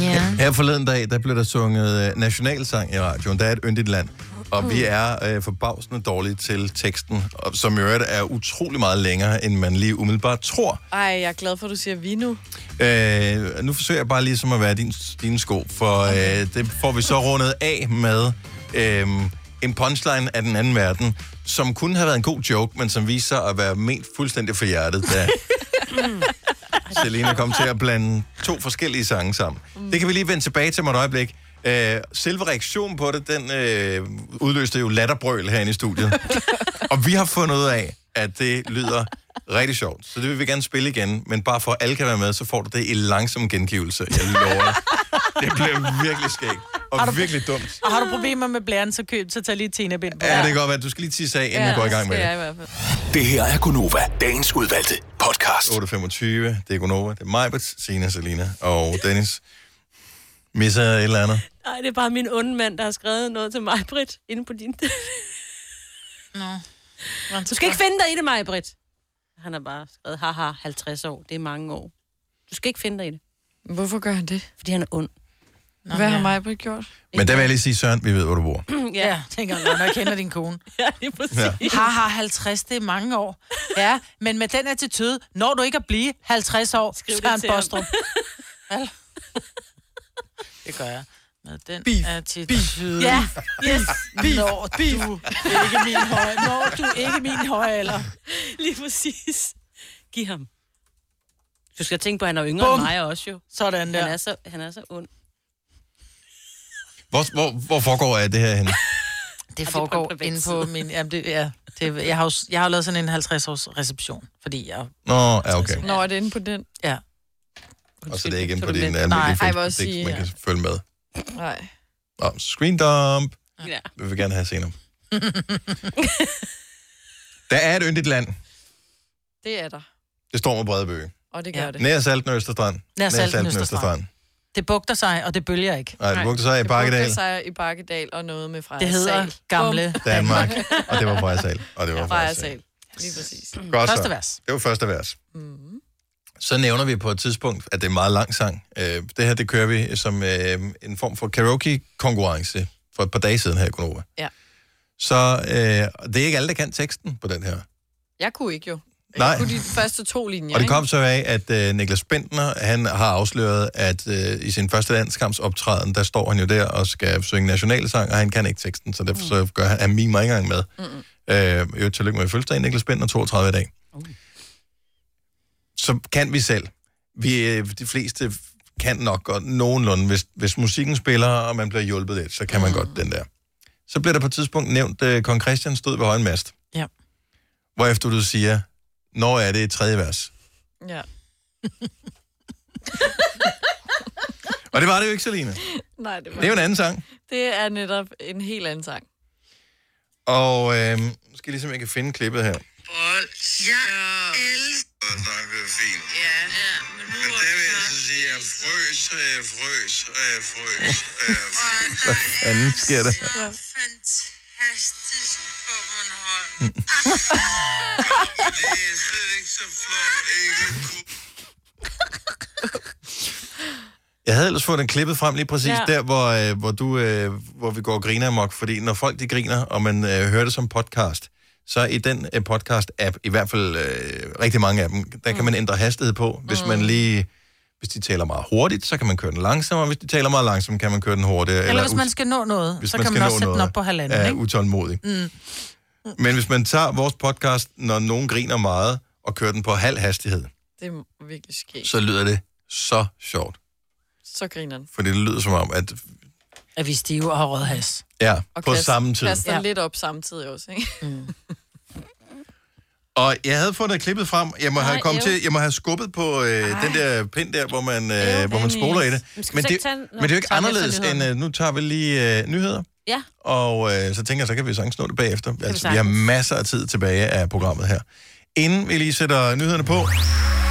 [SPEAKER 4] Ja.
[SPEAKER 1] Her forleden dag, der blev der sunget øh, nationalsang i radioen. Der er et yndigt land. Og vi er øh, forbavsende dårlige til teksten, og som i øvrigt er utrolig meget længere, end man lige umiddelbart tror.
[SPEAKER 6] Ej, jeg er glad for, at du siger vi nu.
[SPEAKER 1] Øh, nu forsøger jeg bare ligesom at være din, dine sko, for øh, det får vi så rundet af med øh, en punchline af den anden verden, som kunne have været en god joke, men som viser sig at være ment fuldstændig for hjertet, da Selena kom til at blande to forskellige sange sammen. Det kan vi lige vende tilbage til om et øjeblik. Øh, selve reaktionen på det, den øh, udløste jo latterbrøl herinde i studiet. og vi har fundet ud af, at det lyder rigtig sjovt. Så det vil vi gerne spille igen, men bare for at alle kan være med, så får du det i langsom gengivelse. Jeg lover dig. Det bliver virkelig skægt og virkelig dumt.
[SPEAKER 4] Og har du problemer med blæren, så køb, så tag lige Tina Bind på.
[SPEAKER 1] Ja, det kan godt være, du skal lige tisse af, inden ja, vi går i gang med det.
[SPEAKER 4] hvert fald.
[SPEAKER 1] Det her er Gunova, dagens udvalgte podcast. 8.25, det er Gunova, det er Majbert, Sina, Selina og Dennis. Misser jeg et eller andet?
[SPEAKER 3] Nej, det er bare min onde mand, der har skrevet noget til mig, Britt, inde på din...
[SPEAKER 4] Nå.
[SPEAKER 3] Du skal ikke finde dig i det, mig, Britt. Han har bare skrevet, haha, 50 år, det er mange år. Du skal ikke finde dig i det.
[SPEAKER 6] Hvorfor gør han det?
[SPEAKER 3] Fordi han er ond.
[SPEAKER 6] Nå, Hvad har mig Britt
[SPEAKER 3] (clears throat)
[SPEAKER 6] gjort?
[SPEAKER 1] Men der vil jeg lige sige, Søren, vi ved, hvor du bor.
[SPEAKER 4] ja. ja, tænker jeg, når jeg kender din kone.
[SPEAKER 3] (laughs) ja, det er præcis.
[SPEAKER 1] Ja.
[SPEAKER 4] Haha, 50, det er mange år. Ja, men med den attitude, når du ikke at blive 50 år, Skriv
[SPEAKER 3] det
[SPEAKER 4] Søren
[SPEAKER 3] til ham. (laughs)
[SPEAKER 4] Bostrup. Vel? Det gør jeg. Med den beef, attitude. Beef. Ja, yes. Beef, når beef. du ikke min høje, når du ikke min høje alder.
[SPEAKER 3] (laughs) Lige præcis. Giv ham. Du skal tænke på, at han er yngre
[SPEAKER 4] Bum.
[SPEAKER 3] end mig også jo.
[SPEAKER 4] Sådan der.
[SPEAKER 3] Han er så, han er så ond.
[SPEAKER 1] Hvor, hvor, hvor foregår er det her henne?
[SPEAKER 4] Det foregår det inde på min... Jamen det, ja, det, jeg, har jo, s- jeg har jo lavet sådan en 50-års reception, fordi jeg... Altså,
[SPEAKER 1] Nå, ja, okay.
[SPEAKER 6] Nå, er det inde på den?
[SPEAKER 4] Ja.
[SPEAKER 1] Og så er det ikke inde på
[SPEAKER 4] Så er det
[SPEAKER 1] din øh,
[SPEAKER 4] lidt-
[SPEAKER 6] Nej.
[SPEAKER 1] almindelige
[SPEAKER 6] Ej, hvor
[SPEAKER 1] Facebook,
[SPEAKER 6] sige,
[SPEAKER 1] man
[SPEAKER 6] ja.
[SPEAKER 1] kan følge med.
[SPEAKER 6] Nej.
[SPEAKER 1] Nå, screen dump.
[SPEAKER 3] Ja.
[SPEAKER 1] Vi vil gerne have senere. Der er et yndigt land.
[SPEAKER 6] (laughs) Det er der.
[SPEAKER 1] Det står med brede bøge.
[SPEAKER 6] Og det gør ja. det.
[SPEAKER 1] Nær Salten og Østerstrand.
[SPEAKER 4] Nær Salten, Det bugter sig, og det bølger ikke.
[SPEAKER 1] Nej, det bugter sig i Bakkedal,
[SPEAKER 6] Det sig i Bakkedal og noget med Freja
[SPEAKER 4] Det hedder
[SPEAKER 6] Sal.
[SPEAKER 4] Gamle
[SPEAKER 6] (laughs)
[SPEAKER 1] Danmark. Og det var Freja Sal. Og det var
[SPEAKER 6] Freja
[SPEAKER 1] Freja
[SPEAKER 6] Sal. Lige præcis.
[SPEAKER 1] (clears throat) Godt så. Det var første vers. Mm. Så nævner vi på et tidspunkt, at det er en meget lang sang. Øh, det her, det kører vi som øh, en form for karaoke-konkurrence for et par dage siden her i Konova.
[SPEAKER 6] Ja.
[SPEAKER 1] Så øh, det er ikke alle, der kan teksten på den her.
[SPEAKER 6] Jeg kunne ikke jo.
[SPEAKER 1] Nej.
[SPEAKER 6] Jeg kunne de første to linjer,
[SPEAKER 1] Og det kom så af, at øh, Niklas Bentner, han har afsløret, at øh, i sin første landskampsoptræden, der står han jo der og skal synge nationalsang, og han kan ikke teksten, så derfor så gør han, han mimer ikke engang med. Mm-mm. Øh, jo, tillykke med fødselsdagen, Niklas Bentner, 32 i dag. Så kan vi selv. Vi, øh, de fleste kan nok godt nogenlunde, hvis, hvis musikken spiller, og man bliver hjulpet lidt, så kan man godt den der. Så bliver der på et tidspunkt nævnt, øh, Kong Christian stod ved højen mast.
[SPEAKER 4] Ja.
[SPEAKER 1] Hvorefter du siger, når er det i tredje vers? (laughs)
[SPEAKER 6] Ja.
[SPEAKER 1] Og det var det jo ikke, Selina.
[SPEAKER 6] Nej, det var
[SPEAKER 1] Det er jo en anden sang.
[SPEAKER 6] Det er netop en helt anden sang.
[SPEAKER 1] Og øh, skal jeg ligesom, jeg kan finde klippet her. (laughs)
[SPEAKER 4] Bold. Ja, elsker.
[SPEAKER 7] Det er fint.
[SPEAKER 4] Ja, ja. Men nu er det så...
[SPEAKER 7] Det er frøs, og jeg frøs, og jeg frøs.
[SPEAKER 1] Hvad fanden sker der?
[SPEAKER 4] Ja. Fantastisk på Bornholm.
[SPEAKER 7] Det er slet ikke så flot, ikke?
[SPEAKER 1] Jeg havde ellers fået den klippet frem lige præcis ja.
[SPEAKER 7] Ja.
[SPEAKER 1] der, hvor, øh, hvor, du, øh, hvor vi går og griner amok. Fordi når folk de griner, og man øh, hører det som podcast, så i den øh, podcast-app, i hvert fald øh, rigtig mange af dem, der kan man
[SPEAKER 23] Mm.
[SPEAKER 1] ændre hastighed på. Hvis man lige hvis de taler meget hurtigt, så kan man køre den langsommere. Hvis de taler meget langsomt, kan man køre den hurtigere.
[SPEAKER 23] Eller hvis
[SPEAKER 1] ut-
[SPEAKER 23] man skal nå noget, så kan man
[SPEAKER 1] skal
[SPEAKER 23] også
[SPEAKER 1] nå
[SPEAKER 23] sætte den
[SPEAKER 1] noget,
[SPEAKER 23] op på halvanden,
[SPEAKER 1] er
[SPEAKER 23] ikke?
[SPEAKER 1] utålmodig.
[SPEAKER 23] Mm.
[SPEAKER 1] Men hvis man tager vores podcast, når nogen griner meget, og kører den på halv hastighed,
[SPEAKER 6] Det er virkelig skægt.
[SPEAKER 1] så lyder det så sjovt.
[SPEAKER 6] Så griner den.
[SPEAKER 1] Fordi det lyder som om, at
[SPEAKER 23] At vi er stive og har rød has.
[SPEAKER 1] ja,
[SPEAKER 6] Og
[SPEAKER 1] på
[SPEAKER 6] kaster-
[SPEAKER 1] samme tid.
[SPEAKER 6] Kaster ja. lidt op samtidig også, ikke? Mm.
[SPEAKER 1] Og jeg havde fået det klippet frem. Jeg må, have,
[SPEAKER 6] Nej,
[SPEAKER 1] kommet
[SPEAKER 6] ew.
[SPEAKER 1] til, jeg må have skubbet på øh, den der pind der, hvor man, øh, hvor man
[SPEAKER 29] Dennis.
[SPEAKER 1] spoler i det.
[SPEAKER 29] Men skal vi
[SPEAKER 1] Men
[SPEAKER 29] så
[SPEAKER 1] det,
[SPEAKER 29] ikke tage- Nå,
[SPEAKER 1] men det er jo ikke
[SPEAKER 29] tager vi efter
[SPEAKER 1] anderledes end,
[SPEAKER 29] nyhederne.
[SPEAKER 1] øh, nu tager vi lige øh, nyheder,
[SPEAKER 29] Ja.
[SPEAKER 1] og øh, så tænker jeg, så kan vi sagtens nå det bagefter. Altså, vi har
[SPEAKER 29] sagtens.
[SPEAKER 1] masser af tid tilbage af programmet her. Inden vi lige sætter nyhederne på,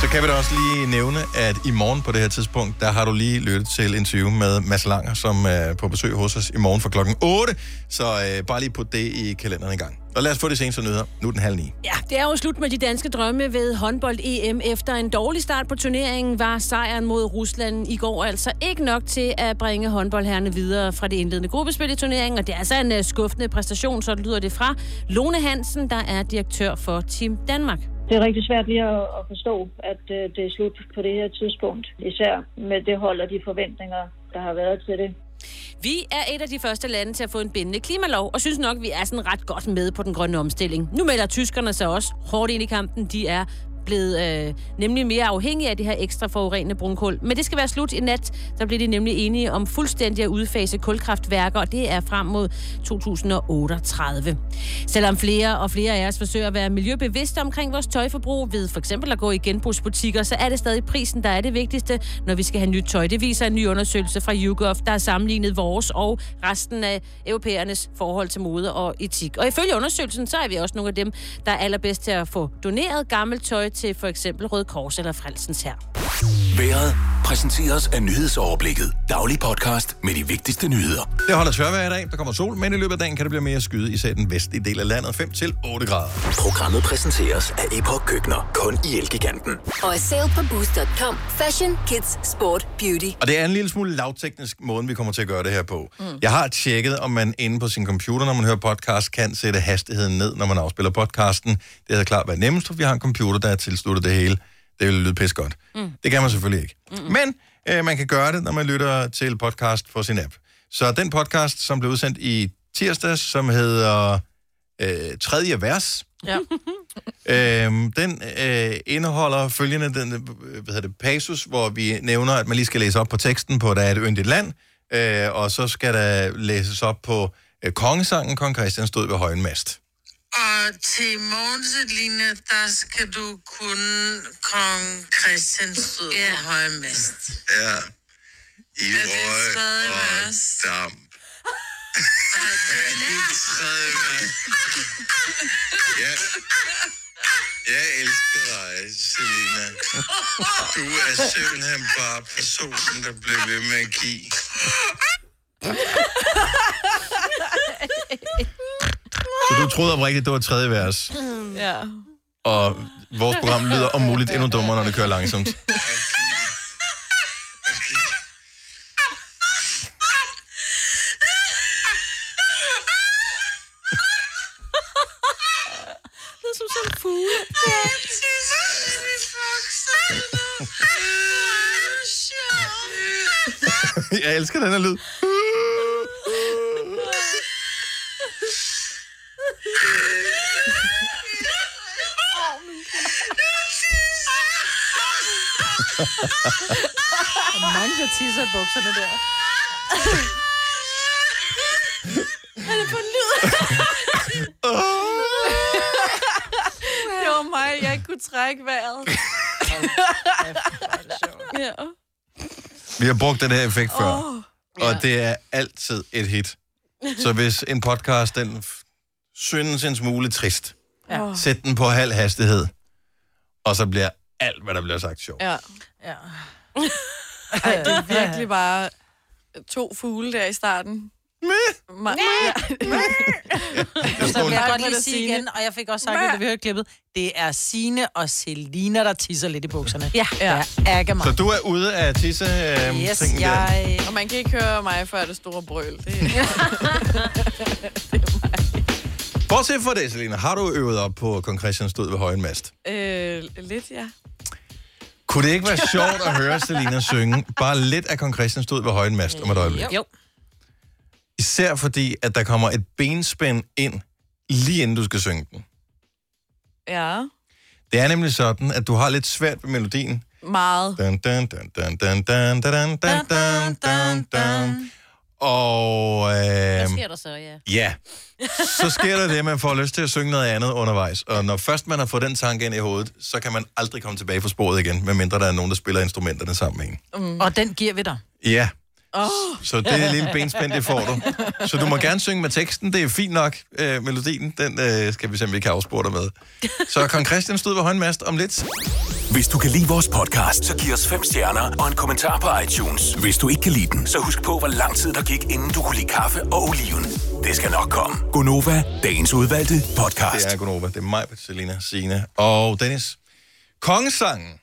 [SPEAKER 1] så kan vi da også lige nævne, at i morgen på det her tidspunkt, der har du lige lyttet til interview med Mads Langer, som er på besøg hos os i morgen fra klokken 8. Så øh, bare lige put det i kalenderen en gang. Og lad os få de seneste nyheder. Nu er den halv ni.
[SPEAKER 3] Ja, det er jo slut med de danske drømme ved håndbold-EM. Efter en dårlig start på turneringen var sejren mod Rusland i går altså ikke nok til at bringe håndboldherrene videre fra det indledende gruppespil i turneringen. Og det er altså en øh, skuffende præstation, så lyder det fra Lone Hansen, der er direktør for Team Danmark.
[SPEAKER 13] Det er rigtig svært lige at, at forstå, at øh, det er slut på det her tidspunkt. Især med det hold og de forventninger, der har været til det.
[SPEAKER 3] Vi er et af de første lande til at få en bindende klimalov, og synes nok, vi er sådan ret godt med på den grønne omstilling. Nu melder tyskerne sig også hårdt ind i kampen. De er blevet øh, nemlig mere afhængige af det her ekstra forurenende brunkul. Men det skal være slut i nat. Der bliver de nemlig enige om fuldstændig at udfase kulkraftværker, og det er frem mod 2038. Selvom flere og flere af os forsøger at være miljøbevidste omkring vores tøjforbrug ved for eksempel at gå i genbrugsbutikker, så er det stadig prisen, der er det vigtigste, når vi skal have nyt tøj. Det viser en ny undersøgelse fra YouGov, der har sammenlignet vores og resten af europæernes forhold til mode og etik. Og ifølge undersøgelsen, så er vi også nogle af dem, der er allerbedst til at få doneret gammelt tøj til for eksempel Røde Kors eller Frelsens her.
[SPEAKER 16] Været præsenteres af nyhedsoverblikket. Daglig podcast med de vigtigste nyheder.
[SPEAKER 1] Det holder tørvejr i dag. Der kommer sol, men i løbet af dagen kan det blive mere skyde, især i den vestlige del af landet. 5-8 grader.
[SPEAKER 16] Programmet præsenteres af Epoch Køkkener. Kun i Elgiganten.
[SPEAKER 9] Og er sale på boost.com. Fashion, kids, sport, beauty.
[SPEAKER 1] Og det er en lille smule lavteknisk måde, vi kommer til at gøre det her på. Mm.
[SPEAKER 9] Mm.
[SPEAKER 1] Jeg har tjekket, om man inde på sin computer, når man hører podcast, kan sætte hastigheden ned, når man afspiller podcasten. Det havde klart været nemmest, for vi har en computer, der er tilsluttet det hele. Det ville lyde pis godt. Mm. Det kan man selvfølgelig ikke. Mm-mm. Men øh, man kan gøre det, når man lytter til podcast på sin app. Så den podcast, som blev udsendt i tirsdags, som hedder øh, Tredje Vers,
[SPEAKER 23] Ja.
[SPEAKER 1] Øhm, den øh, indeholder følgende den, øh, hvad hedder det, passus, hvor vi nævner, at man lige skal læse op på teksten på, der er et yndigt land, øh, og så skal der læses op på øh, kongesangen, kong Christian stod ved højen mast.
[SPEAKER 4] Og til morgenseline, der skal du kunne kong Christian stod ja. på
[SPEAKER 6] (laughs)
[SPEAKER 4] højmest.
[SPEAKER 7] Ja. I røg
[SPEAKER 4] tredje
[SPEAKER 7] og
[SPEAKER 4] vers?
[SPEAKER 7] damp. Ja, i tredje vers. Ja. Jeg elsker dig, Selina. Du er simpelthen bare personen, der blev ved med at give.
[SPEAKER 1] Så du troede oprigtigt, det var tredje vers,
[SPEAKER 23] (laughs)
[SPEAKER 6] ja.
[SPEAKER 1] og vores program lyder om muligt endnu dummere, når det kører langsomt.
[SPEAKER 4] (laughs) Det er som sådan en fugle.
[SPEAKER 1] (laughs) Jeg elsker den her lyd. (laughs)
[SPEAKER 23] Der er mange, der tisser i bukserne der.
[SPEAKER 6] Er det på en lyd? (laughs) det var mig, jeg ikke kunne trække vejret. ja.
[SPEAKER 1] Vi har brugt den her effekt før,
[SPEAKER 6] Åh,
[SPEAKER 1] og det er altid et hit. Så hvis en podcast den f- synes en smule trist.
[SPEAKER 4] Ja.
[SPEAKER 1] Sæt den på halv hastighed, og så bliver alt, hvad der bliver sagt, sjovt.
[SPEAKER 6] Ja.
[SPEAKER 4] ja.
[SPEAKER 6] Ej, det er virkelig bare to fugle der i starten.
[SPEAKER 1] Mæh!
[SPEAKER 6] (laughs) Ma-
[SPEAKER 4] Så vil jeg
[SPEAKER 6] Tak
[SPEAKER 4] godt
[SPEAKER 6] for
[SPEAKER 4] lige
[SPEAKER 6] det,
[SPEAKER 4] sige
[SPEAKER 6] Signe.
[SPEAKER 4] igen, og jeg fik også sagt, det, da vi hørte klippet, det er Sine og Selina, der tisser lidt i bukserne. Ja. ja. Ærger mig.
[SPEAKER 1] Så du er ude af tisse øh,
[SPEAKER 4] Yes,
[SPEAKER 1] tingen der.
[SPEAKER 4] jeg-
[SPEAKER 6] Og man kan ikke høre mig før det store brøl. Det
[SPEAKER 4] (laughs)
[SPEAKER 1] Bortset fra det, Selina, har du øvet op på Kong Christians død ved Højen Mast?
[SPEAKER 6] er, øh, lidt, ja.
[SPEAKER 1] Kunne det ikke være sjovt at høre Selina synge bare lidt af Kong Christians død ved Højen Mast om et øjeblik?
[SPEAKER 6] Jo.
[SPEAKER 1] Især fordi, at der kommer et benspænd ind, lige inden du skal synge den.
[SPEAKER 6] Ja.
[SPEAKER 1] Det er nemlig sådan, at du har lidt svært ved melodien.
[SPEAKER 6] Meget.
[SPEAKER 1] Dun, dun, dun, dun, dun, dun, dun, dun, dun, dun, dun. Og
[SPEAKER 3] Hvad
[SPEAKER 1] øh,
[SPEAKER 3] sker der så, ja?
[SPEAKER 1] ja, så sker der det, at man får lyst til at synge noget andet undervejs. Og når først man har fået den tanke ind i hovedet, så kan man aldrig komme tilbage på sporet igen, medmindre der er nogen, der spiller instrumenterne sammen med en.
[SPEAKER 4] Mm. Og den giver vi dig.
[SPEAKER 1] Ja,
[SPEAKER 4] Oh.
[SPEAKER 1] så det er lille benspænd, det får du. Så du må gerne synge med teksten, det er fint nok. Øh, melodien, den øh, skal vi se, om vi kan afspore dig med. Så Kong Christian stod ved håndmast om lidt.
[SPEAKER 16] Hvis du kan lide vores podcast, så giv os fem stjerner og en kommentar på iTunes. Hvis du ikke kan lide den, så husk på, hvor lang tid der gik, inden du kunne lide kaffe og oliven. Det skal nok komme.
[SPEAKER 1] Gonova, dagens udvalgte podcast. Det er Gonova, det er mig, Selina, Signe og Dennis. Kongesangen,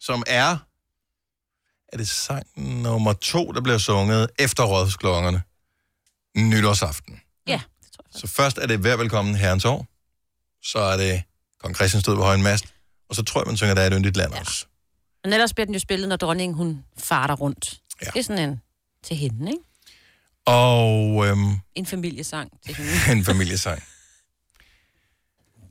[SPEAKER 1] som er... Er det sang nummer to, der bliver sunget efter rådsklokkerne? Nytårsaften.
[SPEAKER 3] Ja.
[SPEAKER 1] Så først er det Vær velkommen herrens år. Så er det Kong Christian stod ved højen mast. Og så tror jeg, man synger, der er et yndigt land også.
[SPEAKER 3] Men ellers bliver den jo spillet, når dronningen hun farter rundt.
[SPEAKER 1] Ja.
[SPEAKER 3] Det er sådan en til hende, ikke?
[SPEAKER 1] Og øhm, (laughs)
[SPEAKER 3] En familiesang til hende.
[SPEAKER 1] en familiesang.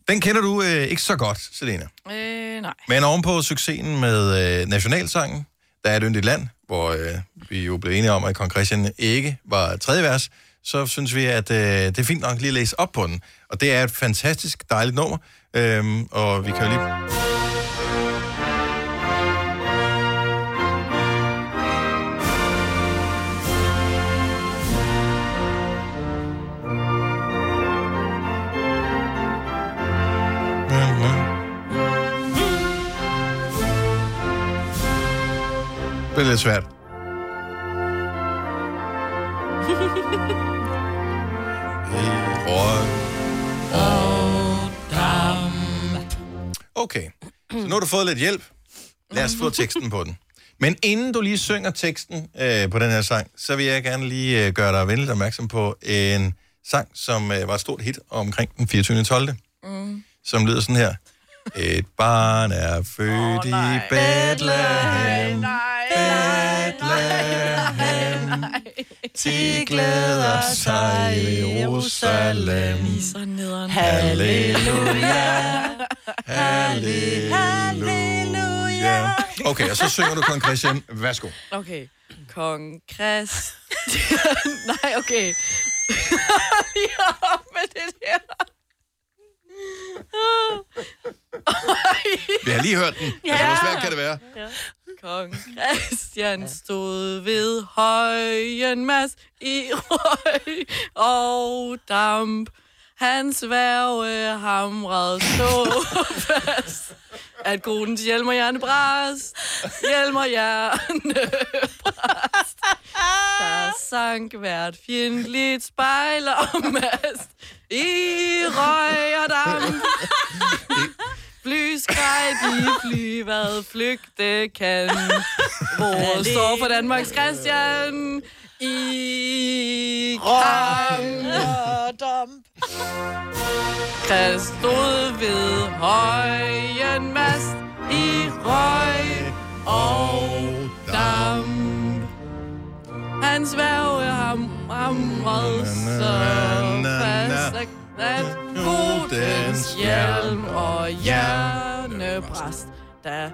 [SPEAKER 1] Den kender du øh, ikke så godt, Selena.
[SPEAKER 6] Øh, nej.
[SPEAKER 1] Men ovenpå succesen med øh, nationalsangen, der er et yndigt land, hvor øh, vi jo blev enige om, at kong Christian ikke var tredje vers, så synes vi, at øh, det er fint nok lige at læse op på den. Og det er et fantastisk dejligt nummer, øhm, og vi kan jo lige... Det er lidt svært.
[SPEAKER 13] Altså-
[SPEAKER 1] Og... Okay, så nu har du fået lidt hjælp. Lad os få teksten på den. Men inden du lige synger teksten øh, på den her sang, så vil jeg gerne lige øh, gøre dig venligt opmærksom på en sang, som øh, var et stort hit omkring den 24. 12.
[SPEAKER 6] Mm.
[SPEAKER 1] Som lyder sådan her. Et barn er født oh, i Bethlehem. Bethlehem. De glæder sig i Jerusalem. Halleluja. Halleluja. Okay, og så synger du Kong Christian. Værsgo.
[SPEAKER 6] Okay. Kong Chris. (laughs) Nej, okay. (laughs) Lige op med det der.
[SPEAKER 1] Vi
[SPEAKER 6] er
[SPEAKER 1] har lige hørt den. Ja. Altså, hvor svært kan det være?
[SPEAKER 6] Ja. Kong Christian stod ved højen mas i røg og damp. Hans værve hamrede så fast, at konens hjelm og hjerne brast. Hjelm og hjerne brast. Der sank hvert fjendtligt spejl og mast i røg og damp. Fly skreg, de flyvad flygte kan. Hvor står for Danmarks Christian? I kram. Krist stod ved højen mast i røg og damp. Han sværge ham ramrede så fast, at- at godens hjelm og hjernebræst, da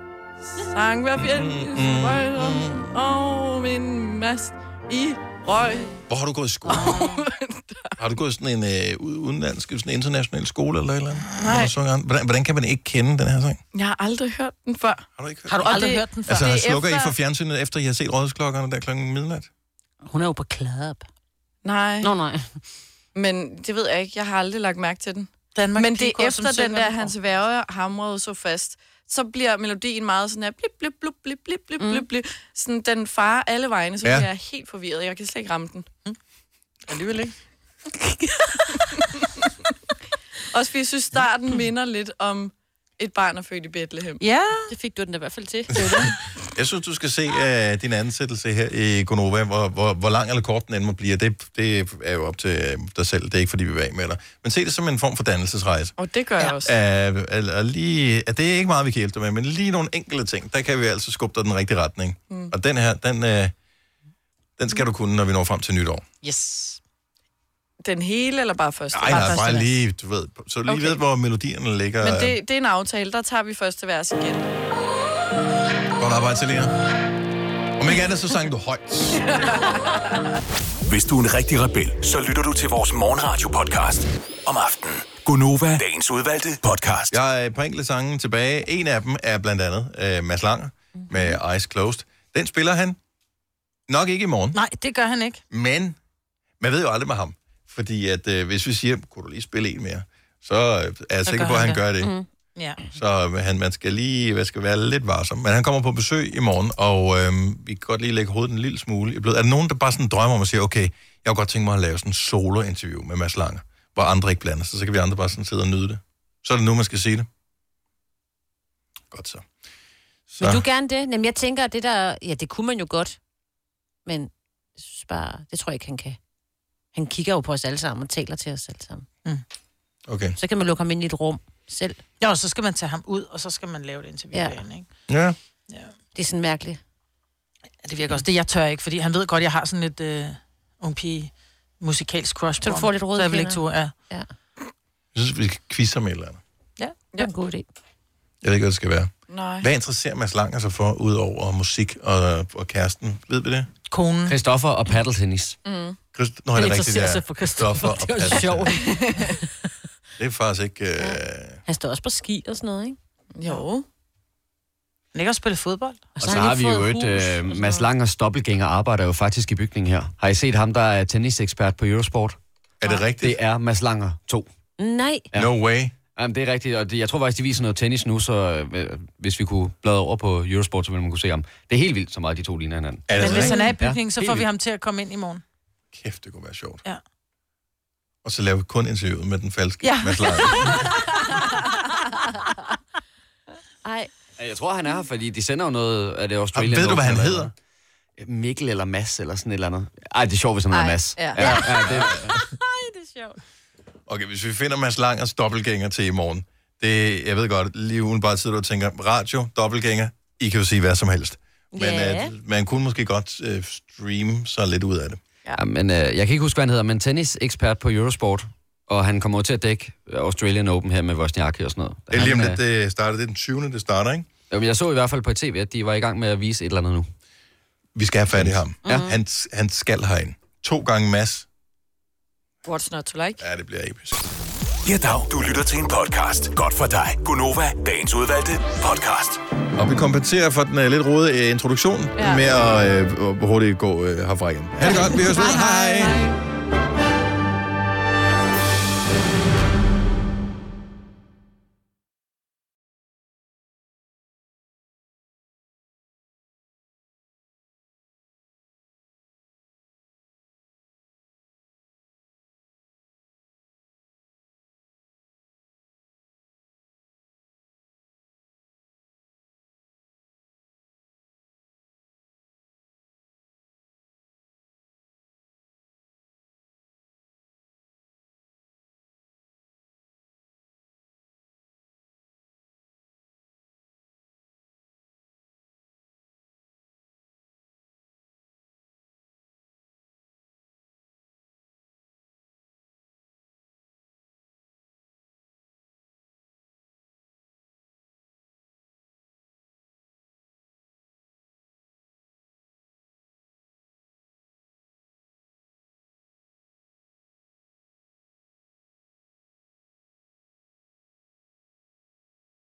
[SPEAKER 6] sang hver fjend
[SPEAKER 1] Mm,
[SPEAKER 6] røg om- og min mast i røg.
[SPEAKER 1] Hvor har du gået i skole? har du gået i sådan en øh, ud- udenlandsk, sådan en international skole eller et eller andet?
[SPEAKER 6] Nej.
[SPEAKER 1] Hvor du synger den? Hvordan, hvordan kan man ikke kende den her sang?
[SPEAKER 6] Jeg har aldrig hørt den før.
[SPEAKER 1] Har du ikke hørt
[SPEAKER 4] Har du aldrig hørt den før?
[SPEAKER 1] Altså, slukker I for fjernsynet, efter I har set rådsklokkerne der klokken midnat?
[SPEAKER 3] Hun er jo på klap.
[SPEAKER 6] Nej.
[SPEAKER 3] Nå, nej.
[SPEAKER 6] Men det ved jeg ikke. Jeg har aldrig lagt mærke til den.
[SPEAKER 4] Danmark
[SPEAKER 6] Men det
[SPEAKER 4] Pigekor,
[SPEAKER 6] er
[SPEAKER 4] som
[SPEAKER 6] efter den
[SPEAKER 4] synger
[SPEAKER 6] der,
[SPEAKER 4] den.
[SPEAKER 6] hans værve hamrede så fast, så bliver melodien meget sådan her, blip, blip, blip, blip, blip, blip, blip, blip. Sådan, den farer alle vegne, så
[SPEAKER 1] Ja.
[SPEAKER 6] ja. bliver jeg helt forvirret. Jeg kan slet ikke ramme den. Mm. Alligevel ikke. (laughs) Også fordi jeg synes, starten minder lidt om et barn er født i Bethlehem.
[SPEAKER 4] Ja.
[SPEAKER 3] Det fik du den da i hvert fald til.
[SPEAKER 1] Jeg synes, du skal se uh, din ansættelse her i Gonova, hvor, hvor, hvor lang eller kort den end må blive. Det, det er jo op til øh, dig selv. Det er ikke, fordi vi vil af med dig. Men se det som en form for dannelsesrejse.
[SPEAKER 6] Og det gør ja. jeg også.
[SPEAKER 1] Øh, eller lige, at det er ikke meget, vi kan hjælpe dig med, men lige nogle enkelte ting, der kan vi altså skubbe dig i den rigtige retning. Mm. Og den her, den, øh, den skal du kunne, når vi når frem til nytår.
[SPEAKER 6] Yes. Den hele, eller bare første?
[SPEAKER 1] Nej, nej, bare lige, du ved, så lige okay. ved, hvor melodierne ligger.
[SPEAKER 6] Men det, det er en aftale, der tager vi første vers igen. (laughs)
[SPEAKER 1] Godt arbejde, Selina. Om ikke andet, så sang du højt.
[SPEAKER 16] Hvis du er en rigtig rebel, så lytter du til vores morgenradio-podcast om aftenen. Gunova, dagens udvalgte podcast.
[SPEAKER 1] Jeg er et par enkelte sange tilbage. En af dem er blandt andet øh, Mads Langer med Eyes Closed. Den spiller han nok ikke i morgen,
[SPEAKER 4] Nej, det gør han ikke.
[SPEAKER 1] men man ved jo aldrig med ham. Fordi at øh, hvis vi siger, kunne du lige spille en mere, så øh, er jeg sikker på, at han gør det. Mm.
[SPEAKER 4] Ja.
[SPEAKER 1] Så øh, han, man skal lige man skal være lidt varsom. Men han kommer på besøg i morgen, og øh, vi kan godt lige lægge hovedet en lille smule i blød. Er der nogen, der bare sådan drømmer om at sige, okay, jeg kunne godt tænke mig at lave sådan en solo-interview med Mads Langer, hvor andre ikke blander sig, så kan vi andre bare sådan sidde og nyde det. Så er det nu, man skal sige det. Godt så.
[SPEAKER 3] Så. Vil du gerne det? Jamen, jeg tænker, at det der... Ja, det kunne man jo godt. Men jeg synes bare, det tror jeg ikke, han kan. Han kigger jo på os alle sammen og taler til os alle sammen.
[SPEAKER 1] Okay.
[SPEAKER 3] Så kan man lukke ham ind i et rum selv.
[SPEAKER 4] Jo, og så skal man tage ham ud, og så skal man lave et interview ja. derinde, ikke?
[SPEAKER 1] Ja.
[SPEAKER 3] Det er sådan mærkeligt.
[SPEAKER 4] Ja, det virker også. Det jeg tør ikke, fordi han ved godt, jeg har sådan lidt øh, ung pige musikalsk crush
[SPEAKER 3] Så du
[SPEAKER 4] på
[SPEAKER 3] får
[SPEAKER 4] ham.
[SPEAKER 3] lidt røde
[SPEAKER 4] Så jeg vil ikke
[SPEAKER 3] kinder.
[SPEAKER 4] turde, ja.
[SPEAKER 3] Ja.
[SPEAKER 1] Jeg synes, vi skal quizze om et eller andet.
[SPEAKER 4] Ja,
[SPEAKER 3] det er en god idé.
[SPEAKER 1] Jeg ved ikke, hvad det skal være.
[SPEAKER 6] Nej.
[SPEAKER 1] Hvad interesserer Mads Langer sig for, udover musik og, og kæresten? Ved vi det?
[SPEAKER 4] Konen.
[SPEAKER 8] Christoffer og paddeltennis.
[SPEAKER 6] Mm.
[SPEAKER 1] Christ... Nå, han er rigtigt,
[SPEAKER 8] interesserer
[SPEAKER 1] det er
[SPEAKER 8] sig for Christoffer.
[SPEAKER 1] og
[SPEAKER 8] Det var
[SPEAKER 1] Patrick.
[SPEAKER 8] sjovt.
[SPEAKER 1] det er faktisk ikke... Øh...
[SPEAKER 3] Han står også på ski og sådan noget, ikke? Jo.
[SPEAKER 4] Han ikke også spille fodbold?
[SPEAKER 8] Og så, har vi jo et... Øh, Mads Langers dobbeltgænger arbejder jo faktisk i bygningen her. Har I set ham, der er tennisekspert på Eurosport?
[SPEAKER 1] Er det rigtigt?
[SPEAKER 8] Det er Mads Langer 2.
[SPEAKER 3] Nej.
[SPEAKER 6] (laughs)
[SPEAKER 8] Ja.
[SPEAKER 1] No way.
[SPEAKER 8] Jamen, det er rigtigt, og det, jeg tror faktisk, de viser noget tennis nu, så øh, hvis vi kunne bladre over på Eurosport, så ville man kunne se ham. Det er helt vildt, så meget de to ligner hinanden.
[SPEAKER 1] Er
[SPEAKER 4] Men hvis han er i
[SPEAKER 8] Ja,
[SPEAKER 4] bygningen, så
[SPEAKER 8] helt
[SPEAKER 4] får vi
[SPEAKER 8] vildt.
[SPEAKER 4] ham til at komme ind i morgen.
[SPEAKER 1] Kæft, det kunne være sjovt.
[SPEAKER 4] Ja.
[SPEAKER 1] Og så laver vi kun interviewet med den falske
[SPEAKER 4] Ja.
[SPEAKER 1] Mads
[SPEAKER 3] (laughs)
[SPEAKER 1] Langer.
[SPEAKER 3] Ej.
[SPEAKER 8] Ja, Jeg tror, han er her, fordi de sender jo noget af det Australian
[SPEAKER 1] Og Ah, ved du, hvad
[SPEAKER 8] Open
[SPEAKER 1] han
[SPEAKER 8] eller
[SPEAKER 1] hedder?
[SPEAKER 8] noget. Mikkel eller Mads eller sådan et eller andet. Ej, det er sjovt, hvis han hedder
[SPEAKER 1] Ej,
[SPEAKER 8] Mads.
[SPEAKER 1] ja.
[SPEAKER 8] ja, ja
[SPEAKER 1] (laughs)
[SPEAKER 4] (laughs)
[SPEAKER 8] det,
[SPEAKER 1] Okay, hvis vi finder Mads Langers dobbeltgænger til i morgen, det, jeg ved godt, lige ugen bare sidder du og tænker, radio, dobbeltgænger, I kan jo sige hvad som helst. Men
[SPEAKER 8] Ja.
[SPEAKER 1] yeah. man kunne måske godt øh, streame sig lidt ud af det.
[SPEAKER 8] Ja, men øh, jeg kan ikke huske, hvad han hedder, men tennisekspert på Eurosport, og han kommer jo til at dække Australian Open her med Wozniacki og sådan noget.
[SPEAKER 1] Det er lige om
[SPEAKER 8] Han, øh,
[SPEAKER 1] lidt, det starter. Det er den 20. det starter, ikke?
[SPEAKER 8] Jo, men jeg så i hvert fald på tv, at de var i gang med at vise et eller andet nu.
[SPEAKER 1] Vi skal have fat i ham. Ja. Han, han skal herind. To gange Mads.
[SPEAKER 6] What's not to like?
[SPEAKER 1] Ja, det bliver episk.
[SPEAKER 16] Ja, dag. Du lytter til en podcast. Godt for dig. Gunova, dagens udvalgte podcast.
[SPEAKER 1] Og vi kompenserer for den uh, lidt rodede øh, uh, introduktion ja. med at uh, hurtigt gå uh, herfra igen. Ha' det godt. Vi høres ved. Hej. hej.